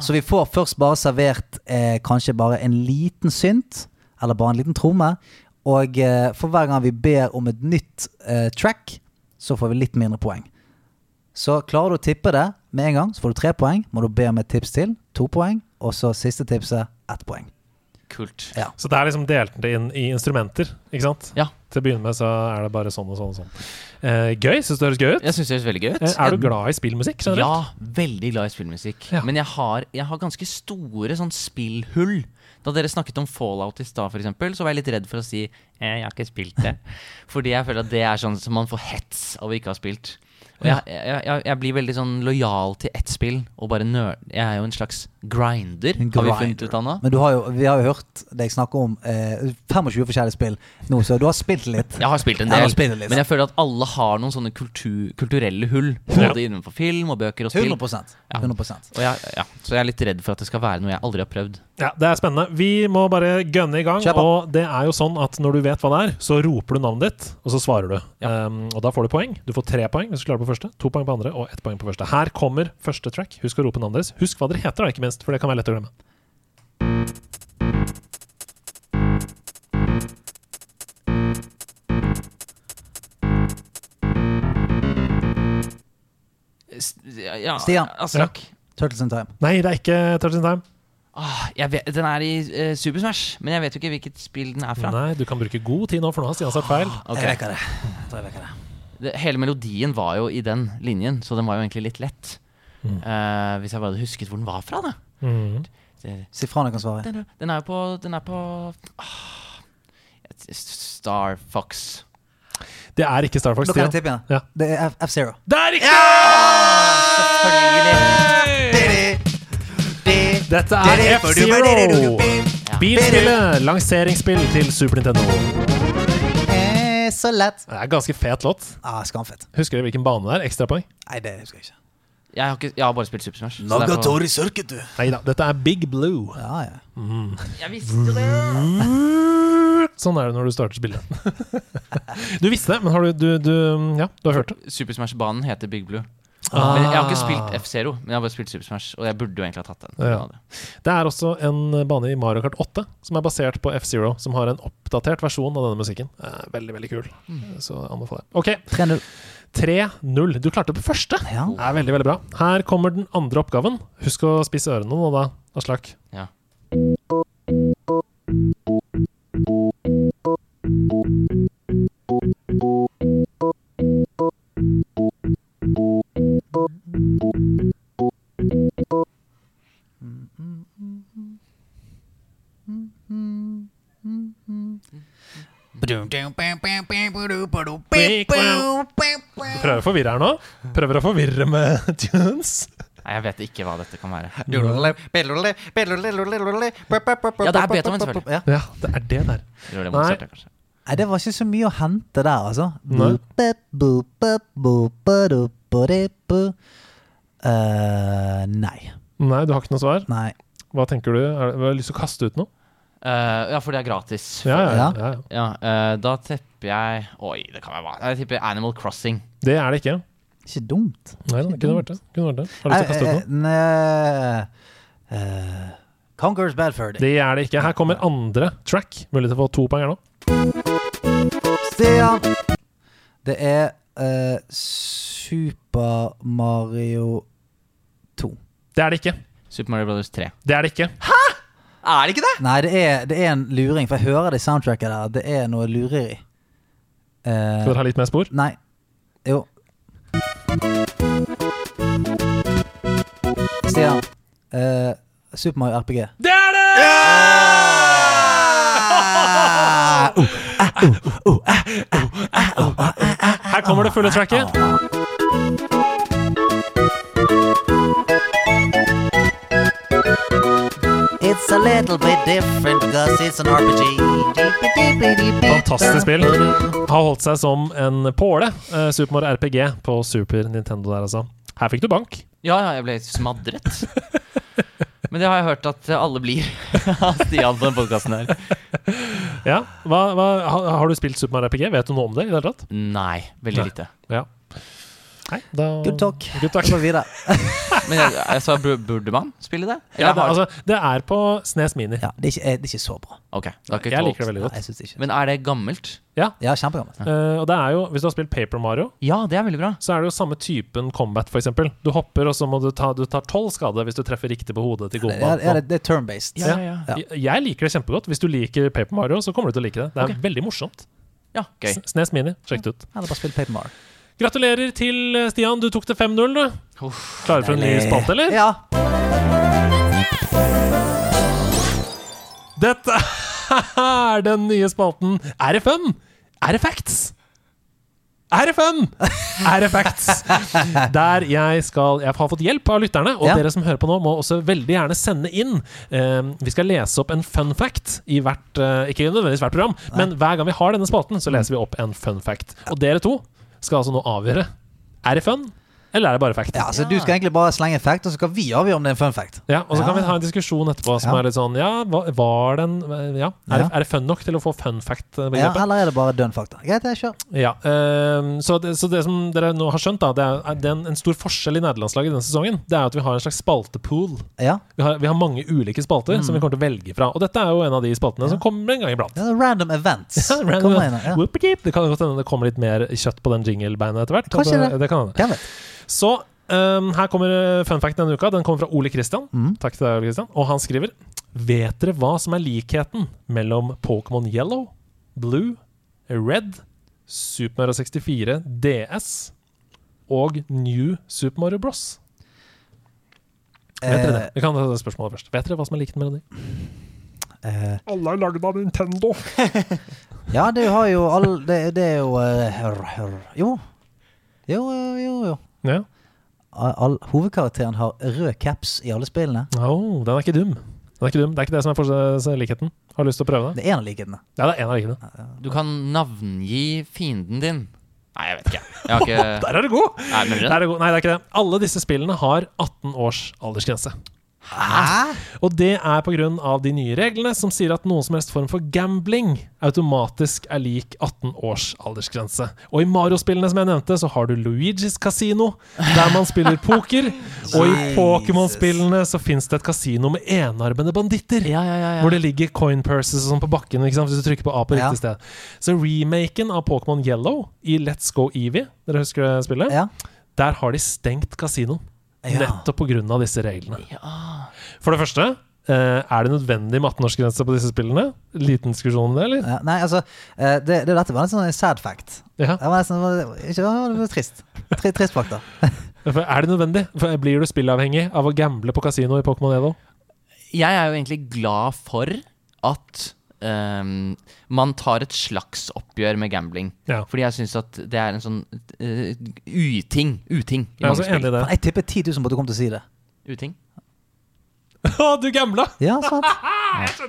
Så vi får først bare servert eh, kanskje bare en liten synt, eller bare en liten tromme. Og eh, for hver gang vi ber om et nytt eh, track, så får vi litt mindre poeng. Så klarer du å tippe det med en gang, så får du tre poeng. Må du be om et tips til, to poeng. Og så siste tipset, ett poeng.
Kult.
Ja.
Så det er liksom delt det inn i instrumenter, ikke sant?
Ja.
Til å begynne med så er det bare sånn og sånn og sånn. Eh, gøy? Syns det høres gøy ut?
Jeg syns det høres veldig gøy ut.
Eh, er du glad i spillmusikk? generelt?
Ja, veldig glad i spillmusikk.
Ja.
Men jeg har, jeg har ganske store sånn spillhull. Da dere snakket om Fallout i stad, for eksempel, så var jeg litt redd for å si eh, jeg har ikke spilt det. Fordi jeg føler at det er sånn som man får hets av å ikke ha spilt. Og jeg, jeg, jeg, jeg blir veldig sånn lojal til ett spill og bare nerd. Jeg er jo en slags grinder,
En
har vi
grinder.
funnet ut av nå.
Men du har jo, vi har jo hørt deg snakke om eh, 25 forskjellige spill nå, så du har spilt litt.
Jeg har spilt en
Ja, du
del,
har spilt litt,
men jeg føler at alle har noen sånne kultu- kulturelle hull. Både innenfor film og bøker og spill.
100
Ja.
100
Og jeg, ja, så jeg er litt redd for at det skal være noe jeg aldri har prøvd.
Ja, Det er spennende. Vi må bare gønne i gang.
Kjør på.
Og det er jo sånn at når du vet hva det er, så roper du navnet ditt, og så svarer du. Um, og da får du poeng. Du får tre poeng hvis du klarer på første, to poeng på andre og ett poeng på første. Her kommer første track. Husk å rope navnet deres. Husk hva dere heter, da, ikke minst, for det kan være lett å glemme.
S- ja,
Stian.
Aslak.
Turtles in Time.
Nei, det er ikke Touch in Time.
Ah, jeg vet, den er i eh, Super Smash, men jeg vet jo ikke hvilket spill den er fra.
Nei, du kan bruke god tid nå, for nå har Stian sagt feil.
Ok.
Jeg vekker det. Jeg tror jeg vekker det.
Det, hele melodien var jo i den linjen, så den var jo egentlig litt lett.
Mm.
Eh, hvis jeg bare hadde husket hvor den var fra, da.
Mhm.
Det-
Si fra når jeg kan svare.
Den, er- den er jo på, den er på ah, Star Fox.
Det er ikke Star Fox,
Da kan
Stian.
jeg tippe igjen.
Ja.
Det er F- F-Zero.
Det er riktig! Dette er F-Zero. Bilspillet. Lanseringsspill til Super Nintendo.
Eh, Så lett.
Det er en ganske fet låt.
Ah, Skamfett.
Husker dere hvilken bane det er? Ekstrapoeng?
Nei, det husker jeg ikke.
Jeg har, ikke, jeg har bare spilt Super Smash. så det er på-
Circuit, du.
Nei da, dette er Big Blue.
Ja, ja.
jeg visste det!
Sånn er det når du starter spillet. du visste det, men har du, du, du Ja, du har hørt det.
Super Smash-banen heter Big Blue.
Ah.
Men jeg har ikke spilt F-Zero, men jeg har bare spilt Super Smash. Og jeg burde jo egentlig ha tatt den.
Ja. Det er også en bane i Mario Kart 8 som er basert på F-Zero, som har en oppdatert versjon av denne musikken. Eh, Veldig, veldig kul. Så jeg anbefaler jeg.
3-0.
OK, 3-0. Du klarte på første!
Ja.
Det er veldig, veldig bra. Her kommer den andre oppgaven. Husk å spisse ørene nå, da, Aslak.
Ja.
Du prøver å forvirre her nå. Prøver å forvirre med tunes.
Nei, jeg vet ikke hva dette kan være.
Ja,
Ja, det er Beethoven, selvfølgelig.
Ja.
Ja, det er det der.
Tror det er Mozart, det, kanskje.
Nei, det var ikke så mye å hente der, altså.
Nei.
Boop, boop, boop, boop, boop, boop, boop. Eh, nei.
Nei, du har ikke noe svar.
Nei.
Hva tenker du? Er det, har du lyst til å kaste ut noe?
Eh, ja, for det er gratis.
Ja, ja, ja, ja.
Ja, eh, da tepper jeg Oi, det kan være hva. Jeg tipper Animal Crossing.
Det er det ikke.
Ikke dumt.
Nei, det kunne vært det. Kunne vært det. Har du lyst til å
Eh,
kaste ut noe?
Nei eh, Conquerors Badford.
Det er det ikke. Her kommer andre track. Mulig til å få to poeng her nå.
Stian! Det er eh, Super Mario 2.
Det er det ikke.
Super Mario Brothers 3.
Det er det ikke.
Er det ikke det?!
Nei, det er, det er en luring, for jeg hører det i soundtracket der. Det er noe lureri. Eh,
Skal dere ha litt mer spor?
nei. Jo. Stian. eh, Super Mario RPG.
Det er det! Her kommer det fulle tracket.
It's a little bit different cause it's an RPG.
Fantastisk spill. Har holdt seg som en påle. Eh, Super Mario RPG på Super Nintendo der, altså. Her fikk du bank.
Ja, ja, jeg ble smadret. Men det har jeg hørt at alle blir av Stian på den podkasten her.
Ja. Hva, hva, ha- har du spilt Super Mario RPG? Vet du noe om det i det hele tatt?
Nei, veldig lite.
Ja. Nei, da
Good talk.
Good talk.
Gå videre.
Men jeg, jeg sa, bur- burde man spille det?
Ja,
Eller bare-
altså, det er på Snes Mini.
Ja, det, er ikke, eh, det er ikke så bra.
Ok, det er
Jeg
ikke tolv.
liker det veldig
Nei,
godt.
jeg synes ikke.
Men er det gammelt?
Ja, kjempegammelt.
Eh, og det er jo, Hvis du har spilt Paper Mario,
Ja, det er veldig bra.
så er det jo samme typen combat, f.eks. Du hopper, og så må du ta Du tar tolv skade hvis du treffer riktig på hodet til
Ja, ja,
Gomba.
det, det er turn-based.
Ja, ja, ja.
Ja.
Jeg- Jeg liker det kjempegodt. Hvis du liker Paper Mario, så kommer du til å like det. Det er veldig morsomt.
ja gøy.
S- Snes Mini, sjekk det ut.
Eller bare spill Paper Mario.
Gratulerer til eh, Stian. Du tok det 5-0, du. Klare for en ny spalte, eller?
Ja.
Dette er den nye spalten Er det fun? Er det facts? Er det fun? Er det facts? Der jeg skal Jeg har fått hjelp av lytterne, og
Ja.
dere som hører på nå, må også veldig gjerne sende inn. Eh, vi skal lese opp en fun fact i hvert eh, Ikke nødvendigvis hvert program, men hver gang vi har denne spalten, så leser vi opp en fun fact. Og dere to skal altså nå avgjøre. Er det fun, eller er det bare fact?
ja, altså, så Du skal egentlig bare slenge en fact, og så skal vi avgjøre om det er en fun fact.
Ja, og så kan
Ja.
vi ha en diskusjon etterpå som
Ja.
er litt sånn Ja, hva- var den eh, Ja, er,
Ja.
Det, er det fun nok til å få fun
Ja,
fact-begrepet?
eller er det bare dønn fakta? Greit, jeg kjør.
Ja. ehm, så, det, så det som dere nå har skjønt, da, det er, er det en, en stor forskjell i nederlandslaget denne sesongen. Det er at vi har en slags spaltepool.
Ja.
Vi har, vi har mange ulike spalter som vi kommer til å velge fra. Og dette er jo en av de spaltene som kommer en gang iblant.
Mm. Ja, random events.
Ja, random-
Kom igjen, ja.
Whoop-a-deep. Det kan godt hende det kommer litt mer kjøtt på den jinglebeinet etter hvert.
Kanskje
det kan hende.
Hvem vet?
Så ehm, her kommer eh, fun fact denne uka. Den kommer fra Ole Kristian. Takk til deg, Ole Kristian. Og han skriver Vet dere hva som er likheten mellom Pokémon Yellow, Blue, Red, Super Mario 64 DS og New Super Mario Bros? Vet dere det?
Eh,
Vi kan ta det spørsmålet først. Vet dere hva som er likheten mellom de?
eh,
Alle er lagd av Nintendo.
ja, det har jo all Det, det er jo eh, hør, hør. Jo. Jo, jo, jo. jo.
Ja.
All, hovedkarakteren har rød caps i alle spillene.
Au, den er ikke dum. Den er ikke dum. Det er ikke det som er forse- likheten. Har du lyst til å prøve det?
Det er en av likhetene.
Ja, det er en av likhetene.
Du kan navngi fienden din. Nei, jeg vet ikke. Jeg har ikke
Der er du god!
Nei, men
Der er det god. Nei, det er ikke det. Alle disse spillene har 18 års aldersgrense.
Hæ?
Og det er pga. de nye reglene som sier at noen som helst form for gambling automatisk er lik 18 års aldersgrense. Og i Mario-spillene som jeg nevnte, så har du Luigis kasino, der man spiller poker. Og i Pokémon-spillene så fins det et kasino med enarmede banditter.
Ja, ja, ja, ja.
Hvor det ligger coin purses og sånn på bakken ikke sant? hvis du trykker på A på
Ja.
riktig sted. Så remaken av Pokémon Yellow i Let's Go Evie, dere husker det spillet?
Ja.
Der har de stengt kasino.
Ja.
Nettopp pga. disse reglene. For det første, eh, er det nødvendig med 18-årsgrense på disse spillene? Liten diskusjon om det, eller?
Ja, Nei, altså eh, det, det, Dette var nesten en sånn sad fact.
Ja.
Det var nesten det var- ikke, det var trist. Tri, trist fakta.
For Er det nødvendig? For Blir du spillavhengig av å gamble på kasino i Pokémon Evo?
Jeg er jo egentlig glad for at ehm, man tar et slags oppgjør med gambling.
Ja.
Fordi jeg syns at det er en sånn eh, uting. Uting
Jeg
i
er
mange
også enig
spill.
i det.
Faen, Jeg tipper 10 000 på at du kom til å si det.
Uting?
Å, du gambla!
Ja, sant?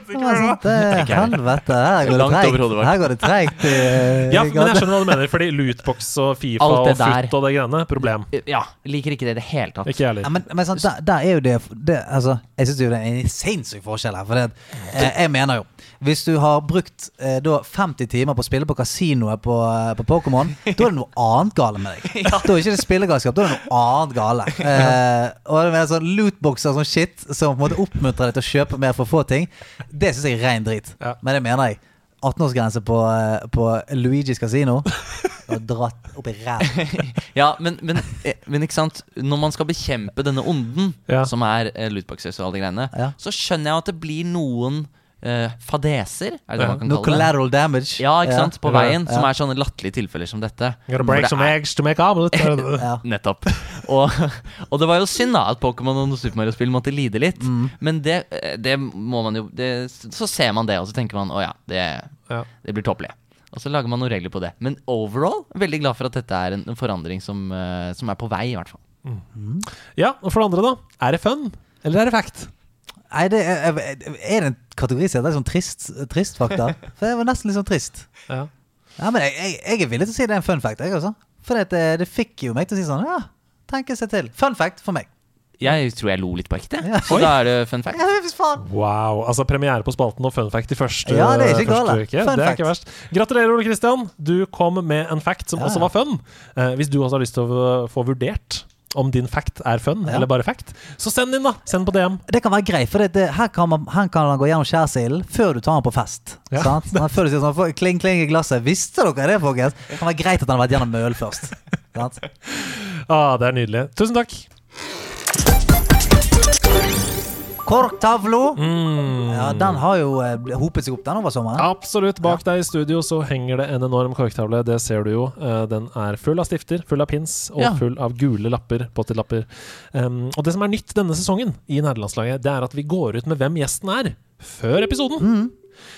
Det var sant, det. Helvete, her går det
Langt over
treigt.
hodet vårt.
Her går det treigt. i-
Ja,
i
men jeg
gata.
skjønner hva du mener, fordi lootbox og Fifa
Alt
og
det der.
futt og det greiene, problem.
Eh, Ja. Liker ikke det i det hele tatt.
Ikke jeg
Ja,
heller.
men, men sant, der, der er jo det, det altså, Jeg syns jo det er en sinnssyk forskjell her. For det, at, eh, jeg mener jo Hvis du har brukt eh, da 50 timer på å spille på kasinoet på, eh, på Pokémon, da er det noe annet gale med deg. Da er ikke det spillegalskap, da er det noe annet gale. Eh, og det med sånn lootboxer og sånn shit som på en måte oppmuntrer deg til å kjøpe mer for å få ting, det syns jeg er rein drit.
Ja.
Men det mener jeg. 18-årsgrense på, eh, på Luigis kasino. Og dratt opp i ræva.
Ja, men, men, eh, men ikke sant Når man skal bekjempe denne onden,
Ja.
som er eh, lootboxes og alle de greiene,
Ja.
så skjønner jeg at det blir noen eh, fadeser, er det det
Ja,
man kan
Noe
kalle det?
collateral damage.
Ja, ikke sant? På
Ja.
veien, som er sånne latterlige tilfeller som dette.
Gotta
Hvor
break
det
some
er-
eggs to make omelet.
Ja.
Nettopp. Og, og det var jo synd da at Pokémon og Super Mario-spill måtte lide litt.
Mm.
Men det, eh, det må man jo det, Så ser man det, og så tenker man å ja, det,
Ja.
det blir toppelig. Og så lager man noen regler på det. Men overall, veldig glad for at dette er en en forandring som, eh, som er på vei, i hvert fall.
ja, og for det andre, da. Er det fun, eller er det fact?
Nei, det er, er det en kategori som heter sånn trist, trist fakta? For det var nesten litt sånn trist.
Ja.
Ja, men jeg, jeg, jeg er villig til å si det er en eh, fun fact, jeg også. For det, det fikk jo meg til å si sånn, ja, tenke seg til. Fun fact for meg.
Jeg tror jeg lo litt på ekte. Så da er det fun fact.
Ja, fy faen.
Wow. altså Premiere på spalten og fun fact i første,
Ja, det er ikke
første
gale.
uke. det
Fun
er
fact.
ikke verst. Gratulerer, Ole Kristian. Du kom med en fact som
Ja.
også var fun. Eh, hvis du også har lyst til å få vurdert om din fact er fun
Ja.
eller bare fact, så send den inn, da. Send på DM.
Det kan være greit, for det, det, her, kan man, her kan han gå gjennom skjærsilden før du tar han på fest.
Ja.
Sant? Men Før du sier sånn, «Få- kling, kling i glasset. Visste dere det, folkens? Det kan være greit at han har vært gjennom møl først. Sant?
Ah, det er nydelig. Tusen takk.
Korktavlo. Ja, den har jo eh, bl- hopet seg opp den over sommeren.
Absolutt. Bak deg i studio så henger det en enorm korktavle. Det ser du jo. Eh, Den er full av stifter, full av pins og
Ja.
full av gule lapper, post-it-lapper. Um, og det som er nytt denne sesongen i Nerdelandslaget, det er at vi går ut med hvem gjesten er, før episoden.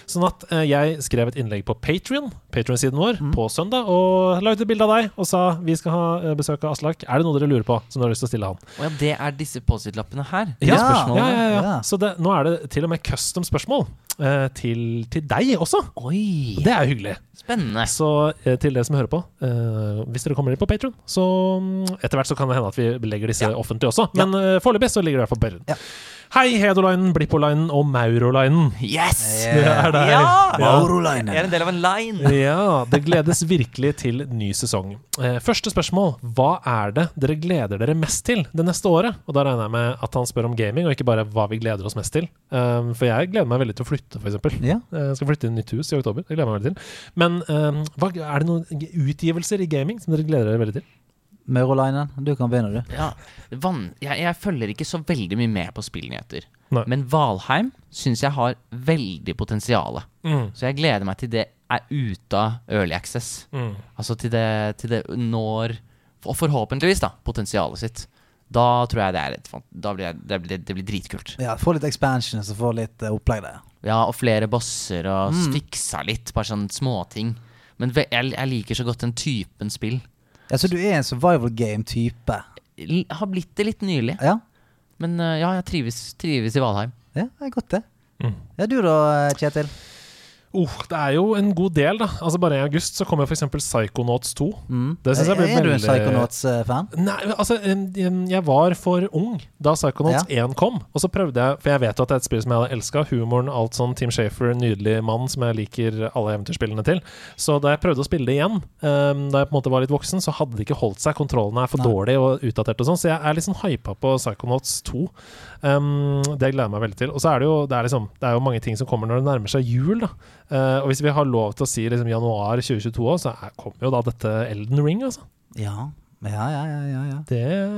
Sånn at eh, jeg skrev et innlegg på Patrion, Patrion-siden vår, på søndag, og la ut et bilde av deg og sa vi skal ha eh, besøk av Aslak. Er det noe dere lurer på som dere har lyst til å stille han?
Å ja, det er disse Post-It-lappene her.
Ja.
Spørsmålene.
Ja, ja, ja.
Ja.
Så det, nå er det til og med custom spørsmål eh, til, til deg også.
Oi,
Det er jo hyggelig.
spennende.
Så eh, til dere som hører på, eh, hvis dere kommer inn på Patron, så mm, etter hvert så kan det hende at vi legger disse offentlig også. Men eh, foreløpig så ligger det i hvert fall på Patron.
Ja.
Hei, Hedolinen, Blippolinen og Maurolinen.
Yes!
Det er deg.
Maurolainen.
Jeg er en del av en line.
Ja, det gledes virkelig til ny sesong. Eh, første spørsmål. Hva er det dere gleder dere mest til det neste året? Og da regner jeg med at han spør om gaming, og ikke bare hva vi gleder oss mest til. Um, for jeg gleder meg veldig til å flytte, f.eks.
Ja.
Jeg skal flytte inn i nytt hus i oktober. Det gleder jeg meg veldig til. Men um, hva, er det noen utgivelser i gaming som dere gleder dere veldig til?
Maurolainen, du kan begynne, du.
Ja. Vann, jeg, jeg følger ikke så veldig mye med på spillnyheter.
Nei.
Men Valheim syns jeg har veldig potensial. Så jeg gleder meg til det er ute av early access. Altså til det, til det når Og forhåpentligvis, da. Potensialet sitt. Da tror jeg det er et fan- da blir jeg, det, blir, det blir dritkult.
Ja, få litt expansion, så få litt eh, opplegg der.
Ja, og flere bosser og fiksa litt. Bare sånne småting. Men ve- jeg, jeg liker så godt den typen spill.
Ja, så du er en survival game-type?
L- Har blitt det litt nylig.
Ja.
Men øh, ja, jeg trives, trives i Valheim.
ja, det er godt, det.
Mm.
Ja, du da, eh, Kjetil?
Oh, det er jo en god del, da. Altså Bare i august så kommer f.eks. Psychonauts 2. Det synes jeg blir
Mm. er du en eh,
veldig-
Psychonauts-fan?
Nei, altså en- en- Jeg var for ung da Psychonauts 1 kom. Og så prøvde jeg, for jeg vet jo at det er et spill som jeg hadde elska. Humoren, alt sånn. Team Shafer, nydelig mann som jeg liker alle eventyrspillene til. Så da jeg prøvde å spille det igjen, ehm, da jeg på en måte var litt voksen, så hadde det ikke holdt seg. Kontrollene er for dårlige og utdaterte og sånn. Så jeg er litt sånn hypa på Psychonauts 2. Ehm, det gleder jeg meg veldig til. Og så er det jo, det er liksom, det er jo mange ting som kommer når det nærmer seg jul, da. Eh, og hvis vi har lov til å si liksom januar 2022 òg, så er, kommer jo da dette Elden Ring, altså.
Ja. Ja, ja, ja, ja, ja.
Det er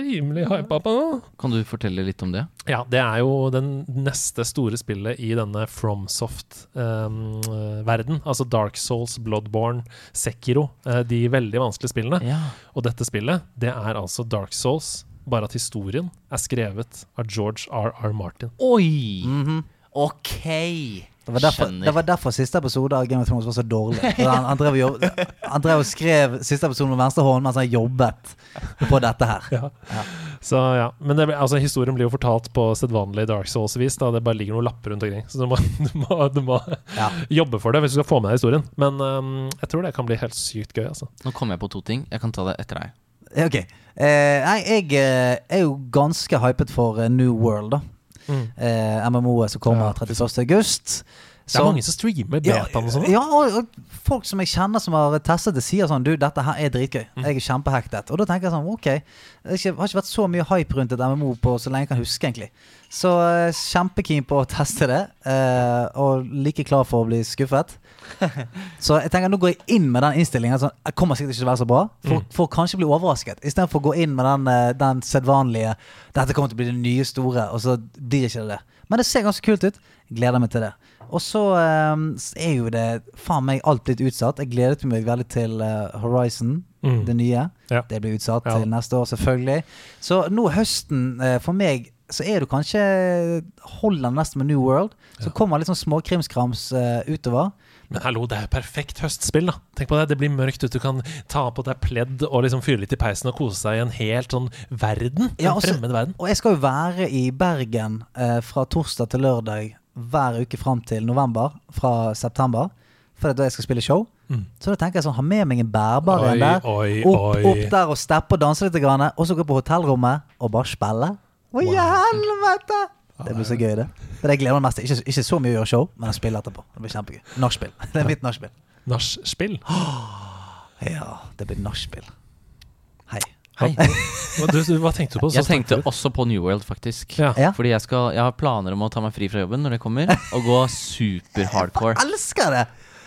rimelig hypa på nå.
Kan du fortelle litt om det?
Ja, det er jo den neste store spillet i denne FromSoft-verden. altså Dark Souls, Bloodborne, Sekiro. eh, de veldig vanskelige spillene.
Ja.
Og dette spillet, det er altså Dark Souls, bare at historien er skrevet av George R.R. Martin.
Oi! Mm. Ok!
Mhm. Det var, derfor,
Skjønner.
det var derfor siste episode av Game of Thrones var så dårlig. For Han, han, drev, og jobb, han drev og skrev siste episode med venstre hånd mens han jobbet på dette her.
Så ja, Men det, blir- altså, historien blir jo fortalt på sedvanlig Dark Souls-vis. da Det bare ligger noen lapper rundt omkring. Så du må, du må, du må
Ja.
jobbe for det hvis du skal få med deg historien. Men ehm, jeg tror det kan bli helt sykt gøy, altså.
Nå kom jeg på to ting. Jeg kan ta det etter deg.
Ja, Ok. Eh, nei, jeg eh, er jo ganske hypet for eh, New World, da. Eh, MMO-et som kommer
Mm. Ja.
31. august.
Det er mange som streamer betaen og sånn. da.
Ja, og, og folk som jeg kjenner som har testet det, sier sånn Du, dette her er dritgøy. Jeg er kjempehektet. Og da tenker jeg sånn OK. Det er ikke, har ikke vært så mye hype rundt et MMO på så lenge jeg kan huske, egentlig. Så eh, kjempekeen på å teste det. eh, og like klar for å bli skuffet. Så jeg tenker nå går jeg inn med den innstillingen. Sånn, jeg kommer sikkert ikke til å være så bra. For, for å kanskje bli overrasket. Istedenfor å gå inn med den, eh, den sedvanlige 'Dette kommer til å bli det nye store', og så blir det ikke det. Men det ser ganske kult ut. Gleder meg til det. Og så eh, s- er jo det faen meg alt blitt utsatt. Jeg gledet meg veldig til eh, Horizon, det nye.
Ja.
Det blir utsatt
Ja.
til neste år, selvfølgelig. Så nå høsten, eh, for meg, så er du kanskje Holder nesten med New World. Så kommer litt sånn småkrimskrams eh, utover.
Men hallo, det er jo perfekt høstspill, da. Tenk på det, det blir mørkt ute, du kan ta på deg pledd og liksom fyre litt i peisen og kose deg i en helt sånn verden.
Ja,
en
også-
fremmed verden.
Og jeg skal jo være i Bergen eh, fra torsdag til lørdag hver uke fram til november, fra september. For det er da jeg skal spille show. Så da tenker jeg sånn, ha med meg en bærbar
Oi,
en der.
oi,
opp,
oi.
opp der og steppe og danse litt, grann, og så gå på hotellrommet og bare spille. Å, i helvete! Det blir så gøy, det. Det er det jeg gleder meg mest til. Ikke, ikke så mye å gjøre show, men å spille etterpå. Det blir kjempegøy. Nachspiel. Det er mitt nachspiel.
Nachspiel?
Ja, det blir nachspiel. Hei.
Hei.
Hva, du, du- hva tenkte du på? Så
Jeg tenkte
snakket du.
også på New World, faktisk.
Ja.
Ja.
Fordi jeg, skal, jeg har planer om å ta meg fri fra jobben når det kommer, og gå super-hardcore.
Elsker det!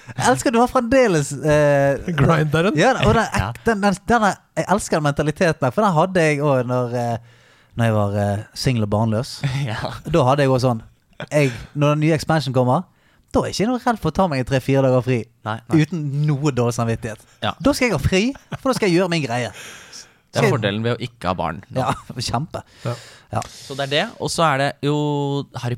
Jeg elsker du har fremdeles eh,
Grinderen?
Ja, og den, ek- den, den, den, er- jeg elsker den mentaliteten der, for den hadde jeg òg når, eh, når jeg var eh, singel og barnløs.
Ja.
Da hadde jeg òg sånn jeg, Når den nye expansion kommer, da er jeg ikke noe redd for å ta meg en tre-fire dager fri
Nei, nei.
uten noe dårlig samvittighet.
Ja.
Da skal jeg ha fri, for da skal jeg gjøre min greie.
Det er fordelen ved å ikke ha barn. nå.
Ja, Kjempe.
Ja.
Ja.
Så det er det. Og så er det jo Harry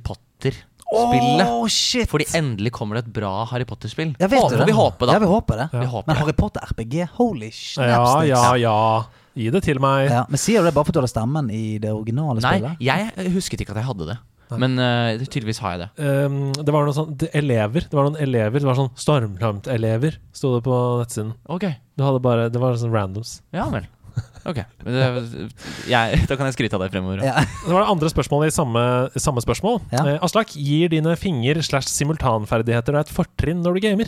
Potter-spillet.
Åh, shit!
Fordi endelig kommer det et bra Harry Potter-spill.
ja, vet du
Får
det?
vi håpe, da.
Ja, vi håper det.
Vi håper
Men
det.
Harry Potter RPG, holy liksom.
Ja,
snapsticks.
ja, ja. Gi det til meg.
Ja, men sier du det bare fordi du hadde stemmen i det originale
Nei,
spillet?
jeg husket ikke at jeg hadde det. Men eh, tydeligvis har jeg det.
Ehm, det var noen sånn det- elever. Det var noen elever, det var sånn Stormlamt-elever, sto det på nettsiden.
Ok,
Du hadde bare, Det var sånn randoms.
ja vel. Ok, Men det, jeg, Da kan jeg skryte av deg fremover.
Ja.
Det var det andre spørsmålet i samme, samme spørsmål.
Ja.
Eh, Aslak, gir dine finger- slash simultanferdigheter deg et fortrinn når du gamer?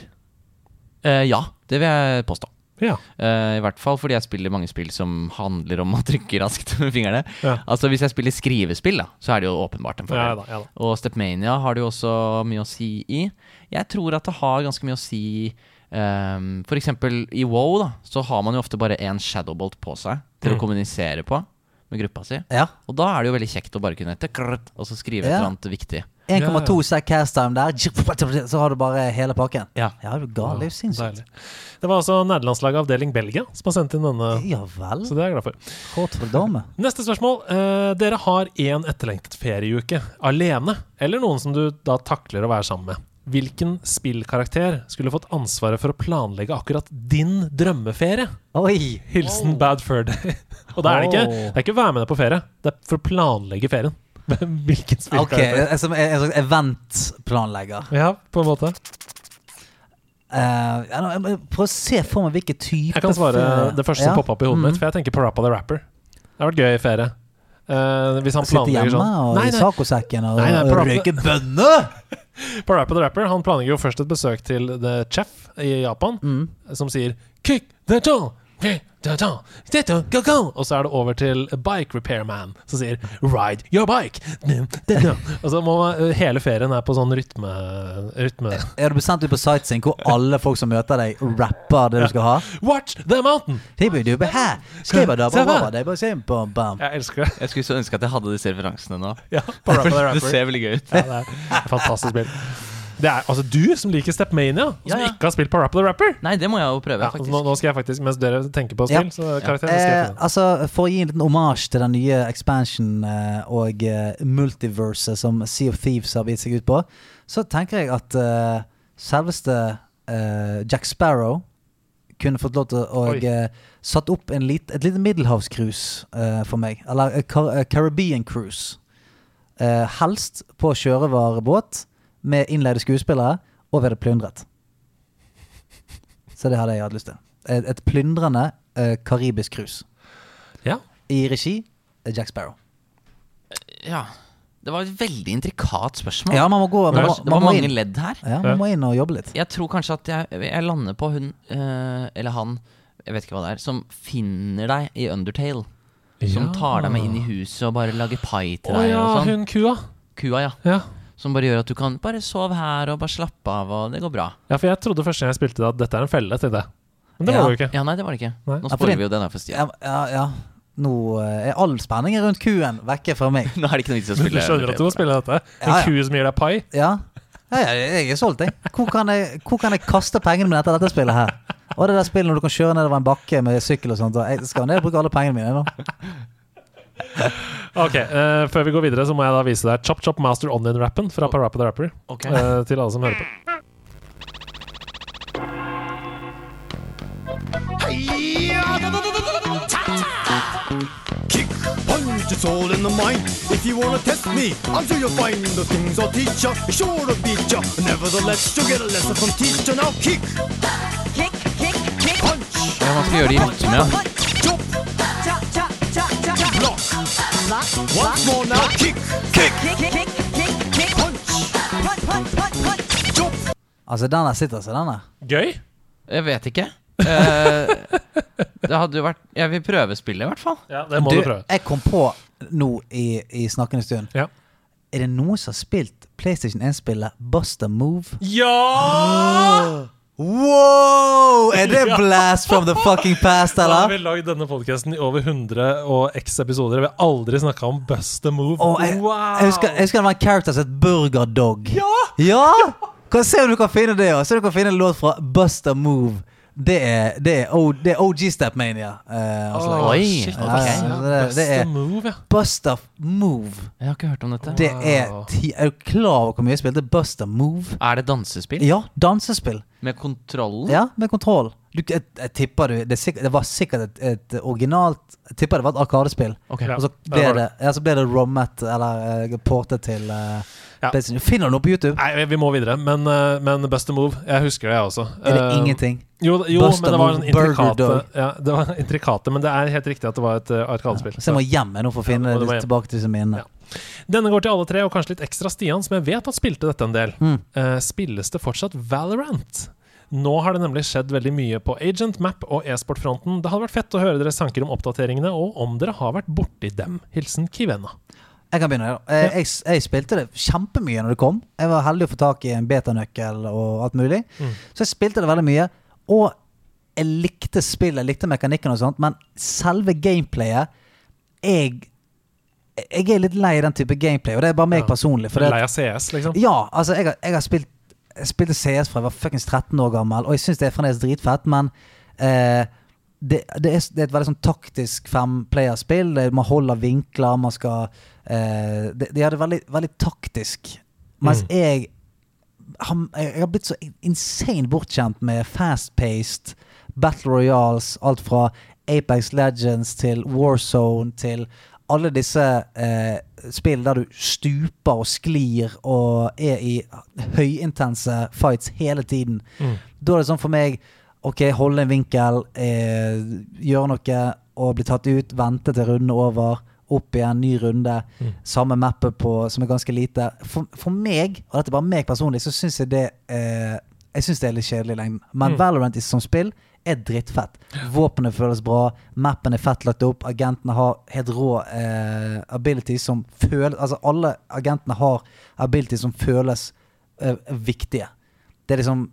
Eh, ja, det vil jeg påstå.
Ja.
Eh, I hvert fall fordi jeg spiller mange spill som handler om å trykke raskt med fingrene.
Ja.
Altså Hvis jeg spiller skrivespill, da, så er det jo åpenbart en
Ja
fordel.
da, ja da.
Og Stepmania har det jo også mye å si i. Jeg tror at det har ganske mye å si ehm, For eksempel i WoW, da, så har man jo ofte bare én shadowbolt på seg
Mm.
til å kommunisere på med gruppa si.
Ja.
Og da er det jo veldig kjekt å bare kunne tekrrt, og så skrive et
Ja.
eller annet viktig.
1,2 sek cast time der, så har du bare hele pakken.
Ja.
Ja, du er gal. Det er jo sinnssykt.
Deilig. Det var altså nederlandslaget avdeling Belgia som har sendt inn denne.
Ja vel.
Så det er jeg glad for.
Kort for dame.
Neste spørsmål. Eh, dere har én etterlengtet ferieuke alene, eller noen som du da takler å være sammen med. Hvilken spillkarakter skulle fått ansvaret for å planlegge akkurat din drømmeferie?
Oi!
Hilsen Bad Fur Day. Og da er det ikke
Oh.
Det er ikke å være med deg på ferie, det er for å planlegge ferien. Hvilken
Ok,
spillkarakter?
en som- en slags eventplanlegger.
Ja, på en måte.
Eh, ja, nå, jeg må prøve å se for meg hvilken type
Jeg kan svare
ferie.
det første som
Ja.
poppa opp i hodet
Mm.
mitt, for jeg tenker på Rappa the Rapper. Det har vært gøy i ferie. Eh, hvis han
Sitte
planlegger
hjemme
sånn
og
Nei,
i
nei,
sacosekken og,
Nei, nei,
og
på rampe-
røyke bønner!
på Rappa the Rapper Han planlegger jo først et besøk til The Chef i Japan, som sier Kick the door! Kick the door! Get the go, go!» Og så er det over til Bike Repair Man, som sier Ride your bike! Og så må man, eh, hele ferien er på sånn rytme... rytme.
Er du sendt ut på sightseeing hvor alle folk som møter deg, rapper det du skal ha?
Watch the mountain!
Tibbidubbe, hæ? Skriver da,
Se her.
bare, det er bare sim, bam, bam.
Jeg elsker det.
Jeg skulle så ønske at jeg hadde disse referansene nå.
Ja, på Rappa the
Det
Rapper.
ser veldig gøy ut.
Ja, det er et fantastisk spill. Det er, altså Du som liker Stepmania, og som
Ja, ja.
ikke har spilt på Rapper the Rapper
Nei, det må jeg jo prøve,
ja,
faktisk.
nå, nå skal jeg faktisk, Mens dere tenker på spill,
Ja.
så karakter, så skal jeg
Eh,
finne den.
altså, For å gi en liten omasj til den nye expansion eh, og eh, multiverset som Sea of Thieves har gitt seg ut på, så tenker jeg at eh, selveste eh, Jack Sparrow kunne fått lov til å
Oi.
eh, satt opp en lit, et lite middelhavscruise eh, for meg. Eller eh, Car eh, Caribbean cruise. Eh, helst på sjørøverbåt med innleide skuespillere, og vi hadde plyndret. Så det hadde jeg hatt lyst til. Et, et plyndrende eh, karibisk cruise.
Ja.
I regi eh, Jack Sparrow.
Ja. Det var et veldig intrikat spørsmål.
Ja, man må gå
det
man, må,
var, det var
man, må
mange
inn.
ledd her.
Ja, man må inn og jobbe litt.
Jeg tror kanskje at jeg, jeg lander på hun, eh, eller han, jeg vet ikke hva det er, som finner deg i Undertale. Som
Ja.
tar deg med inn i huset og bare lager pai til
Å
deg
ja,
og sånn.
hun kua.
Kua, ja.
Ja.
Som bare gjør at du kan bare sove her og bare slappe av, og det går bra.
ja, for jeg trodde første gang jeg spilte det, at dette er en felle til det. Men det
Ja.
var det jo ikke.
Ja, nei, det var det ikke.
Nei.
Nå
Ja, for det-
spoiler vi jo den her for Stian.
Ja, ja, ja. Nå eh, er all spenningen rundt kuen vekke fra meg.
Nå er det ikke noe vits i å
Men du
spille.
skjønner at du må spille dette? En
Ja, ja.
ku som gir deg pai?
Ja, ja, ja jeg er solgt, jeg. Hvor kan jeg, hvor kan jeg kaste pengene mine etter dette spillet her? Og det der spillet når du kan kjøre nedover en bakke med sykkel og sånt. Og jeg skal ned og bruke alle pengene mine nå.
Ok, eh, Før vi går videre, så må jeg da vise deg Chop Chop Master Onion-rappen fra Parappa the Rapper.
Ok.
eh, til alle som hører på.
kick, punch, it's all in the mind. If you wanna test me, I'm sure you'll find the things I'll teach ya, sure to beat ya. Nevertheless, you'll get a lesson from teacher. Now kick,
Kick,
skal gjøre det i rytme. ja.
Once more now, kick, kick,
Altså, den der sitter seg, den der.
Gøy.
Jeg vet ikke. Eh, det hadde jo vært Jeg vil prøvespille, i hvert fall.
Ja, det må du, prøve.
jeg kom på nå i, i snakkende stund
Ja!
Er det noen som har spilt PlayStation 1-spillet Buster Move? Ah!
ja!
Wow! Er det blast from the fucking past,
Da har
eller?
vi lagd denne podkasten i over 100 og x episoder. Vi har aldri snakka om Bust a Move.
Å, jeg, jeg, husker, jeg husker det var en character som het Burger Dog.
Ja!
Ja! Kan se om du kan finne det også. Se om du kan finne en låt fra Buster Move. Det er, det er, O- det er OG Stepmania. eh, og
Altså,
Åh,
slag.
Oi,
shit,
ok.
ass.
Ja, det-
Bust
det
a
er-
Move, ja.
Buster Move.
Jeg har ikke hørt om dette.
Det er ti Er du klar over hvor mye jeg spilte Buster Move?
Er det dansespill?
Ja, dansespill.
Med kontrollen?
Ja, med kontroll. Du, jeg, jeg tipper du det, er sikkert, det var sikkert et, et originalt Jeg tipper det var et arkadespill.
Ok.
Ja.
Og så
det
ble
var
det,
det.
ja, så ble det rommet eller eh, portet til eh,
Ja.
PlayStation. Finner du noe på YouTube?
Nei, vi må videre, men, eh, men Bust a Move. Jeg husker det, jeg også.
Er det
Eh,
ingenting?
Jo, jo
Bust a
men det var sånn
Move, Burger
intrikate,
Dog.
ja, det var intrikate Men det er helt riktig at det var et eh, arkadespill.
Så jeg må hjem jeg nå for å finne
Ja, du må
det
hjem.
tilbake til disse minnene.
Ja. Denne går til alle tre, og kanskje litt ekstra Stian, som jeg vet at spilte dette en del.
Mm.
Eh, spilles det fortsatt Valorant? Nå har det nemlig skjedd veldig mye på Agent, Map og e-sportfronten. Det hadde vært fett å høre deres tanker om oppdateringene, og om dere har vært borti dem. Hilsen Kivena.
Jeg kan begynne. da. Eh, Jeg, jeg spilte det kjempemye når det kom. Jeg var heldig å få tak i en betanøkkel og alt mulig.
Mm.
Så jeg spilte det veldig mye. Og jeg likte spillet, jeg likte mekanikken og sånt, men selve gameplayet Jeg, jeg er litt lei den type gameplay, og det er bare meg
Ja.
personlig. For det,
Lei av CS, liksom.
Ja, altså jeg har, jeg har spilt jeg spilte CS fra jeg var fuckings 13 år gammel, og jeg syns det er fremdeles dritfett, men eh, det, det, er, det er et veldig sånn taktisk femplayerspill. Det- Man holder vinkler, man skal eh, det, det er det veldig, veldig taktisk. Mens jeg, har, jeg har blitt så insane bortskjemt med fast-paced battle royals, alt fra Apex Legends til Warzone til alle disse eh, spill der du stuper og sklir og er i høyintense fights hele tiden. Da er det sånn for meg Ok, holde en vinkel, eh, gjøre noe og bli tatt ut, vente til runden er over. Opp igjen, ny runde. Samme mappet på, som er ganske lite. For, for meg, og dette er bare meg personlig, så syns jeg det eh, Jeg synes det er litt kjedelig i lengden. Men Valorant i- som spill er drittfett. Våpenet føles bra, mappen er fett lagt opp, agentene har helt rå eh, abilities som føles Altså, alle agentene har abilities som føles eh, viktige. Det er liksom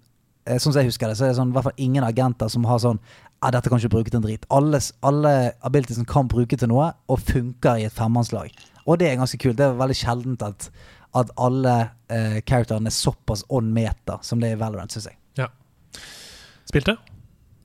eh, Sånn som jeg husker det, så er det sånn, i hvert fall ingen agenter som har sånn Ja, dette kan du ikke bruke til en drit. Alle, s- alle abilitiesene kan bruke til noe, og funker i et femmannslag. Og det er ganske kult. Det er veldig sjeldent at, at alle eh, characterene er såpass on meter som det er i Valorant, syns jeg.
Spilte?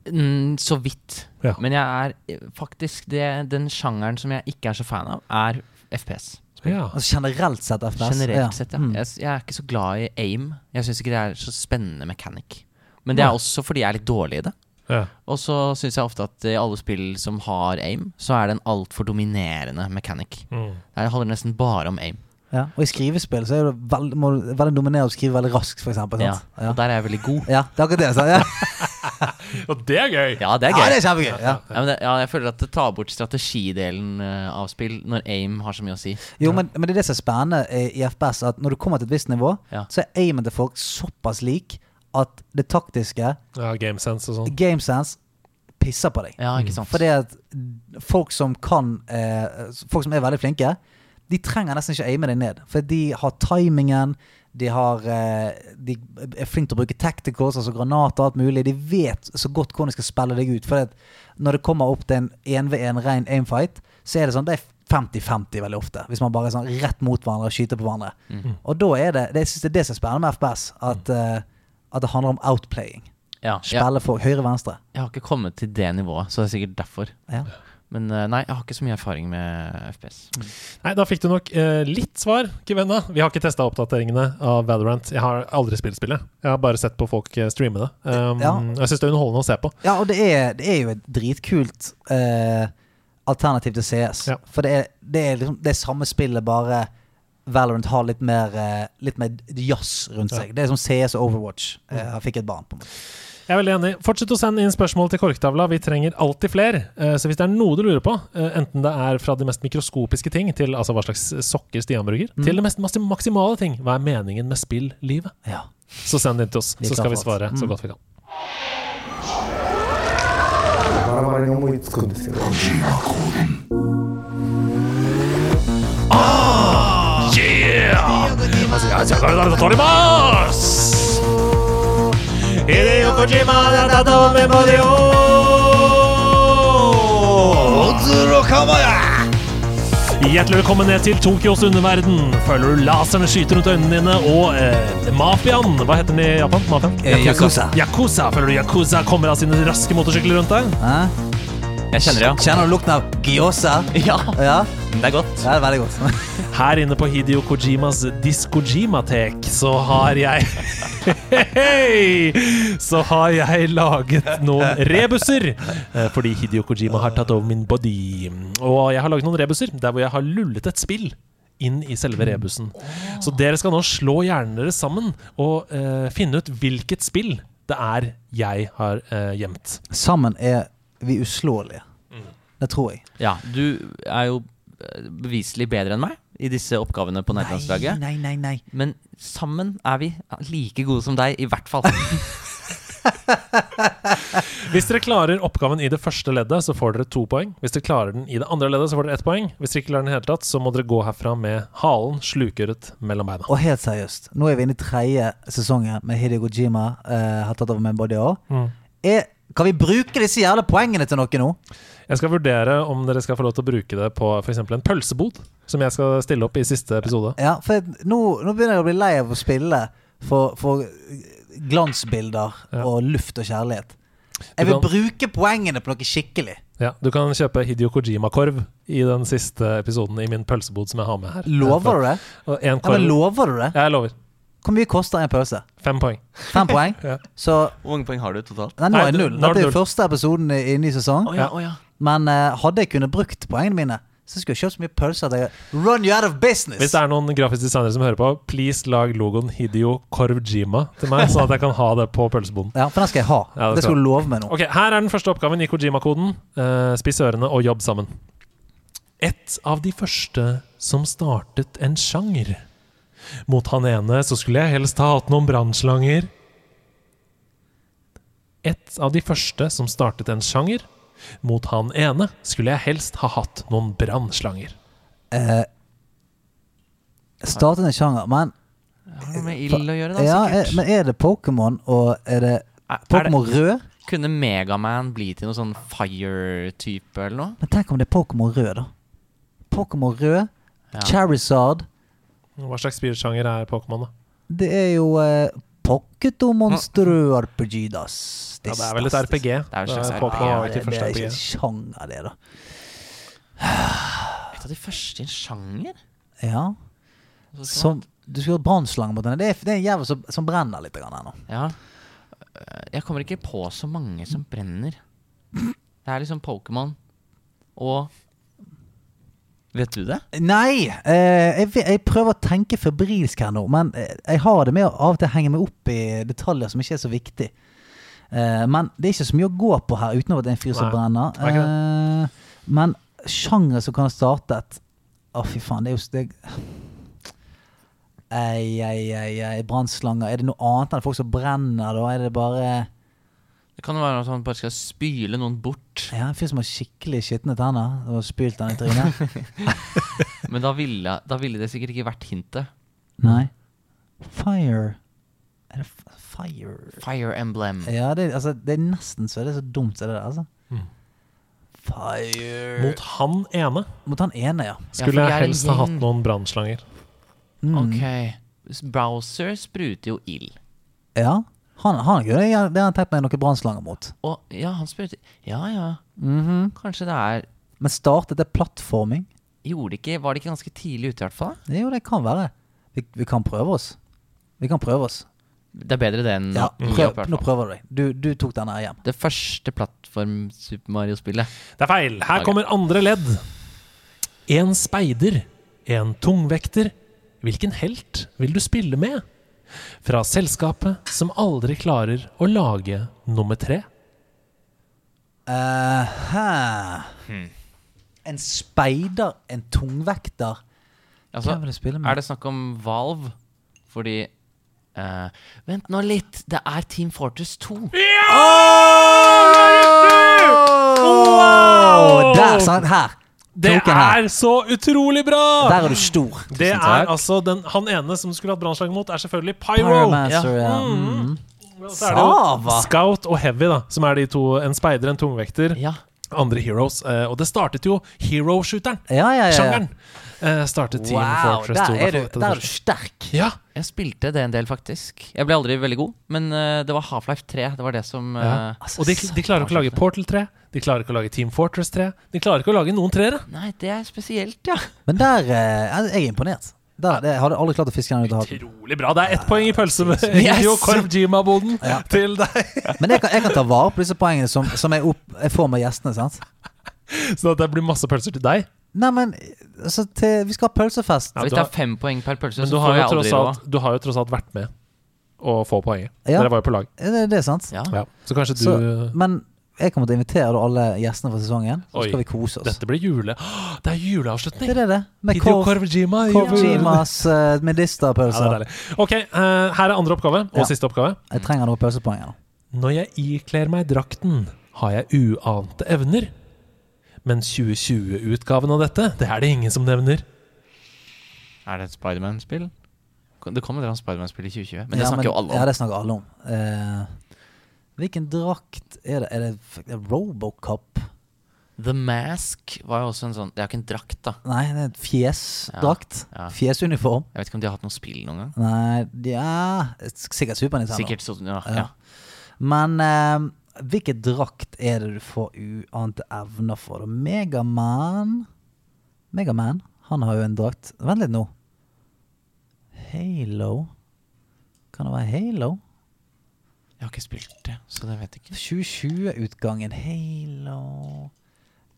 Mm, så vidt.
Ja.
Men jeg er faktisk det, Den sjangeren som jeg ikke er så fan av, er FPS.
Ja.
Altså generelt sett FPS.
Generelt
ja.
sett, ja.
Mm.
Jeg, s- jeg er ikke så glad i aim. Jeg syns ikke det er så spennende mechanic. Men det er også fordi jeg er litt dårlig i det.
ja.
Og så syns jeg ofte at i alle spill som har aim, så er det en altfor dominerende mechanic.
Mm.
Det handler nesten bare om aim.
Ja. Og i skrivespill så er det veldig, må, du veldig dominerende å skrive veldig raskt, for eksempel.
Ja.
Sant? Ja.
Og der er jeg veldig god.
ja, det er akkurat det. Sant? Ja.
Og det er gøy!
Ja, det er gøy.
ja, det er kjempegøy. Ja.
Ja, men det, ja, jeg føler at det tar bort strategidelen eh, av spill når aim har så mye å si.
Jo, men, men det er det som er spennende eh, i FPS, at når du kommer til et visst nivå,
Ja.
så er aimen til folk såpass lik at det taktiske,
Ja, Gamesense og sånn.
game sense, pisser på deg.
Ja, ikke sant?
Fordi at folk som kan eh, Folk som er veldig flinke, de trenger nesten ikke aime deg ned. For de har timingen, de, har, eh, de er flinke til å bruke tacticals, altså granater og alt mulig. De vet så godt hvordan de skal spille deg ut. For at når det kommer opp til en 1v1 ren aimfight, så er det sånn det er 50-50 veldig ofte, hvis man bare er sånn rett mot hverandre og skyter på hverandre.
Mm.
Og da er det, det jeg synes det er det som er spennende med FPS, at, eh, at det handler om outplaying.
ja, jeg,
Spille for høyre-venstre.
jeg har ikke kommet til det nivået, så det er sikkert derfor.
Ja.
Men eh, nei, jeg har ikke så mye erfaring med eh, FPS.
Nei, da fikk du nok eh, litt svar, Kivenna. Vi har ikke testa oppdateringene av Valorant. Jeg har aldri spilt spillet. Jeg har bare sett på folk eh, streame det. Um,
Ja.
Jeg syns det er underholdende å se på.
Ja, og det er, det er jo et dritkult eh, alternativ til CS.
Ja.
For det er, det er liksom det samme spillet, bare Valorant har litt mer, eh, litt mer jazz rundt seg. Det er som CS og Overwatch. Eh, jeg fikk et barn på meg.
Jeg er veldig enig. Fortsett å sende inn spørsmål til Korktavla. Vi trenger alltid flere. Eh, Så hvis det er noe du lurer på, eh, enten det er fra de mest mikroskopiske ting, til altså hva slags sokker Stian bruker,
Mm.
til det mest mas- maksimale ting, hva er meningen med spill-livet,
Ja.
så send det inn til oss. Så
kan
skal vi
få alt. Mm.
svare så godt vi kan. Ah, yeah! Altså, jeg- jeg- jeg- Torimas! Hideo Kojima da, da, da, med Mario. Hjertelig velkommen ned til Tokyos underverden. Føler du laseren skyter rundt øynene dine, og eh, mafiaen Hva heter den i Japan? Mafiaen?
Eh, Yakuza.
Yakuza. Føler du Yakuza kommer av sine raske motorsykler rundt deg?
Hæ?
Jeg kjenner det,
Kjenner du lukten av gyoza?
ja.
Ja,
ja. Mm. Det er godt.
det er veldig godt.
Her inne på Hideo Kojimas Diskojimatek så har jeg Hei! Så har jeg laget noen rebuser, eh, fordi Hideo Kojima har tatt over min body. Og jeg har laget noen rebuser der hvor jeg har lullet et spill inn i selve rebusen. Så dere skal nå slå hjernen deres sammen og eh, finne ut hvilket spill det er jeg har eh, gjemt.
Sammen er vi uslåelige. Det tror jeg.
Ja, du er jo eh, beviselig bedre enn meg i disse oppgavene på nederlandslaget.
nei, nei, nei.
Men sammen er vi like gode som deg, i hvert fall.
Hvis dere klarer oppgaven i det første leddet, så får dere to poeng. Hvis dere klarer den i det andre leddet, så får dere ett poeng. Hvis dere ikke klarer den i det hele tatt, så må dere gå herfra med halen slukøret mellom beina.
Og helt seriøst, nå er vi inne i tredje sesongen med Hideo Kojima. eh, har tatt over med Body År.
Mm.
Er, kan vi bruke disse jævla poengene til noe nå?
Jeg skal vurdere om dere skal få lov til å bruke det på f.eks. en pølsebod, som jeg skal stille opp i siste episode.
Ja, for jeg, nå, nå begynner jeg å bli lei av å spille for, for glansbilder
Ja.
og luft og kjærlighet. Jeg vil
kan-
bruke poengene på noe skikkelig.
Ja, du kan kjøpe Hidio Kojima-korv i den siste episoden i min pølsebod som jeg har med her.
Lover du det?
Og en
Ja, men
korv.
lover du det?
Jeg lover.
Hvor mye koster en pølse?
Fem poeng.
Fem poeng?
Ja.
Så
Hvor mange poeng har du totalt?
Nei, nå
Nei,
er jeg
du- nå
null.
er
Dette er
det
jo
null.
første episoden i, i ny sesong.
ja,
Men eh, hadde jeg kunnet brukt poengene mine, så skulle jeg kjøpt så mye pølser at jeg Run you out of business!
Hvis det er noen grafisk designere som hører på, please lag logoen Hidio Korvjima til meg, sånn at jeg kan ha det på pølseboden.
Ja, for den skal jeg ha.
Ja, det
det
skal
skal du love meg nå.
Ok, Her er den første oppgaven i Kojima-koden. Eh, spiss ørene og jobb sammen. Et av de første som startet en sjanger. Mot han ene så skulle jeg helst ha hatt noen brannslanger. Et av de første som startet en sjanger. Mot han ene skulle jeg helst ha hatt noen brannslanger.
Startet en sjanger, men,
Har det noe med ild å gjøre, da?
ja, er,
sikkert.
men er det Pokémon, og er det
Er- er det-
Pokémon rød?
Kunne Megaman bli til noe sånn fire-type eller noe?
Men tenk om det er Pokémon rød, da. Pokémon rød,
Ja.
Charizard
Hva slags spillsjanger er Pokémon, da?
Det er jo eh, Pocket og Monster RPG, das.
Mm. Ja, det er vel et
das-
RPG.
er vel et slags
Pokémon
RPG,
var ikke
Det, det
første
er ikke
RPG.
en sjanger, det, da.
Et av de første i en sjanger?
Ja. Som, du skulle hatt brannslange mot henne. Det er, det er en jævel som, som brenner litt grann her nå.
Ja. Eh, Jeg kommer ikke på så mange som brenner. Det er liksom Pokémon og Vet du det?
Nei! Eh, jeg, vet- jeg prøver å tenke febrilsk her nå, men eh, jeg har det med å av og til henge meg opp i detaljer som ikke er så viktig. Eh, men det er ikke så mye å gå på her utenom at det er en fyr som
Nei,
brenner.
det er
Eh, men sjangre som kan ha startet Å, fy faen, det er jo steg... Ei, ei, ei, ei, brannslanger. Er det noe annet enn folk som brenner, da? Er det bare
Det kan jo være at han bare skal spyle noen bort.
Ja, en fyr som har skikkelig skitne tenner og har spylt den i trynet?
Men da ville, da ville det sikkert ikke vært hintet.
Nei. Fire Er det f- fire
Fire Emblem.
Ja, det, altså, det er nesten så det er så dumt som det der, altså. Fire
Mot han ene
Mot han ene, ja.
skulle
for de er
jeg
en
helst ha hatt
gjeng.
noen brannslanger.
Ok. S- Browser spruter jo ild.
Ja, Han, han kunne jeg- det har jeg tenkt meg noen brannslanger mot.
Og ja, han spruter Ja ja.
Mhm.
Kanskje det er
Men startet det plattforming?
Gjorde det ikke Var det ikke ganske tidlig ute, i hvert fall?
Det er jo det kan være. Vi, vi kan prøve oss. Vi kan prøve oss.
Det er bedre det enn
Ja,
Mm.
prøv,
i hvert
Nå
fall.
prøver du deg. Du, du tok den her hjem.
Det første plattform-Super Mario-spillet.
Det er feil. Her
Ok.
kommer andre ledd. En speider, en tungvekter. Hvilken helt vil du spille med? Fra selskapet som aldri klarer å lage nummer tre.
Aha. En speider, en tungvekter
Altså,
Hvem vil du spille med?
er det snakk om Valve? Fordi eh, Vent nå litt, det er Team Fortress 2.
Wow! Der, sant? Her.
Det
Kroken her.
er så utrolig bra!
Der er du stor.
Det
Tusen
er
takk.
altså den, Han ene som skulle hatt brannslag mot, er selvfølgelig Pyro.
Pyromancer, ja. Mm.
Og Så er det jo
Sava.
Scout og Heavy, da, som er de to. En speider, en tungvekter.
Ja.
Andre heroes. Eh, og det startet jo hero-shooteren.
Ja, ja, ja. ja.
Sjangeren. Eh, startet Team
Wow,
Fortress 2.
der er,
i hvert fall etter det
du, der er du
første.
sterk.
Ja,
Jeg spilte det en del, faktisk. Jeg ble aldri veldig god, men eh, det var Half-Life 3. Det var det som eh,
Altså,
og de, de klarer ikke å lage Portal 3, de klarer ikke å lage Team Fortress 3. De klarer ikke å lage noen treere.
Nei, det er spesielt, ja.
Men der eh, Jeg jeg er imponert. Der, det, jeg hadde aldri klart å fiske den ut av hatten.
Utrolig bra. Det er ett poeng i pølse med
Yes!
Indio Korv Jima-boden til deg.
Men jeg kan, jeg kan ta vare på disse poengene som, som jeg, opp, jeg får med gjestene. sant?
Så det blir masse pølser til deg.
Nei, men altså, til, Vi skal ha pølsefest.
Ja,
Hvis
du
det
har-
er fem poeng per pølse,
Men du
så
har,
får
jo
jeg aldri
tross
råd.
alt, du har jo tross alt vært med å få poenget.
Ja.
Dere var jo på lag.
Er det, det er sant?
Ja.
Ja. Så kanskje du eh,
Så, men jeg kommer til å invitere da alle gjestene fra sesongen. Så
Oi.
skal vi kose oss.
Dette blir jule... Det er
Det
juleavslutning!
er det, det. Med
Hideo
Korv
Korvjima.
Jimas uh,
Ja, det er
medisterpølser.
deilig. Ok, eh, her er andre oppgave, og
Ja.
siste oppgave.
jeg trenger noen pølsepoeng. her nå.
Når jeg ikler meg drakten, har jeg uante evner. Men 2020-utgaven av dette, det er det ingen som nevner.
Er det et Spiderman-spill? Det kom et eller annet Spiderman-spill i 2020, men det
Ja,
snakker jo alle om.
Ja, det snakker alle om. Eh, hvilken drakt er det? Er det f- er det Robocop?
The Mask var jo også en sånn Det er jo ikke en drakt, da.
Nei, det er en fjesdrakt.
Ja, ja.
Fjesuniform.
Jeg vet ikke om de har hatt noe spill noen gang.
Nei, de- ja s- Sikkert Super Nintendo.
Sikkert så, ja,
Ja.
ja.
Men eh, hvilken drakt er det du får uante evner for? Megaman Megaman, han har jo en drakt Vent litt nå. Halo Kan det være Halo?
Jeg har ikke spilt det, så det vet jeg ikke.
2020-utgangen. Halo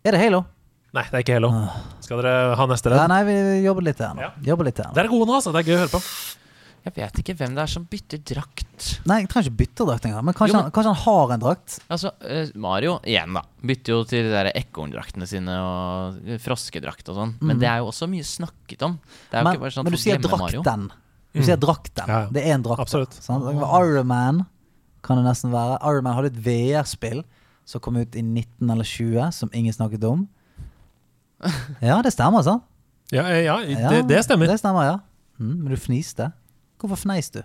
Er det Halo?
Nei, det er ikke Hello. Skal dere ha neste
Ah. Ja,
redd?
nei, vi jobber litt her nå.
Ja.
Jobber litt her nå.
Dere er gode nå, altså. Det er gøy å høre på.
Jeg vet ikke hvem det er som bytter drakt.
Nei, jeg trenger ikke bytte drakt engang. Men kanskje,
Jo, men-
Han, kanskje han har en drakt?
Altså, eh, Mario igjen, da. Bytter jo til de der ekorndraktene sine og eh, froskedrakt og sånn. Men det er jo også mye snakket om. Det er jo
Mm. Men,
ikke bare sånn at
men du
folk
sier
glemmer Mario.
drakten. Du sier drakten.
Mm. Ja, ja.
Det er en drakt.
Absolutt.
Sant? Det kan være Iron Man kan det nesten være. Iron Man hadde et VR-spill som kom ut i 19 eller 20, som ingen snakket om. Ja, det stemmer, sant?
Ja, eh, ja,
Ja,
det, det stemmer.
Det stemmer, ja. Mm, men du fniste. Hvorfor fneis du?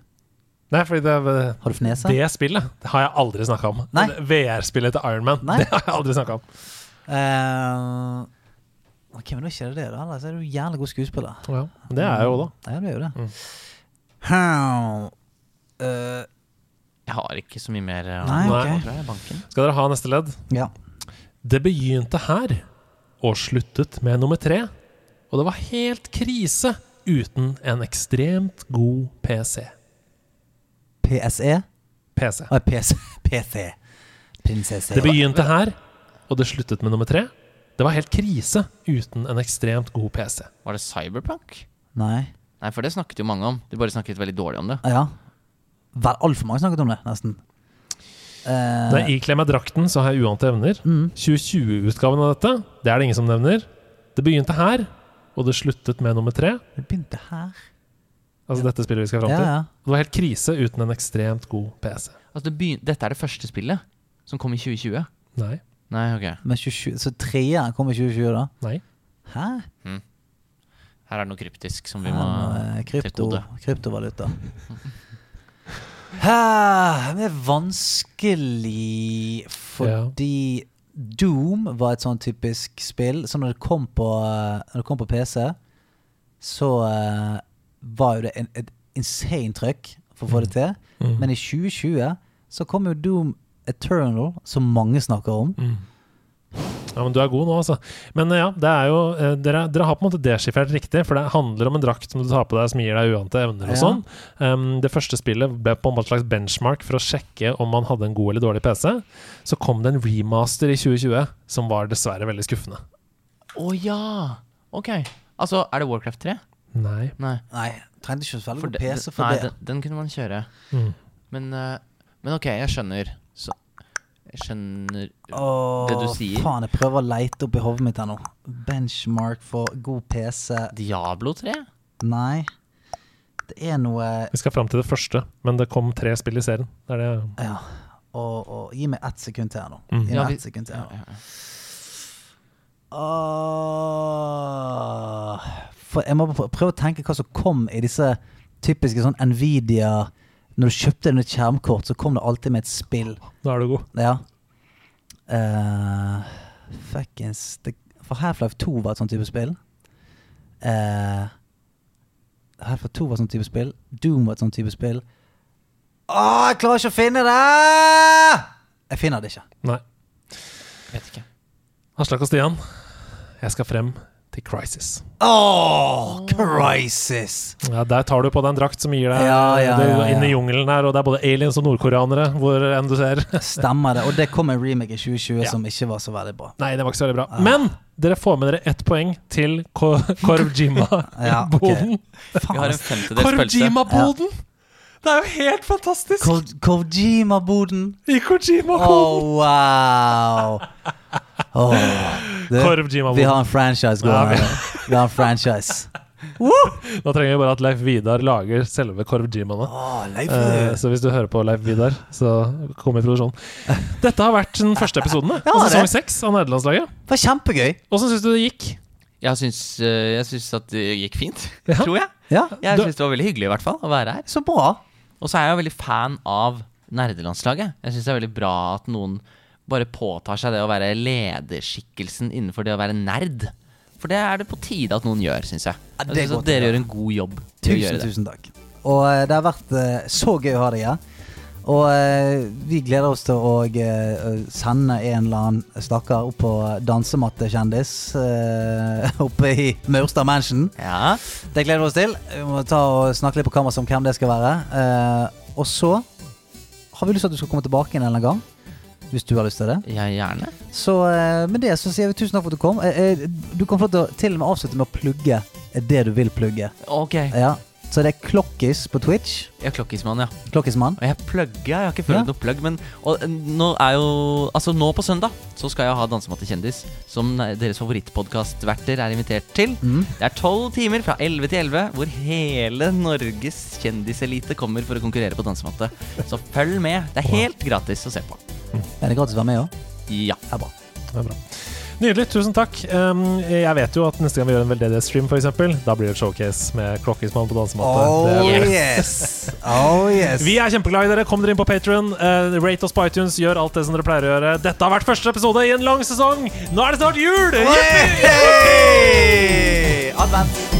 Nei, fordi det, er-
Har du fnesa?
det spillet det har jeg aldri snakka om.
Nei.
VR-spillet til Iron Man,
Nei.
det har jeg aldri snakka om.
Eh, ok, men da er ikke det det, da. Ellers er du jævlig god skuespiller.
Ja, men det er jeg jo da. Mm.
Ja, det er jo det. Hmm. Eh,
Jeg har ikke så mye mer eh,
Nei,
Nei.
ok.
tror jeg, i banken.
Skal dere ha neste ledd?
Ja.
Det begynte her og sluttet med nummer tre. Og det var helt krise uten en ekstremt god PC.
PSE?
PC.
Nei, PC. PC. Prinsesse.
Det begynte her, og det sluttet med nummer tre. Det var helt krise uten en ekstremt god PC.
Var det Cyberpunk?
Nei.
Nei, for det snakket jo mange om. De bare snakket veldig dårlig om det.
Ah, Ja. Vel, altfor mange snakket om det, nesten. Eh,
Når jeg ikler meg drakten, så har jeg uante evner.
Mm.
2020-utgaven av dette, det er det ingen som nevner. Det begynte her, og det sluttet med nummer tre.
det begynte her.
Altså dette spillet vi skal fram
Ja,
til.
ja.
Det var helt krise uten en ekstremt god PC.
Altså, det begyn Dette er det første spillet som kom i 2020.
Nei.
Nei, ok.
Men 27, så treeren kom i 2020, da?
Nei.
Hæ?
Her er det noe kryptisk som vi må
Ja, eh,
til
krypto,
kode.
kryptovaluta. Hæ, det er vanskelig fordi Doom var et sånn typisk spill. Så når det kom på, eh, når det kom på PC, så eh, var jo det en, et insane trøkk for å få det til.
Mm.
Men i 2020 så kom jo Doom Eternal, som mange snakker om.
Ja, men du er god nå, altså. Men eh, ja, det er jo, eh, dere, dere har på en måte deskifrert riktig, for det handler om en drakt som du tar på deg som gir deg uante evner og
Ja.
sånn. Em, det første spillet ble på en måte slags benchmark for å sjekke om man hadde en god eller dårlig PC. Så kom det en remaster i 2020 som var dessverre veldig skuffende.
Å ja! Ok. Altså, er det Warcraft 3?
Nei.
Nei.
Nei, trengte ikke så veldig god
det-
PC
det-
for
nei,
det.
Den, den kunne man kjøre.
Mm.
Men, eh, men ok, jeg skjønner. Så, jeg skjønner
Åh,
det du sier.
Faen, jeg prøver å leite opp i hodet mitt her nå. Benchmark for god PC
Diablo 3?
Nei. Det er noe
Vi skal fram til det første, men det kom tre spill i serien. Det er det
Ja. Og, og, gi meg ett sekund til her nå.
Mm.
Gi
Mhm. Ja,
meg
vi-
ett sekund til
Ja,
her nå.
ja, ja.
Åh, for jeg må pr- prøve å tenke hva som kom i disse typiske sånn Nvidia Når du kjøpte deg et skjermkort, så kom det alltid med et spill.
Nå er du god.
Ja. Eh, fuckings det, For Half-Life 2 var et sånt type spill. Uh, Half-Life 2 var et sånt type spill. Doom var et sånt type spill. Åh, jeg klarer ikke å finne det! Jeg finner det ikke.
Nei.
Vet ikke.
Aslak og Stian, jeg skal frem til Crisis.
Åh, Crisis!
Ja, Der tar du på deg en drakt som gir deg
Ja, ja,
du er
ja, ja.
inn i jungelen her, og det er både aliens og nordkoreanere hvor enn du ser.
Stemmer det. Og det kom en remake i 2020
Ja.
som ikke var så veldig bra.
Nei, det var ikke så veldig bra.
Ah.
Men dere får med dere ett poeng til Ko
Ja, ok.
Korvjima-boden.
Vi har en
altså.
femtedels pølse.
Korvjima-boden! Det er jo helt fantastisk!
Ko- Kojima-boden.
I Kojima-koden!
Oh, wow! Åh. Du, vi har
Korvjima-boden.
en franchise gående.
Ja, vi-
her. vi har en franchise.
Nå trenger vi bare at Leif Vidar lager selve korvjimaene. Eh, så hvis du hører på Leif Vidar, så kom i produksjon. Dette har vært den første episoden det, av
Ja, det.
sesong seks av Nederlandslaget.
Det var kjempegøy.
Åssen syns du det gikk?
Jeg syns, eh, jeg syns at det gikk fint, tror jeg.
Ja,
Jeg
Du-
syns det var veldig hyggelig i hvert fall å være her.
så bra.
Og så er jeg jo veldig fan av nerdelandslaget. Jeg syns det er veldig bra at noen bare påtar seg det å være lederskikkelsen innenfor det å være nerd. For det er det på tide at noen gjør, syns jeg.
Ja, det
jeg synes
går
at
til
dere
det.
gjør en god jobb. til å gjøre
Tusen,
det.
tusen takk. Og eh, det har vært eh, så gøy å ha deg her. Og eh, vi gleder oss til å eh, sende en eller annen stakkar opp på dansemattekjendis eh, oppe i Maurstad Mansion.
Ja.
Det gleder vi oss til. Vi må ta og snakke litt på kammerset om hvem det skal være. Eh, og så har vi lyst til at du skal komme tilbake en eller annen gang. Hvis du har lyst til det.
Ja, gjerne.
Så eh, med det så sier vi tusen takk for at du kom. Eh, eh, Du kan få lov til å til og med avslutte med å plugge det du vil plugge.
Ok.
Ja, så det er Klokkis på Twitch.
Jeg er klokkismann, ja.
Klokkismann.
Og jeg plugga. Jeg har ikke følt
Ja.
noe plugg. Men og, eh, nå er jo Altså, nå på søndag så skal jeg ha Dansematte kjendis, som ne- deres favorittpodkastverter er invitert til. Det er tolv timer fra 11 til 11 hvor hele Norges kjendiselite kommer for å konkurrere på dansematte. Så følg med. Det er helt gratis å se på.
Er det gratis å være med òg?
Ja.
Det er bra.
Det er bra. Nydelig, tusen takk. Um, jeg vet jo at neste gang vi gjør en veldedighetsstream, f.eks., da blir det et showcase med Klokkismann på dansematte. Det er-
Oh, yes! Oh yes!
Vi er kjempeglade i dere. Kom dere inn på Patron. rate oss på iTunes. Gjør alt det som dere pleier å gjøre. Dette har vært første episode i en lang sesong. Nå er det snart jul! Yippee!
Hey! Advent.